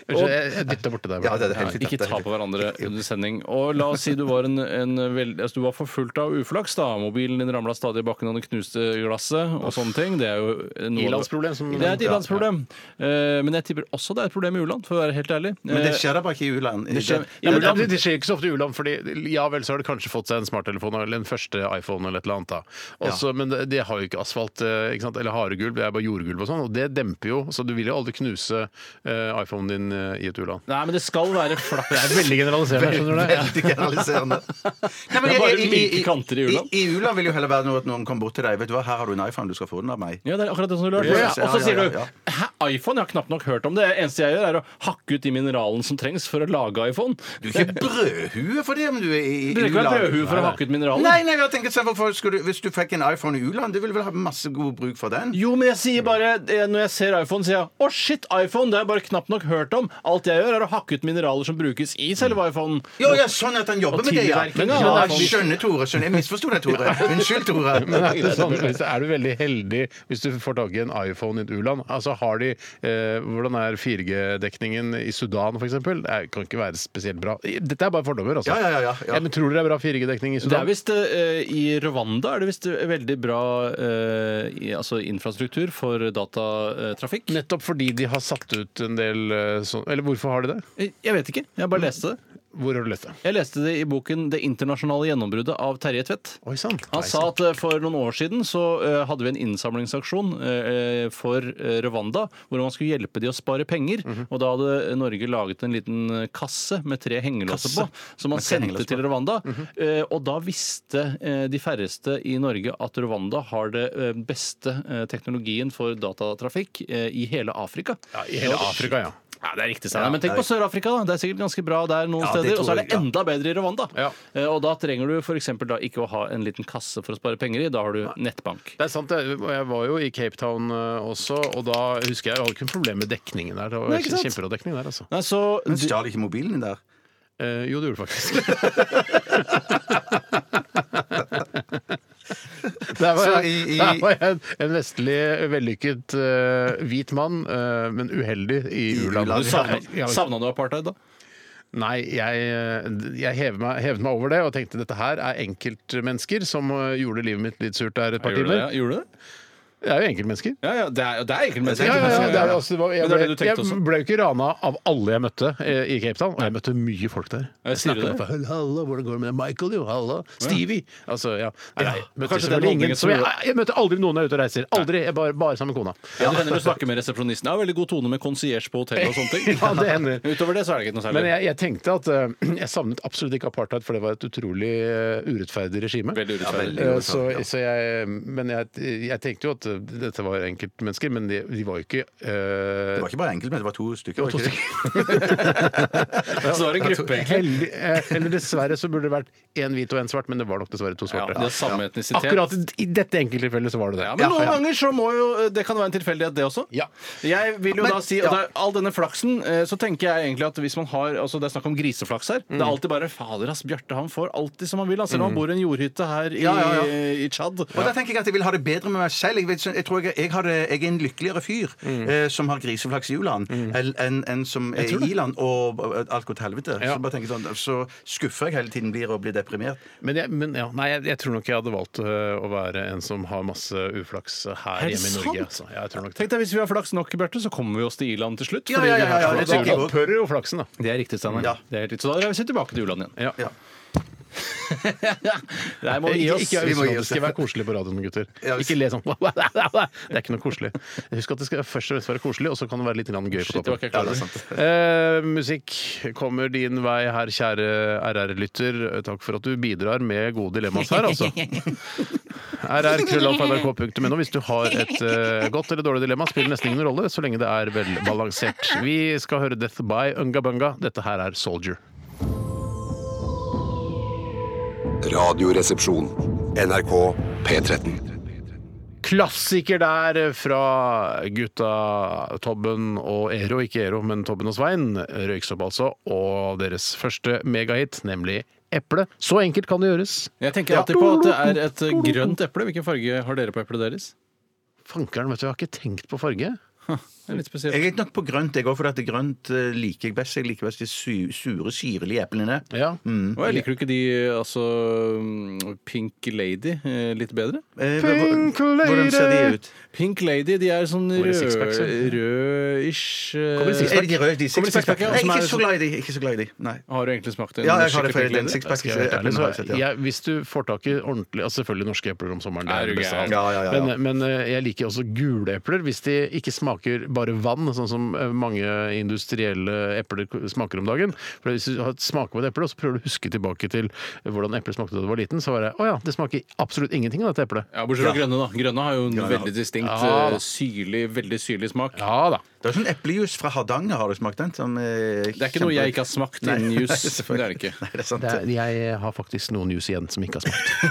Speaker 2: Unnskyld, jeg, jeg dytta borti deg.
Speaker 3: Ja, det er det
Speaker 2: Bjarte.
Speaker 3: helt fint.
Speaker 4: Ikke ta på hverandre under sending. Og la oss si du var, en, en veld... altså, du var forfulgt av uflaks. da Mobilen din ramla stadig i bakken, og det knuste glasset og sånne ting. Det er jo noe
Speaker 2: I-landsproblem, som-
Speaker 4: Det er et i-landsproblem. Eh, Men jeg tipper også det er et problem i u-land, for å være helt ærlig.
Speaker 3: Men det
Speaker 4: Eh,
Speaker 3: skjer da bare ikke i u-land.
Speaker 4: det skjer-
Speaker 2: Ja, men
Speaker 4: i
Speaker 2: det, det skjer ikke så ofte i u-land, fordi ja vel, så har de kanskje fått seg en smarttelefon eller en første iPhone eller et eller annet. da. Også, Men det, det har jo ikke asfalt eh, ikke sant? eller haregulv, det er bare jordgulv og sånn, og det demper jo. Så du vil jo aldri knuse eh, iPhonen din eh, i et u-land.
Speaker 4: Nei, men det skal være
Speaker 2: Det
Speaker 4: flaks.
Speaker 2: er veldig generaliserende, skjønner du det?
Speaker 3: Veldig generaliserende. Nei, men
Speaker 4: Det er bare
Speaker 3: i- i- i-
Speaker 4: myke kanter i u-land.
Speaker 3: I u-land vil jo heller være noe at noen kommer bort til deg. Vet du hva, her har du en iPhone, du skal få den av meg.
Speaker 4: Ja, det er akkurat det som du lurte
Speaker 3: Ja,
Speaker 4: på. Og så
Speaker 3: ja,
Speaker 4: sier
Speaker 3: ja,
Speaker 4: du
Speaker 3: ja.
Speaker 4: Hæ, iPhone? Jeg har knapt nok hørt om det. Det eneste jeg gjør, er å hakke ut de mineralene som trengs for å lage iPhone.
Speaker 3: Du er ikke brødhue for det om du er i i
Speaker 4: Du trenger ikke være brødhue for å hakke ut mineraler.
Speaker 3: Nei, nei, jeg tenker, selv hvorfor skulle, Hvis du fikk en iPhone i u-land, du ville vel ha masse god bruk for den?
Speaker 4: Jo, men jeg sier bare eh, Når jeg ser iPhone, sier jeg Å, shit, iPhone! Det har jeg bare knapt nok hørt om. Alt jeg gjør, er å hakke ut mineraler som brukes i selve iPhonen.
Speaker 3: Jo, ja, sånn at han jobber
Speaker 4: Og
Speaker 3: med det, ja.
Speaker 4: tilverking,
Speaker 3: ja,
Speaker 4: ja.
Speaker 3: jeg skjønner, Tore. Skjønner. Jeg misforsto deg, Tore. Unnskyld, Tore.
Speaker 2: Men er, det sånn, hvis det- er du veldig heldig hvis du får tak i en iPhone i et u-land? Altså, har de, eh, hvordan er 4G-dekningen i Sudan f.eks.? Det kan ikke være spesielt bra. Dette er bare fordommer, altså.
Speaker 3: Ja, ja, ja, ja, ja.
Speaker 2: men tror dere det er bra 4G-dekning i
Speaker 4: Det er
Speaker 2: Sudan?
Speaker 4: visst eh, I Rwanda er det visst veldig bra eh, i, altså infrastruktur for datatrafikk.
Speaker 2: Nettopp fordi de har satt ut en del eh, sånn Eller hvorfor har de det?
Speaker 4: Jeg vet ikke. Jeg bare leste det.
Speaker 2: Hvor har du lest det?
Speaker 4: Jeg leste det i boken 'Det internasjonale gjennombruddet' av Terje Tvedt.
Speaker 2: Oi sann.
Speaker 4: Han sa at eh, for noen år siden så eh, hadde vi en innsamlingsaksjon eh, for eh, Rwanda, hvor man skulle hjelpe de å spare penger. Og da hadde eh, Norge laget en liten eh, kasse med tre hengelåser på, som man sendte til Rwanda. Eh, Og da visste eh, de færreste i Norge at Rwanda har det eh, beste eh, teknologien for datatrafikk eh, i hele Afrika.
Speaker 2: Ja, I hele Afrika, ja. Ja, det er riktig,
Speaker 4: Ja, men tenk på Sør-Afrika, da. Det er sikkert ganske bra der noen
Speaker 3: Ja, det
Speaker 4: steder. Og så
Speaker 3: tror
Speaker 4: er
Speaker 3: jeg,
Speaker 4: det
Speaker 3: ja.
Speaker 4: enda bedre i Rwanda.
Speaker 2: Ja.
Speaker 4: Eh, Og da trenger du f.eks. da ikke å ha en liten kasse for å spare penger i. Da har du nettbank.
Speaker 2: Det er sant, det. Og Jeg var jo i Cape Town eh, også, og da husker jeg jeg hadde ikke noe problem med dekningen der. Det
Speaker 4: Nei,
Speaker 2: var
Speaker 4: ikke sant?
Speaker 2: kjempebra dekning der, altså.
Speaker 4: Nei, så
Speaker 3: Men stjal ikke mobilen din der?
Speaker 2: Eh, jo, det gjorde det faktisk. Der var,
Speaker 3: Så
Speaker 2: jeg,
Speaker 3: i- i-
Speaker 2: der var jeg en vestlig, vellykket eh, hvit mann, eh, men uheldig i u-land.
Speaker 3: u-land,
Speaker 2: Du
Speaker 3: ja.
Speaker 2: savner- ja,
Speaker 4: savna du apartheid, da?
Speaker 2: Nei, jeg, jeg hevet, meg, hevet meg over det og tenkte dette her er enkeltmennesker som eh, gjorde livet mitt litt surt der et par
Speaker 4: Gjorde du det?
Speaker 2: timer.
Speaker 4: Ja, Gjorde du det?
Speaker 2: Det er jo enkeltmennesker.
Speaker 4: Ja, ja, det er, det er egentlig mennesker.
Speaker 2: Ja, ja, ja, det er, jo også- det var, jeg,
Speaker 4: Men det er det du
Speaker 2: ble,
Speaker 4: tenkte
Speaker 2: jeg
Speaker 4: også.
Speaker 2: ble jo ikke rana av alle jeg møtte eh, i Cape Town, og jeg møtte mye folk der.
Speaker 4: Ja, sier du
Speaker 2: med
Speaker 4: det?
Speaker 2: folk, Hallo, hvordan går det med deg? Michael, jo, hallo. Stevie. Altså, ja. Nei, nei, møtte
Speaker 4: Kanskje
Speaker 2: selvfølgelig ingen.
Speaker 4: den holdningen
Speaker 2: Som
Speaker 4: som
Speaker 2: jeg,
Speaker 4: gjorde-
Speaker 2: jeg møter aldri noen når jeg er ute og reiser. Aldri. Jeg bare, bare sammen med kona.
Speaker 4: Ja, det hender du snakker med resepsjonisten. Ja, veldig god tone med konsierge på hotellet og sånne ting.
Speaker 2: Ja, det hender.
Speaker 4: Utover det så er det ikke noe særlig.
Speaker 2: Men jeg, jeg tenkte at eh, jeg savnet absolutt ikke apartheid, for det var et utrolig eh, urettferdig regime.
Speaker 4: Veldig urettferdig.
Speaker 2: Eh, Så, så jeg, eh, men jeg, jeg tenkte jo at eh, dette var enkeltmennesker, men de, de var jo ikke eh,
Speaker 3: Det var ikke bare enkelt, men det var to stykker. var
Speaker 2: to
Speaker 3: ikke det?
Speaker 4: Så var det en gruppe, egentlig.
Speaker 2: Heldig, eh, eller dessverre så burde det vært én hvit og én svart, men det var nok dessverre to svarte.
Speaker 4: De har samme etnisitet.
Speaker 2: Akkurat i dette enkelttilfellet så var det det.
Speaker 4: Ja, men noen ganger så må jo eh, Det kan være en tilfeldighet, det også.
Speaker 2: Ja.
Speaker 4: Jeg vil jo
Speaker 3: Men-
Speaker 4: da si og det er All denne flaksen, eh, så tenker jeg egentlig at hvis man har Altså det er snakk om griseflaks her.
Speaker 3: Mm.
Speaker 4: Det er alltid bare Fader, ass, Bjarte han får alltid som han vil, ass, selv om han bor i en jordhytte her i,
Speaker 3: Ja, ja, ja.
Speaker 4: i Tsjad.
Speaker 3: Og da tenker jeg at jeg vil ha det bedre med meg selv. Jeg, vet, ikke- jeg tror jeg, jeg, har det, jeg er en lykkeligere fyr eh, som har griseflaks i u-land, enn enn som er i land og og alt går til helvete.
Speaker 2: Ja.
Speaker 3: Så, bare tenker jeg sånn, så skuffer jeg hele tiden blir og blir deprimert.
Speaker 2: Men, jeg, men ja, nei, jeg, jeg tror nok jeg hadde valgt øh, å være en som har masse uflaks eh, her
Speaker 4: Er det
Speaker 2: hjemme i Norge. Altså.
Speaker 4: sant?
Speaker 2: Ja, jeg tror nok det.
Speaker 4: Tenk deg, Hvis vi har flaks nok, Bjarte, så kommer vi oss til Irland til slutt.
Speaker 3: Ja,
Speaker 4: fordi
Speaker 3: ja,
Speaker 4: vi
Speaker 3: ja,
Speaker 4: har
Speaker 3: ja,
Speaker 4: så-
Speaker 3: det tenker jeg også.
Speaker 2: Opphører jo flaksen, da.
Speaker 4: Det er riktig, Steinar.
Speaker 3: Ja.
Speaker 4: Det er helt riktig. Så da reiser vi tilbake til u-land igjen.
Speaker 2: Ja.
Speaker 3: Ja.
Speaker 4: Der må vi gi
Speaker 2: Ikke,
Speaker 4: oss.
Speaker 2: ikke
Speaker 3: Vi må gi
Speaker 2: øyne, det
Speaker 3: oss.
Speaker 2: skal være koselig på radioen, gutter.
Speaker 3: Ja, hvis-
Speaker 2: Ikke le sånn. Det er ikke noe koselig. Husk at det skal først og fremst være koselig, og så kan det være litt grann gøy på
Speaker 4: Shit, det var
Speaker 2: toppen.
Speaker 4: ikke jeg klar over.
Speaker 2: Eh, musikk kommer din vei her, kjære RR-lytter. Takk for at du bidrar med gode dilemmaas her, altså. rr.krøllalfa.nrk.no. Hvis du har et eh, godt eller dårlig dilemma, spiller nesten ingen rolle så lenge det er velbalansert. Vi skal høre Death by Unga Bunga. Dette her er Soldier.
Speaker 6: Radioresepsjon. NRK P13.
Speaker 2: Klassiker der eh, fra gutta Tobben og Ero, ikke Ero, men Tobben og Svein. Røyksopp, altså. Og deres første megahit, nemlig Eple. Så enkelt kan det gjøres.
Speaker 4: Jeg tenker alltid på at det er et eh, grønt eple. Hvilken farge har dere på eplet deres?
Speaker 2: Fankeren, vet du, jeg har ikke tenkt på farge.
Speaker 4: Det er litt spesielt.
Speaker 3: Jeg er nok på grønt, jeg òg, for at det grønt eh, liker jeg best. Jeg liker best de su sure, syrlige eplene.
Speaker 2: Ja.
Speaker 4: Og jeg liker du ikke de altså mm, Pink Lady eh, litt bedre?
Speaker 3: Eh,
Speaker 2: Pink
Speaker 3: hvor- Hvordan ser de ut?
Speaker 4: Pink Lady de er sånn
Speaker 2: Kommer i sixpacks, ja.
Speaker 4: rød- rød-ish eh,
Speaker 2: Kommer i sixpacks.
Speaker 3: Er det de røde? De
Speaker 4: Kommer det
Speaker 3: sixpack?
Speaker 4: sixpack, ja,
Speaker 3: Nei,
Speaker 4: som
Speaker 3: Ikke
Speaker 4: er
Speaker 3: så
Speaker 4: sånn-
Speaker 3: glad i de. Ikke så glad i de. Nei.
Speaker 4: Har du egentlig smakt en
Speaker 3: Ja, jeg har det
Speaker 4: skikkelig
Speaker 3: for
Speaker 4: Pink
Speaker 3: den
Speaker 4: Lady?
Speaker 3: sixpack.
Speaker 2: Skal jeg være helt ærlig,
Speaker 3: eplene har jeg sett,
Speaker 2: så
Speaker 3: ja.
Speaker 2: jeg, hvis du får tak i ordentlig altså Selvfølgelig norske epler om sommeren. Det er
Speaker 4: Er du
Speaker 2: det beste av alt.
Speaker 4: gæren?
Speaker 3: Ja, ja, ja, ja.
Speaker 2: Men, men eh, jeg liker også gule epler hvis de ikke smaker bare vann, sånn som eh, mange industrielle epler k- smaker om dagen. For Hvis du har- smaker på et eple og så prøver du å huske tilbake til hvordan eplet smakte da du var liten, så var det å ja, det smaker absolutt ingenting av dette eplet.
Speaker 4: Ja, Bortsett fra grønne, da. Grønne har jo en veldig distinkt,
Speaker 2: Ja, da.
Speaker 4: eh, syrlig, veldig syrlig smak.
Speaker 2: Ja da.
Speaker 3: Det er sånn eplejus fra Hardanger, har du smakt den? Som, eh,
Speaker 4: Det er ikke noe jeg ikke har smakt
Speaker 3: Nei,
Speaker 4: innen jus. Det
Speaker 3: selvfølgelig.
Speaker 4: er det ikke.
Speaker 3: Nei, det er sant.
Speaker 2: Det er, jeg har faktisk noen juice igjen som ikke har smakt.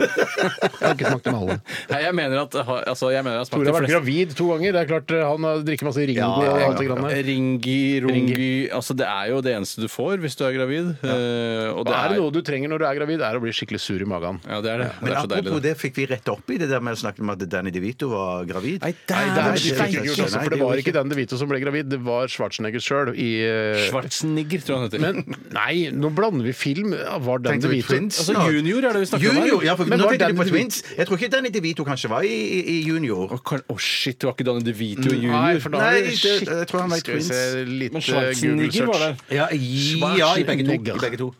Speaker 2: Jeg har ikke smakt dem alle.
Speaker 4: Nei, jeg mener at ha- altså, jeg mener jeg har
Speaker 2: Tore
Speaker 4: smakt de
Speaker 2: har vært
Speaker 4: fleste.
Speaker 2: gravid to ganger. Det er klart eh, Han har- drikker masse Ringo
Speaker 3: Ja, ja, ja,
Speaker 2: og alt det grann der.
Speaker 4: Ringi, rungi Altså, det er jo det eneste du får hvis du er gravid. eh, og
Speaker 2: Og er det noe du trenger når du er gravid, er å bli skikkelig sur i magen.
Speaker 4: Ja, det er det. Det
Speaker 3: Men
Speaker 4: er så deilig.
Speaker 3: apropos
Speaker 4: det.
Speaker 3: det, fikk vi rette opp i det der med å snakke om at Danny DeVito var gravid?
Speaker 4: Nei, der-
Speaker 3: Nei,
Speaker 4: det er
Speaker 3: det fikk
Speaker 4: ikke
Speaker 3: vi ikke
Speaker 4: steike.
Speaker 3: gjort, altså,
Speaker 2: For det var ikke Dan DeVito som ble gravid, det var Schwarzenegger sjøl i eh,
Speaker 4: Schwarzenegger, tror jeg han heter.
Speaker 2: Men nei, nå blander vi film. Ja, Var Dan
Speaker 3: Tenkte vi
Speaker 2: DeVito
Speaker 3: Twins?
Speaker 4: altså,
Speaker 3: nå?
Speaker 4: junior er det vi snakker om her.
Speaker 3: Junior, ja, for
Speaker 2: Men
Speaker 3: nå tenkte
Speaker 2: var
Speaker 3: de
Speaker 2: Danny
Speaker 3: på Twins. Jeg tror ikke Danny DeVito kanskje var i, i, i junior.
Speaker 4: Å, kan- å, shit, du har ikke Danny DeVito junior?
Speaker 2: Nei, for da
Speaker 3: Mm, Nei,
Speaker 2: har vi
Speaker 3: det-
Speaker 2: skikkelig-
Speaker 3: jeg tror han var i
Speaker 2: Skal vi
Speaker 3: Twins.
Speaker 2: se, litt,
Speaker 4: Men
Speaker 2: eh, Google
Speaker 4: Schwarzenegger var der.
Speaker 2: search.
Speaker 3: Ja, i, ja, i begge to.
Speaker 2: Schwarzenegger.
Speaker 3: I begge to.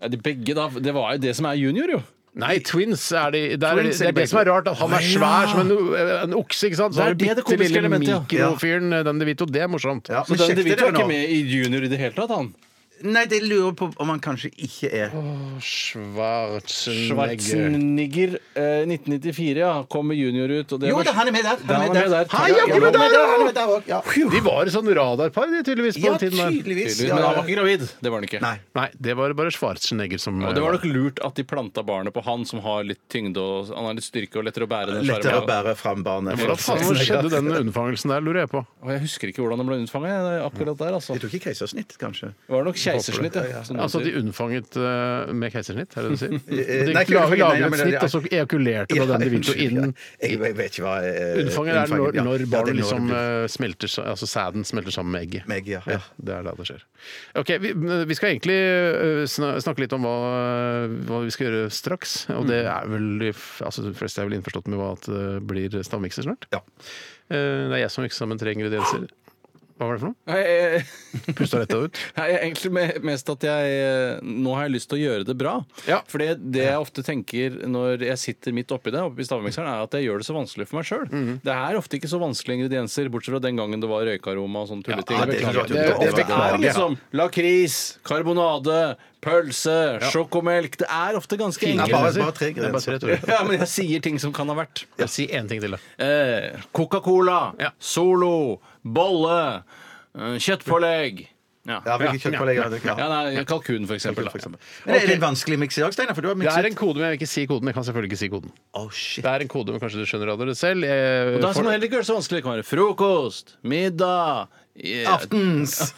Speaker 4: Ja, de begge da, Det var jo det som er junior, jo.
Speaker 2: Nei, Twins er de, der, er de-
Speaker 3: Twins er de
Speaker 2: Det er det
Speaker 3: begge.
Speaker 2: som er rart, at han er svær som en, eh, en okse, ikke sant? Så
Speaker 4: Det er
Speaker 2: har du
Speaker 4: det det
Speaker 2: bitte
Speaker 4: komiske
Speaker 2: lille
Speaker 4: elementet, ja.
Speaker 2: mikrofyren Dan DeVito. Det er morsomt.
Speaker 3: Ja,
Speaker 4: Så
Speaker 3: men
Speaker 4: Danny
Speaker 3: sjekk det
Speaker 4: DeVito
Speaker 3: dere
Speaker 4: var ikke
Speaker 3: nå.
Speaker 4: med i junior i det hele tatt, han.
Speaker 3: Nei, det lurer jeg på om han kanskje ikke er. Mm,
Speaker 2: Schwarzenegger.
Speaker 4: Schwarzenegger, eh, 1994, ja. Kom med junior ut. Og det
Speaker 3: Jo
Speaker 4: var-
Speaker 3: da, han er med der.
Speaker 4: Da, han er med der.
Speaker 3: Han er jaggu med der, ja! Han er med der også, ja.
Speaker 2: De var et sånn radarpar, de, tydeligvis, på
Speaker 3: Ja,
Speaker 2: den tiden. der.
Speaker 3: tydeligvis.
Speaker 4: Tydeligvis,
Speaker 3: Ja,
Speaker 4: Men
Speaker 3: ja,
Speaker 4: han var ikke gravid. Det var han ikke.
Speaker 3: Nei.
Speaker 2: Nei, det var bare Schwarzenegger som eh,
Speaker 4: Og det var nok lurt at de planta barnet på han som har litt tyngde og han har litt styrke og lettere å bære. den
Speaker 3: Lettere å
Speaker 4: skjermen.
Speaker 3: bære fram barnet.
Speaker 2: Hvordan faen skjedde den unnfangelsen der, lurer jeg på.
Speaker 4: Og jeg husker ikke hvordan den ble unnfanget akkurat der. altså.
Speaker 3: Jeg tror ikke keisersnitt, kanskje.
Speaker 4: Det var nok keisersnitt. ja. som du
Speaker 2: Altså at de
Speaker 4: sier.
Speaker 2: unnfanget eh, med keisersnitt, er det det du sier?
Speaker 3: Eh,
Speaker 2: De
Speaker 3: nei, ikke unnfanget, nei,
Speaker 2: lager, lager
Speaker 3: nei,
Speaker 2: et
Speaker 3: men
Speaker 2: snitt,
Speaker 3: det-
Speaker 2: og så ejakulerer de
Speaker 3: Ja,
Speaker 2: på den de vil,
Speaker 3: unnskyld,
Speaker 2: og innen
Speaker 3: ja. Jeg vet- vet ikke hva eh,
Speaker 2: Unnfanget er når,
Speaker 3: ja.
Speaker 2: når
Speaker 3: Ja, det
Speaker 2: barnet
Speaker 3: er når
Speaker 2: liksom
Speaker 3: det blir-
Speaker 2: eh, smelter sa- Altså sæden smelter sammen med egget.
Speaker 3: Med egget, ja.
Speaker 2: Det er da det skjer. Ok, Vi, vi skal egentlig eh, sna- snakke litt om hva, hva vi skal gjøre straks. Og
Speaker 3: Mm.
Speaker 2: det er vel de f- altså, de fleste er vel innforstått med hva at det blir stavmikser snart.
Speaker 3: Ja.
Speaker 2: Eh, Det er jeg som mikser sammen tre ingredienser. Hva var det for noe?
Speaker 4: Nei, jeg-
Speaker 2: Pusta rett ut.
Speaker 4: Nei, jeg- egentlig me- mest at jeg eh, Nå har jeg lyst til å gjøre det bra.
Speaker 2: Ja.
Speaker 4: For det jeg ofte tenker når jeg sitter midt oppi det, oppi stavmikseren, er at jeg gjør det så vanskelig for meg sjøl. Det er ofte ikke så vanskelige ingredienser, bortsett fra den gangen det var røykaroma og sånn tulleting.
Speaker 3: Ja, det
Speaker 4: Beklager.
Speaker 3: tror jeg
Speaker 4: det,
Speaker 3: du-
Speaker 4: det,
Speaker 3: det-
Speaker 4: er
Speaker 3: beklager.
Speaker 4: liksom lakris, karbonade, pølse, sjokomelk. Det er ofte ganske
Speaker 3: Ja,
Speaker 4: enkelt.
Speaker 3: bare, bare tre
Speaker 2: Det er bare
Speaker 3: grenser.
Speaker 2: tre, tror jeg.
Speaker 4: Ja, men jeg sier ting som kan ha vært.
Speaker 2: Jeg sier én ting til, da.
Speaker 4: Eh, Coca-Cola,
Speaker 2: Ja.
Speaker 4: Solo, bolle, eh, kjøttpålegg. Ja.
Speaker 3: Ja, hvilke kjøttpålegg er det? Ja.
Speaker 4: Ja, nei, kalkun, for eksempel.
Speaker 3: For eksempel. Men Er det en vanskelig miks i dag, Steinar? For du har
Speaker 2: Det er
Speaker 3: mikset
Speaker 2: en kode, men jeg vil ikke si koden. Jeg kan selvfølgelig ikke si koden.
Speaker 3: Å, shit.
Speaker 2: Det er en kode, men kanskje du skjønner av dere selv. Eh, Jeg,
Speaker 4: Og da skal man heller ikke gjøre det så vanskelig. Det kan være frokost, middag eh,
Speaker 3: Aftens!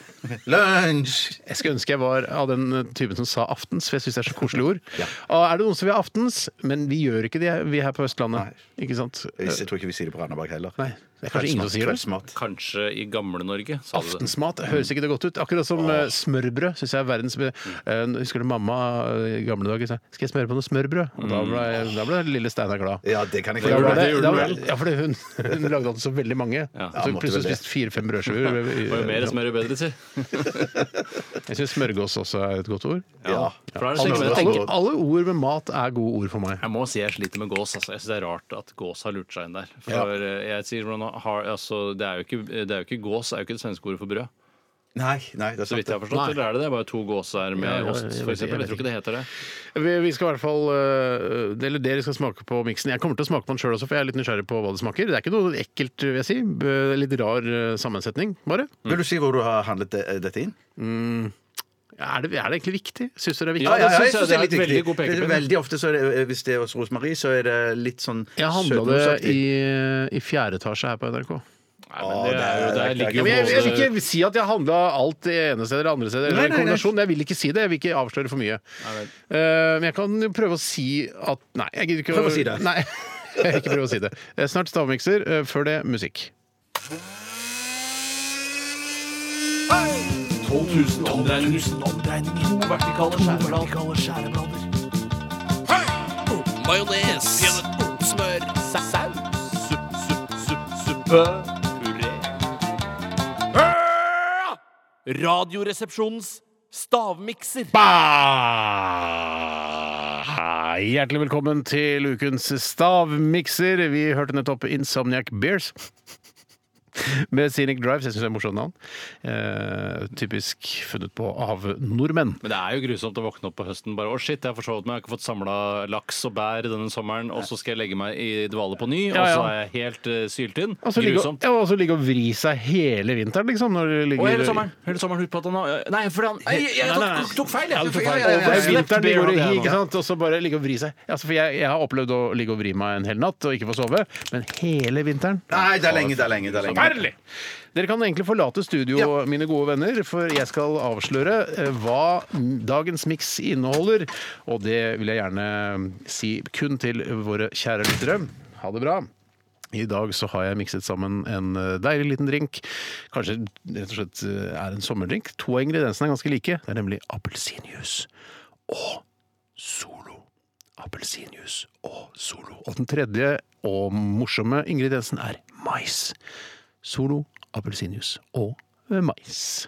Speaker 3: Lunsj!
Speaker 2: Jeg skulle ønske jeg var av den eh, typen som sa aftens, for jeg syns det er så koselig ord. Og Er det noen som vil ha aftens? Men vi gjør ikke det, vi her på Østlandet. Ikke sant?
Speaker 3: Jeg tror ikke vi sier det på Randaberg heller.
Speaker 2: Nei, det er kanskje ingen som sier det.
Speaker 3: Kveldsmat.
Speaker 4: Kanskje i Gamle-Norge, sa du det.
Speaker 2: Aftensmat høres ikke det godt ut. Akkurat som eh, smørbrød. Synes jeg er verdens be- Eh, Husker du mamma eh, i gamle dager sa 'skal jeg smøre på noe smørbrød'? Og Da ble, da ble lille Steinar glad.
Speaker 3: Ja, det kan jeg
Speaker 2: For da
Speaker 3: gjøre.
Speaker 2: var det,
Speaker 4: det gjorde
Speaker 2: da
Speaker 4: du
Speaker 2: var,
Speaker 4: vel.
Speaker 2: ja, fordi hun, hun lagde alltid så veldig mange. Så
Speaker 3: måtte
Speaker 2: plutselig
Speaker 3: vel det.
Speaker 2: spiste fire-fem brødskiver.
Speaker 4: Var jo mer smør jo bedre, si.
Speaker 2: Jeg syns smørgås også er et godt ord.
Speaker 3: Ja.
Speaker 4: For da er det
Speaker 3: Alle-
Speaker 4: slik
Speaker 2: Jeg
Speaker 4: at-
Speaker 2: tenker, alle ord med mat er gode ord for meg.
Speaker 4: Jeg må si jeg sliter med gås. Altså. Jeg synes Det er rart at gås har lurt seg inn der. For eh, jeg sier hvordan har, altså, det, er jo ikke, det er jo ikke gås, det er jo ikke det svenske ordet for brød.
Speaker 3: Nei, nei, det er
Speaker 4: Så vidt jeg har
Speaker 3: sant.
Speaker 4: forstått, eller er det det? Bare to gåser med
Speaker 2: Ja, ja,
Speaker 4: ost,
Speaker 2: jeg vet ikke,
Speaker 4: for eksempel.
Speaker 2: jeg
Speaker 4: Jeg tror ikke det heter det.
Speaker 2: Vi, vi skal i hvert fall øh, Eller dere skal smake på miksen. Jeg kommer til å smake på den sjøl også, for jeg er litt nysgjerrig på hva det smaker. Det er ikke noe ekkelt, vil jeg si. B- Litt rar øh, sammensetning, bare.
Speaker 3: Vil du si hvor du har handlet det- eh, dette inn?
Speaker 2: Er det, er det egentlig viktig? Syns dere det er viktig?
Speaker 4: Ja, det synes jeg
Speaker 3: synes
Speaker 4: det er
Speaker 3: litt
Speaker 4: et veldig
Speaker 3: viktig.
Speaker 4: god pekepinn.
Speaker 3: Det er Veldig ofte så er det, eh, hvis det er hos Rosemarie, så er det litt sånn
Speaker 2: Jeg handla det
Speaker 3: søtmosaktig.
Speaker 2: i, eh, i fjerde etasje her på NRK.
Speaker 4: Nei, men det, er jo, der ligger
Speaker 2: Ja,
Speaker 4: jo
Speaker 2: men jeg, jeg vil
Speaker 4: både
Speaker 2: ikke si at jeg handla alt det ene stedet eller andre stedet. Eller
Speaker 3: Nei,
Speaker 2: en
Speaker 3: nei, nei.
Speaker 2: kombinasjon. Jeg vil ikke si det. Jeg vil ikke avsløre for mye. Eh, men jeg kan jo prøve å si at Nei, jeg gidder ikke
Speaker 3: Prøv å si det.
Speaker 2: Nei, jeg vil ikke prøve å si det. Eh, Snart stavmikser. eh, Før det musikk.
Speaker 7: 12 000 omdreininger. omdreininger. To vertikale skjæreblader. Majones. Smør. Saus. Supp, supp, supp, suppe. Puré. Ah! Radioresepsjonens stavmikser.
Speaker 2: Bah! Hjertelig velkommen til ukens stavmikser. Vi hørte nettopp Insomniac Bears. Med Scenic Drives. Jeg syns det er et morsomt navn. Eh, typisk funnet på av nordmenn.
Speaker 4: men det er jo grusomt å våkne opp på høsten bare 'Å, shit, jeg har forsovet meg, jeg har ikke fått samla laks og bær denne sommeren', og så skal jeg legge meg i dvale på ny,
Speaker 2: Ja,
Speaker 4: og
Speaker 2: ja.
Speaker 4: så er jeg helt eh, syltynn.
Speaker 2: Og så ligge,
Speaker 4: Grusomt.
Speaker 2: ja, og så ligge og vri seg hele vinteren, liksom. Når det ligger,
Speaker 4: Og hele sommeren. Hele sommeren ut på at han har Nei, fordi han Jeg, jeg tok, tok feil, jeg.
Speaker 2: Det
Speaker 4: Ja, ja, ja, ja.
Speaker 2: er vinteren det går i hi,
Speaker 4: Slept bear
Speaker 2: ikke
Speaker 4: hadde jeg nå.
Speaker 2: sant? Og så bare ligge og vri seg. Altså, for jeg, jeg har opplevd å ligge og vri meg en hel natt og ikke få sove, men hele vinteren
Speaker 3: Nei, det er lenge, det er lenge. Det er lenge.
Speaker 2: Forferdelig! Dere kan egentlig forlate studio, mine gode venner, for jeg skal avsløre eh, hva dagens miks inneholder. Og det vil jeg gjerne eh, si kun til våre kjære lyttere. Ha det bra. I dag så har jeg mikset sammen en eh, deilig liten drink. Kanskje rett og slett eh, er en sommerdrink. To av ingrediensene er ganske like. Det er nemlig appelsinjuice og Solo. Appelsinjuice og Solo. Og den tredje og morsomme ingrediensen er mais. Solo, appelsinjuice og mais.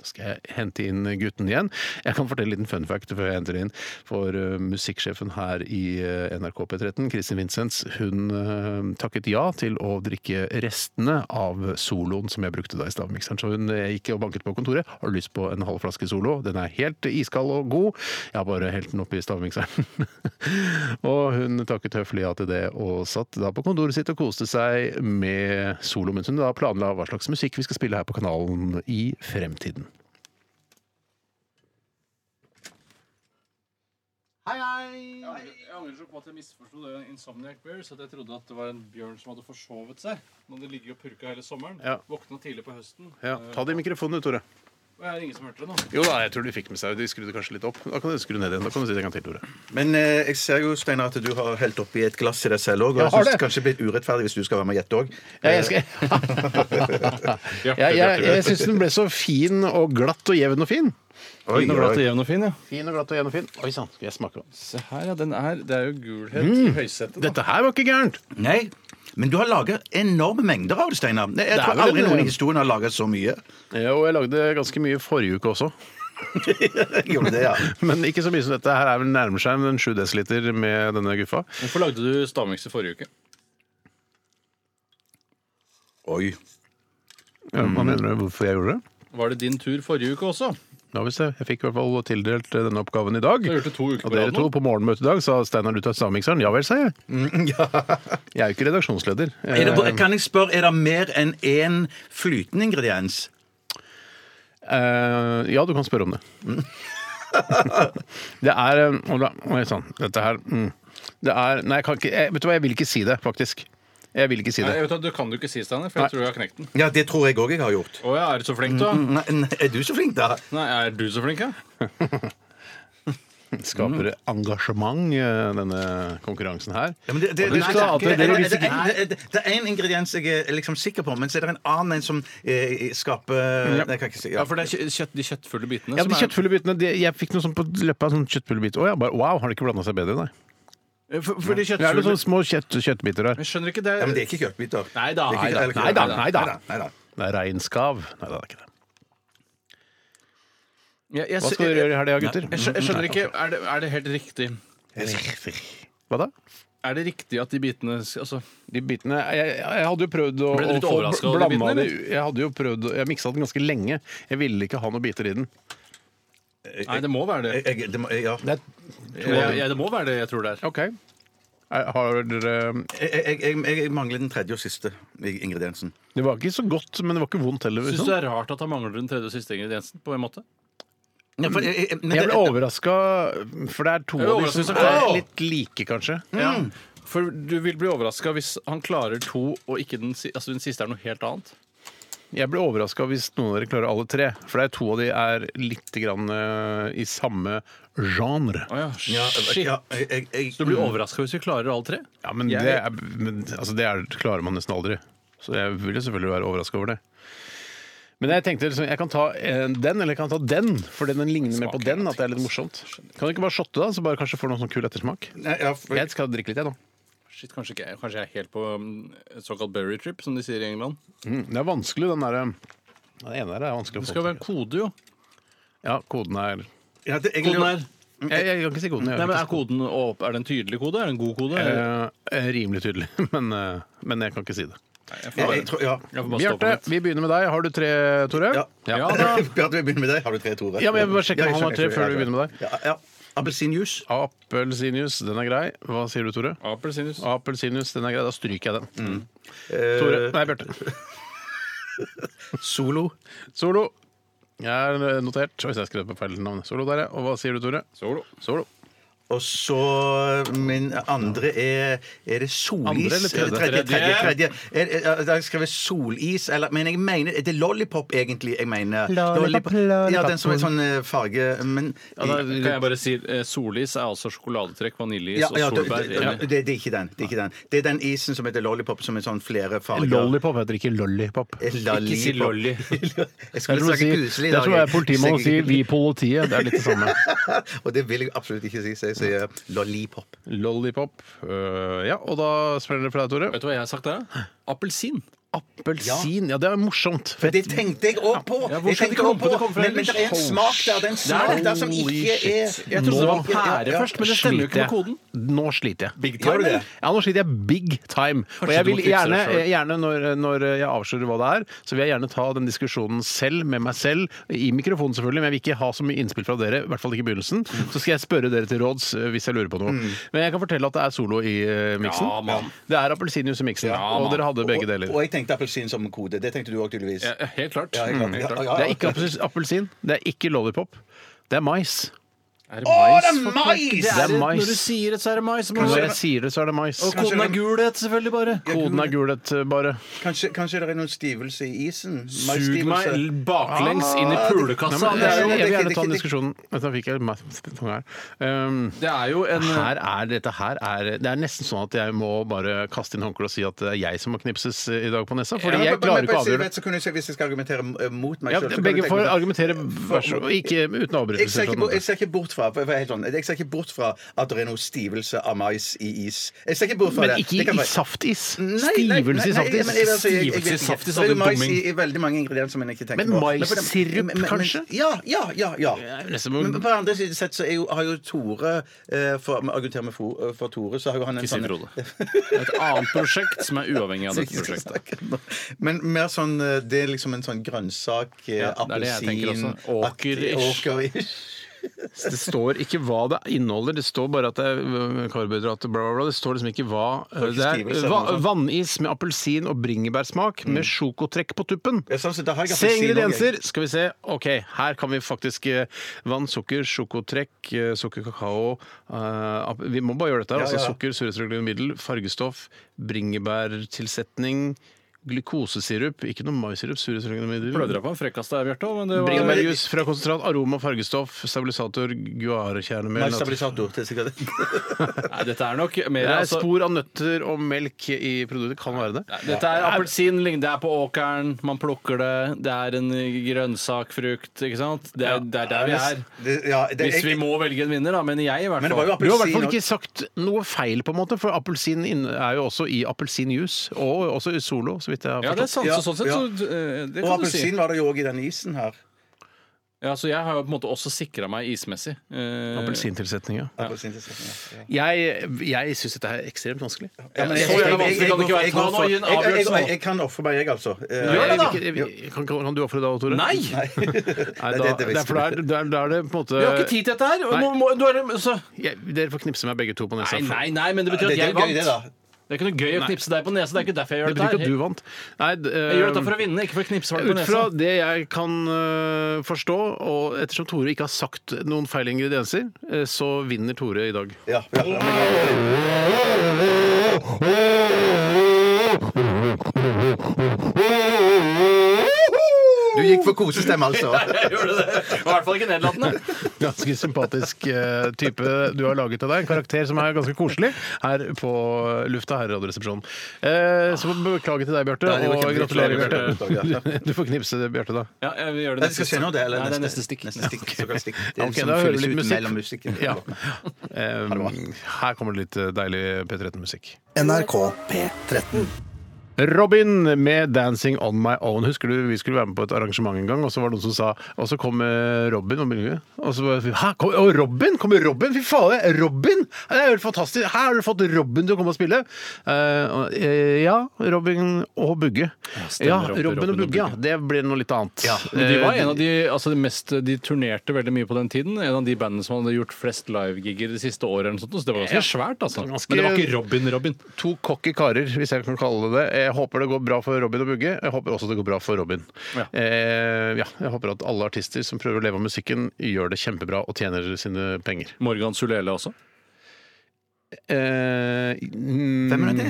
Speaker 2: Så skal jeg hente inn gutten igjen. Jeg kan fortelle en liten fun fact før jeg henter inn. For eh, musikksjefen her i eh, NRK P13, Kristin Vincents, hun eh, takket ja til å drikke restene av soloen som jeg brukte da i stavmikseren. Så hun eh, gikk og banket på kontoret. Har du lyst på en halv flaske solo? Den er helt iskald og god. Jeg har bare helt den oppi stavmikseren. og hun takket høflig ja til det, og satt da på kontoret sitt og koste seg med solo, mens hun da planla hva slags musikk vi skal spille her på kanalen i fremtiden.
Speaker 4: Jeg angrer så på at jeg misforsto det Insomniac Bears. At jeg trodde at det var en bjørn som hadde forsovet seg. Nå hadde ligget og purka hele sommeren.
Speaker 2: Ja.
Speaker 4: Våkna tidlig på høsten.
Speaker 2: Ja, Eh, Ta det i mikrofonen, Tore.
Speaker 4: Og jeg er ingen som hørte det nå.
Speaker 2: Jo da, jeg tror de fikk med seg De skrudde kanskje litt opp. Da kan du skru ned igjen. Da kan du si det en gang til, Tore.
Speaker 3: Men eh, jeg ser jo, Steinar, at du har helt oppi et glass i deg selv òg. Og
Speaker 2: Jeg
Speaker 3: jeg
Speaker 2: har
Speaker 3: synes
Speaker 2: det.
Speaker 3: det kanskje blir urettferdig hvis du skal være med og gjette òg.
Speaker 2: Jeg, jeg, jeg, jeg syns den ble så fin og glatt og jevn og fin.
Speaker 3: Eh,
Speaker 4: Den er glatt og jevn og fin, ja.
Speaker 2: Fin og glatt og jevn og fin. Oi sann, skal jeg smake på den?
Speaker 4: Se her, ja. Den er, det er jo gulhet i høysetet. da.
Speaker 2: Dette her var ikke gærent.
Speaker 3: Nei. Men du har laga enorme mengder av det, Steinar. Nei, Jeg
Speaker 2: Det er
Speaker 3: tror
Speaker 2: vel
Speaker 3: aldri
Speaker 2: en-
Speaker 3: noen i historien har laga så mye.
Speaker 2: Ja, og jeg lagde ganske mye forrige uke også.
Speaker 3: Gjorde det, ja.
Speaker 2: Men ikke så mye som dette. Her er vel nærmer seg en 7 dl med denne guffa.
Speaker 4: Hvorfor lagde du stavmikser forrige uke?
Speaker 3: Oi.
Speaker 2: Ja, Hva mener du hvorfor jeg gjorde det?
Speaker 4: Var det din tur forrige uke også?
Speaker 2: Ja, hvis jeg, jeg fikk i hvert fall tildelt eh, denne oppgaven i dag.
Speaker 4: har gjort det to uker på
Speaker 2: og dere
Speaker 4: rad nå.
Speaker 2: to på morgenmøtet i dag sa Steinar du tar stavmikseren. Ja vel, sa jeg. Jeg er jo ikke redaksjonsleder.
Speaker 3: Er det,
Speaker 2: Eh,
Speaker 3: kan jeg spørre, er det mer enn én flytende ingrediens?
Speaker 2: Eh, ja, du kan spørre om det. Mm. det er eh, Hold da. Oi sann. Dette her mm. Det er Nei, jeg kan ikke jeg, Vet du hva, jeg vil ikke si det, faktisk. Jeg vil ikke si
Speaker 4: Nei,
Speaker 2: det.
Speaker 4: jeg vet at Du kan du ikke si, Steinar, for jeg
Speaker 2: Nei.
Speaker 4: tror jeg har knekt den.
Speaker 3: Ja, det tror jeg òg jeg har gjort.
Speaker 4: Å ja, er du så flink, da?
Speaker 3: Nei, nei, er du så flink, da?
Speaker 4: Nei, er du så flink, ja?
Speaker 2: Skaper
Speaker 4: mm.
Speaker 2: engasjement, eh, denne konkurransen her.
Speaker 3: Ja, men det, det,
Speaker 2: Du
Speaker 3: det,
Speaker 2: sa at
Speaker 3: det,
Speaker 2: dere
Speaker 3: det- det-
Speaker 2: risikerer-
Speaker 3: det- det- det er én ingrediens jeg er liksom sikker på, men så er det en annen en som eh, skaper Nei, jeg kan ikke si
Speaker 4: Ja,
Speaker 3: ja.
Speaker 4: For det er kjø- kjøtt, de kjøttfulle
Speaker 2: Ja,
Speaker 4: bitene
Speaker 2: de
Speaker 4: som er-
Speaker 2: kjøttfulle bitene. De, jeg fikk noe sånn på leppa. Sånn kjøttfulle bit. Å ja, bare wow, har det ikke blanda seg bedre, nei.
Speaker 4: Eh, For, for de
Speaker 2: Det er noen
Speaker 4: kjøttfulle
Speaker 2: sånne små kjøtt, kjøttbiter her.
Speaker 4: Jeg skjønner ikke sånn det.
Speaker 3: ja, Men det er ikke kjøttbiter.
Speaker 4: Nei da,
Speaker 3: Det er ikke-
Speaker 4: nei da,
Speaker 3: eller-
Speaker 4: nei da,
Speaker 2: nei da.
Speaker 3: nei da.
Speaker 2: Det er reinskav. Nei, det er ikke det.
Speaker 4: Jeg- jeg-
Speaker 2: Hva skal dere gjøre i helga, gutter?
Speaker 4: Jeg, skjø- jeg skjønner ikke, er det, er det helt riktig
Speaker 2: Hva da?
Speaker 4: Er det riktig at de bitene skal- altså,
Speaker 2: De bitene Jeg, jeg hadde jo prøvd å,
Speaker 4: Ble du litt
Speaker 2: å få
Speaker 4: overrasket
Speaker 2: bl-
Speaker 4: over de
Speaker 2: blanda
Speaker 4: bitene,
Speaker 2: det Jeg hadde jo prøvd å- Jeg miksa den ganske lenge. Jeg ville ikke ha noen biter i den.
Speaker 4: Nei, det må være det.
Speaker 3: Jeg, jeg, det må, ja.
Speaker 2: Det er,
Speaker 4: Jeg, jeg, det må være det jeg tror det er.
Speaker 2: OK. Er- Har dere
Speaker 3: jeg, jeg, jeg, jeg mangler den tredje og siste i- ingrediensen.
Speaker 2: Det var ikke så godt, men det var ikke vondt heller.
Speaker 4: Syns
Speaker 2: Liksom.
Speaker 4: du det er rart at han mangler den tredje og siste ingrediensen? på en måte?
Speaker 3: Ja, for jeg, Mm. jeg, men
Speaker 2: Jeg
Speaker 3: det-
Speaker 2: ble overraska, for det er to
Speaker 4: Jeg ble
Speaker 2: av de som
Speaker 4: overrasket hvis jeg
Speaker 2: er
Speaker 4: klarer.
Speaker 2: litt like, kanskje.
Speaker 4: Ja.
Speaker 3: Mm.
Speaker 4: For du vil bli overraska hvis han klarer to, og ikke den, si- altså den siste er noe helt annet.
Speaker 2: Jeg ble overraska hvis noen av dere klarer alle tre. For det er to av de er litt grann, eh, i samme genre.
Speaker 4: Oh, ja.
Speaker 3: ja,
Speaker 4: Shit.
Speaker 3: ja, jeg, jeg, jeg,
Speaker 4: Så du blir overraska hvis vi klarer alle tre?
Speaker 2: Ja, men
Speaker 4: Jeg-
Speaker 2: det, er, men, altså, det er, klarer man nesten aldri. Så jeg vil jo selvfølgelig være overraska over det. Men jeg tenkte liksom, jeg kan ta eh, den, eller jeg kan ta den, for den ligner mer på
Speaker 4: Smaker
Speaker 2: den.
Speaker 4: noe
Speaker 2: At det er litt morsomt. Kan du ikke bare shotte, da? Så bare kanskje får noen sånn kul ettersmak.
Speaker 3: Nei, ja, for,
Speaker 2: Jeg skal drikke litt, jeg nå.
Speaker 4: Shit, kanskje, ikke, jeg- kanskje jeg er helt på um, et såkalt berry trip, som de sier i England.
Speaker 2: Mm, det er vanskelig, den derre Den ene der er vanskelig
Speaker 4: Det
Speaker 2: å
Speaker 4: skal
Speaker 2: få
Speaker 4: jo være en
Speaker 2: til.
Speaker 4: kode, jo.
Speaker 2: Ja, koden er jeg,
Speaker 3: ja, det, jeg,
Speaker 4: Koden er,
Speaker 2: jeg kan ikke si koden. Jeg,
Speaker 4: Mm. nei, men
Speaker 2: gjør
Speaker 4: er koden åp- Er det en tydelig kode? Er det en god kode?
Speaker 2: ikke det. Eh, rimelig tydelig, men, eh, men jeg kan ikke si det.
Speaker 3: jeg, jeg, tror- ja.
Speaker 4: Jeg får bare stå på
Speaker 2: Bjarte,
Speaker 4: mitt.
Speaker 2: vi begynner med deg. Har du tre, Tore?
Speaker 3: Ja.
Speaker 4: Ja da.
Speaker 3: Bjarte, vi begynner med deg. Har du tre, Tore?
Speaker 2: Ja, men jeg må bare sjekke om
Speaker 3: jeg
Speaker 2: han har
Speaker 3: skjønner,
Speaker 2: tre før vi begynner med deg.
Speaker 3: Ja, ja. Appelsinjuice.
Speaker 2: Appelsinjuice, den er grei. Hva sier du, Tore?
Speaker 4: Appelsinjuice.
Speaker 2: Appelsinjuice, den er grei. Da stryker jeg den. Mm.
Speaker 3: Eh,
Speaker 2: Tore, nei, Bjarte.
Speaker 3: Solo.
Speaker 2: Solo. Jeg er notert. Oi, så jeg skrev på feil navn. Solo der, ja. Og hva sier du, Tore?
Speaker 4: Solo.
Speaker 2: Solo.
Speaker 3: Og så min andre er Er det solis?
Speaker 2: Andre eller tredje?
Speaker 3: tredje, tredje, tredje. Er, er, er, jeg skrev solis, eller Men jeg mener Er det lollipop, egentlig? Jeg mener
Speaker 5: Lollipop, lollipop.
Speaker 3: Ja, den som er sånn eh, farge Men
Speaker 4: Ja, da kan jeg bare si eh, Solis er altså sjokoladetrekk, vaniljeis
Speaker 3: ja, ja,
Speaker 4: og
Speaker 3: det,
Speaker 4: solbær. eh,
Speaker 3: det, det, det er ikke den. Det er ikke den Det er den isen som heter lollipop, som er sånn flere farger.
Speaker 2: Lollipop heter ikke lollipop.
Speaker 3: Eh, lollipop.
Speaker 4: Ikke si lolly.
Speaker 3: Jeg
Speaker 2: Det
Speaker 3: skulle
Speaker 2: er som å
Speaker 3: snakke
Speaker 2: si-
Speaker 3: kuselig i
Speaker 2: det er
Speaker 3: dag.
Speaker 2: som å være politimann og si
Speaker 3: Jeg-
Speaker 2: 'vi politiet'. Det er litt det samme.
Speaker 3: Og det vil jeg absolutt ikke si, så jeg sier lollipop.
Speaker 2: Lollipop. Øh, ja, og Eh, da spiller dere for deg, Tore.
Speaker 4: Vet du hva jeg har sagt da? Appelsin.
Speaker 2: Appelsin? Ja, det er morsomt. Fett.
Speaker 3: Det tenkte jeg òg på!
Speaker 4: Ja, hvor
Speaker 3: jeg
Speaker 4: skal
Speaker 3: tenkte
Speaker 4: de
Speaker 3: også
Speaker 4: komme på det? Kom fra
Speaker 3: men, men det er en
Speaker 2: Holy
Speaker 3: smak der, det er en
Speaker 2: shit.
Speaker 3: smak
Speaker 2: Det er
Speaker 3: der som
Speaker 2: holy
Speaker 3: ikke er
Speaker 2: shit.
Speaker 3: Jeg
Speaker 4: trodde det var
Speaker 3: Ja, ja,
Speaker 4: pære
Speaker 3: ja.
Speaker 4: først, men det stemmer jo ikke
Speaker 2: Sliter
Speaker 4: med
Speaker 2: jeg.
Speaker 4: koden.
Speaker 2: Nå sliter jeg.
Speaker 3: Big time, Gjør du det?
Speaker 2: Ja, nå sliter jeg big time. Og
Speaker 4: Kanskje
Speaker 2: jeg
Speaker 4: du
Speaker 2: vil
Speaker 4: må fikse det
Speaker 2: gjerne,
Speaker 4: selv.
Speaker 2: gjerne når, når jeg avslører hva det er, så vil jeg gjerne ta den diskusjonen selv med meg selv, i mikrofonen selvfølgelig, men jeg vil ikke ha så mye innspill fra dere, i hvert fall ikke i begynnelsen. Så skal jeg spørre dere til råds eh, hvis jeg lurer på
Speaker 4: Mm.
Speaker 2: noe. Men jeg kan fortelle at det er solo i eh, miksen.
Speaker 4: Ja, mann.
Speaker 2: det er appelsinjuice i miksen, og dere hadde begge deler.
Speaker 3: Og, og jeg tenkte appelsin som kode. Det tenkte du òg, tydeligvis.
Speaker 4: Ja, ja, helt klart.
Speaker 3: Ja, jeg kan-
Speaker 4: Mm,
Speaker 3: ja,
Speaker 4: helt klart.
Speaker 3: ja, ja.
Speaker 2: Det er ikke appelsin- appelsin, det er ikke lollipop. Det er mais.
Speaker 4: Er det
Speaker 3: Å, det er
Speaker 4: for
Speaker 3: mais!
Speaker 4: pokker?
Speaker 3: Det
Speaker 2: er mais.
Speaker 4: Når du sier det, så er det mais. men-
Speaker 2: Når jeg sier det, så er det mais.
Speaker 4: Og koden er gulhet, selvfølgelig, bare.
Speaker 2: Koden er gulet, eh, bare.
Speaker 3: Kanskje, kanskje det er noen stivelse i isen?
Speaker 4: Sug meg
Speaker 3: Maisstivelse.
Speaker 4: baklengs inn i pulekassa.
Speaker 2: Nei, men
Speaker 4: Det er
Speaker 2: jeg,
Speaker 4: jo
Speaker 2: jeg vil gjerne
Speaker 3: det-
Speaker 2: ta en
Speaker 3: det-
Speaker 2: diskusjon. Vent, nå fikk jeg meg- fang her. Um,
Speaker 4: det er jo en eh,
Speaker 2: her
Speaker 3: eh,
Speaker 2: er, dette her er Det er nesten sånn at jeg må bare kaste inn håndkleet og si at det er jeg som må knipses i dag på nesa. Fordi jeg klarer ikke å avgjøre det.
Speaker 3: det. Hvis jeg skal argumentere eh, mot meg
Speaker 2: Ja,
Speaker 3: selv, så kan
Speaker 2: begge
Speaker 3: jeg tenke
Speaker 2: får
Speaker 3: meg-
Speaker 2: argumentere vær så god, ikke uten
Speaker 3: Jeg ser, ikke
Speaker 2: avbrytelser. fra
Speaker 3: bort,
Speaker 2: den
Speaker 3: jeg
Speaker 2: andre.
Speaker 3: ser ikke bort fra for jeg er helt sånn, Jeg ser ikke bort fra at det er noe stivelse av mais i is. Jeg ser ikke bort fra
Speaker 2: Men
Speaker 3: det.
Speaker 2: ikke
Speaker 3: det kan
Speaker 2: i
Speaker 3: være-
Speaker 2: saftis!
Speaker 3: Nei, nei,
Speaker 2: Stivelse
Speaker 3: nei, nei,
Speaker 2: i saftis.
Speaker 3: men jeg- altså, jeg- jeg vet
Speaker 4: Stivelse i
Speaker 3: ikke.
Speaker 4: saftis,
Speaker 3: Så er det
Speaker 4: sa du
Speaker 3: mais
Speaker 4: dumming.
Speaker 3: i, i veldig mange ingredienser som jeg ikke tenker
Speaker 2: Men
Speaker 3: på.
Speaker 2: mais-
Speaker 3: for det-
Speaker 2: sirup,
Speaker 3: men- men-
Speaker 2: kanskje?
Speaker 3: Ja, ja, ja. ja.
Speaker 2: nesten må-
Speaker 3: Men på andre siden sett så er jo, har jo Tore eh, For å argumentere med fo- eh, for Tore, så har jo han en
Speaker 4: Ikke si
Speaker 3: sånn
Speaker 4: Frode. Et annet prosjekt som er uavhengig av dette prosjektet.
Speaker 3: men mer sånn eh, Det er liksom en sånn grønnsak, eh,
Speaker 4: Ja, det er det jeg tenker
Speaker 3: appelsin
Speaker 4: også. Åker-ish.
Speaker 3: Åker-ish.
Speaker 2: Det står ikke hva det inneholder, det står bare at det er øh, karbohydrater, bla, bla, bla. Det står liksom ikke hva øh, det er.
Speaker 3: skrivelse eller
Speaker 2: Va
Speaker 3: noe sånt.
Speaker 2: vannis med appelsin og bringebærsmak med sjokotrekk på tuppen.
Speaker 3: Ja, sånn, så da har jeg
Speaker 2: Se
Speaker 3: appelsin også,
Speaker 2: ingredienser! Skal vi se. OK, her kan vi faktisk eh, vann, sukker, sjokotrekk, eh, sukker, kakao eh, app- Vi må bare gjøre dette.
Speaker 3: Ja,
Speaker 2: her, altså
Speaker 3: ja.
Speaker 2: Sukker, surretsregulerende middel, fargestoff, bringebærtilsetning, glukosesirup Ikke noe maissirup, surretsregulerende middel.
Speaker 4: Prøvde deg på en frekkas der, Bjarte. Men det var
Speaker 2: Bringebærjus fra konsentrat, aroma, fargestoff, stabilisator, guarekjernemel
Speaker 3: Nei, stabilisator. Det er sikkert
Speaker 4: Nei, dette er nok mer
Speaker 2: Det er
Speaker 4: altså,
Speaker 2: spor av nøtter og melk i produktet. Kan være det.
Speaker 4: Dette er appelsin, lign- det er på åkeren, man plukker det, det er en grønnsak, frukt, ikke sant? Det er, det er der vi er.
Speaker 3: Det- ja, det-
Speaker 4: Hvis vi må velge en vinner, da, mener jeg i hvert
Speaker 3: Men det var jo
Speaker 4: fall.
Speaker 2: Du har i hvert
Speaker 3: appelsin
Speaker 2: fall
Speaker 3: og-
Speaker 2: ikke sagt noe feil, på en måte, for appelsin inn- er jo også i appelsinjuice. Og også i Solo, så vidt jeg har
Speaker 4: Ja, det er
Speaker 2: forstått.
Speaker 4: sant.
Speaker 3: Ja,
Speaker 4: Så sånn sett,
Speaker 3: ja.
Speaker 4: så eh, det
Speaker 3: Og
Speaker 4: kan du si.
Speaker 3: appelsin var det jo òg i denne isen her.
Speaker 4: Ja, så jeg har jo på en måte også sikra meg ismessig. Eh,
Speaker 2: Appelsintilsetning, ja.
Speaker 3: Appelsintilsetning, ja.
Speaker 2: Jeg, jeg syns dette er ekstremt vanskelig.
Speaker 3: Ja, men
Speaker 4: Så jævla vanskelig kan det ikke være. Ta nå, gi en
Speaker 3: Jeg- jeg- jeg-
Speaker 4: avgjørelse nå.
Speaker 3: jeg- Jeg kan ofre meg, jeg, altså. Eh,
Speaker 4: Gjør det, da!
Speaker 2: Jeg vil ikke- jeg- Kan, kan, kan du ofre det da, Tore?
Speaker 4: Nei!
Speaker 3: Nei.
Speaker 2: Nei,
Speaker 3: Nei,
Speaker 2: da,
Speaker 3: det- det
Speaker 2: det er,
Speaker 3: visste
Speaker 2: for da er, da er- da er det på en måte
Speaker 4: Vi har ikke tid til dette her! og
Speaker 2: Nei.
Speaker 4: Må, må, du er, så.
Speaker 2: Jeg, dere får knipse meg begge to på nesa.
Speaker 4: Nei,
Speaker 2: for-
Speaker 4: nei, nei, men det betyr
Speaker 3: Det
Speaker 4: at
Speaker 3: er
Speaker 4: jeg
Speaker 3: jo gøy, det, da.
Speaker 4: vant. Det er ikke noe gøy å knipse deg på nesa. Det er ikke derfor jeg gjør
Speaker 2: Det betyr ikke
Speaker 4: dette.
Speaker 2: at du
Speaker 4: her.
Speaker 2: vant. Nei, d- eh,
Speaker 4: Jeg gjør dette for å vinne, ikke for å knipse folk på
Speaker 2: Ut
Speaker 4: nesa.
Speaker 2: fra det jeg kan øh, forstå, og ettersom Tore ikke har sagt noen feil ingredienser, øh, så vinner Tore i dag.
Speaker 3: Ja, ja, ja, men- Du gikk for kosestemme, altså.
Speaker 4: Jeg gjorde det. Det var I hvert fall ikke nedlatende.
Speaker 2: Ganske sympatisk øh, type du har laget av deg. En karakter som er ganske koselig her på lufta her i Radioresepsjonen. Eh, så beklager til deg, Bjarte,
Speaker 3: Nei, det var
Speaker 2: og
Speaker 3: kjempe-
Speaker 2: gratulerer,
Speaker 3: beklager, beklager,
Speaker 2: Bjarte. Du får knipse det, Bjarte, da.
Speaker 4: Ja, jeg vil
Speaker 3: Nei,
Speaker 4: gjøre det
Speaker 3: det skal skje nå, det. Eller
Speaker 4: Nei, det er neste stikk.
Speaker 3: Neste stikk, såkalt stikk. Det
Speaker 2: Ja,
Speaker 3: er
Speaker 2: ok,
Speaker 3: liksom
Speaker 2: da hører vi
Speaker 3: fylles
Speaker 2: litt
Speaker 3: ut
Speaker 2: musikk.
Speaker 3: mellom musikken.
Speaker 2: Ja. Eh, her kommer det litt eh, deilig P13-musikk.
Speaker 9: NRK P13.
Speaker 2: Robin med 'Dancing On My Own'. Husker du vi skulle være med på et arrangement en gang, og så var det noen som sa Og så kom eh, Robin og miljøet. Og så bare Hæ, kom, å, Robin? Kommer Robin? Fy fader! Robin! Det er jo helt fantastisk! Her har du fått Robin til å komme og spille! Eh, og, eh, ja, Robin og Bugge.
Speaker 4: stemmer,
Speaker 2: Ja,
Speaker 4: Robin,
Speaker 2: Robin,
Speaker 4: Robin og
Speaker 2: og Bugge, ja.
Speaker 4: Bugge.
Speaker 2: Det ble noe litt annet. Eh,
Speaker 4: Men de var en av de, altså de mest, de turnerte veldig mye på den tiden. En av de bandene som hadde gjort flest livegigger det siste året. eller noe sånt, Så det var ganske svært, altså.
Speaker 2: Ganske-
Speaker 4: Men det var ikke Robin-Robin.
Speaker 2: To cocky karer, hvis jeg kan kalle det det. Jeg håper det går bra for Robin og Bugge. Jeg håper også det går bra for Robin.
Speaker 4: Ja.
Speaker 2: Eh, ja, jeg håper at alle artister som prøver å leve av musikken, gjør det kjempebra og tjener sine penger.
Speaker 4: Morgan Sulele også.
Speaker 2: Eh, mm,
Speaker 3: Hvem er det?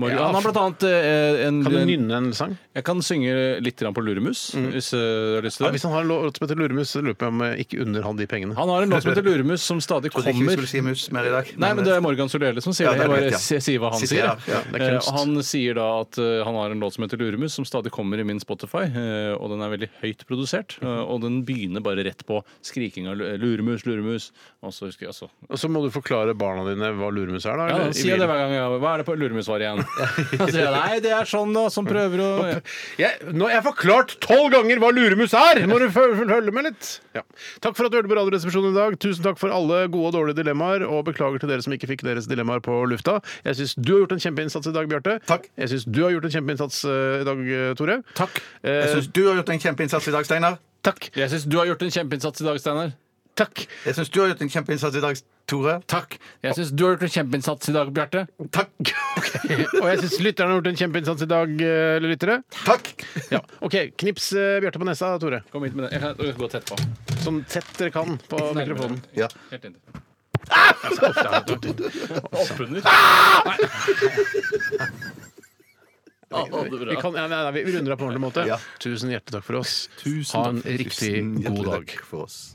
Speaker 4: Morgan,
Speaker 2: Ja,
Speaker 4: han har blant annet eh, en,
Speaker 2: Kan du nynne en sang?
Speaker 4: Jeg kan synge litt grann på Luremus,
Speaker 3: Mhm.
Speaker 4: hvis eh, du har lyst til
Speaker 2: Ja,
Speaker 4: det.
Speaker 2: hvis han har en låt som heter Luremus, så lurer jeg på om jeg ikke unner han de pengene.
Speaker 4: Han har en låt som heter Luremus, som stadig
Speaker 3: Jeg trodde ikke vi
Speaker 4: kommer.
Speaker 3: skulle si mus mer i dag. eh,
Speaker 4: Nei, men det er Morgan Solele som sier
Speaker 3: Ja,
Speaker 4: det.
Speaker 3: det er
Speaker 4: Jeg
Speaker 3: rett,
Speaker 4: bare
Speaker 3: ja.
Speaker 4: si- sier hva han sier.
Speaker 3: Siterer, ja,
Speaker 2: det er kunst.
Speaker 4: Eh, Han sier da at eh, han har en låt som heter Luremus, som stadig kommer i min Spotify. eh, Og den er veldig høyt produsert. eh,
Speaker 3: Mhm.
Speaker 4: Og den begynner bare rett på skriking av lu- luremus, luremus. Og så husker jeg altså
Speaker 2: Og så må du forklare barna dine hva luremus her, da?
Speaker 4: Ja,
Speaker 2: eller
Speaker 4: da
Speaker 2: i
Speaker 4: sier jeg
Speaker 2: bilen?
Speaker 4: det hver gang. jeg- Hva er det på luremusvariant? Da sier jeg nei, det er sånn, da, som prøver å
Speaker 2: jeg, nå, jeg har forklart tolv ganger hva luremus er! Må du føl- føl- følge med litt? Ja. Takk for at du hørte på Radioresepsjonen i dag. Tusen takk for alle gode og dårlige dilemmaer. Og beklager til dere som ikke fikk deres dilemmaer på lufta. Jeg syns du har gjort en kjempeinnsats i dag, Bjarte.
Speaker 3: Takk.
Speaker 2: Jeg syns du har gjort en kjempeinnsats eh, i dag, eh, Tore.
Speaker 4: Takk.
Speaker 2: Eh,
Speaker 3: Jeg syns du har gjort en kjempeinnsats i dag, Steinar.
Speaker 2: takk.
Speaker 4: Jeg syns du har gjort en kjempeinnsats i dag, Steinar.
Speaker 2: Takk.
Speaker 3: Jeg syns du har gjort en kjempeinnsats i dag, Tore.
Speaker 4: Takk. Jeg syns du har gjort en kjempeinnsats i dag, Bjarte.
Speaker 3: Takk.
Speaker 2: Og jeg syns lytterne har gjort en kjempeinnsats i dag, eh, lyttere.
Speaker 3: Takk.
Speaker 2: Ja. OK, knips eh, Bjarte på nesa, Tore.
Speaker 4: Kom hit med det. Jeg kan gå tett på.
Speaker 2: Sånn tett dere kan på mikrofonen.
Speaker 3: Ja.
Speaker 4: Helt inntil. Ah! Oh,
Speaker 2: Vi, kan, ja, nei, nei, vi runder av på en ordentlig måte.
Speaker 3: Ja.
Speaker 2: Tusen hjertelig takk for oss. ha en riktig
Speaker 3: Tusen hjertelig
Speaker 2: god dag.
Speaker 3: takk for oss.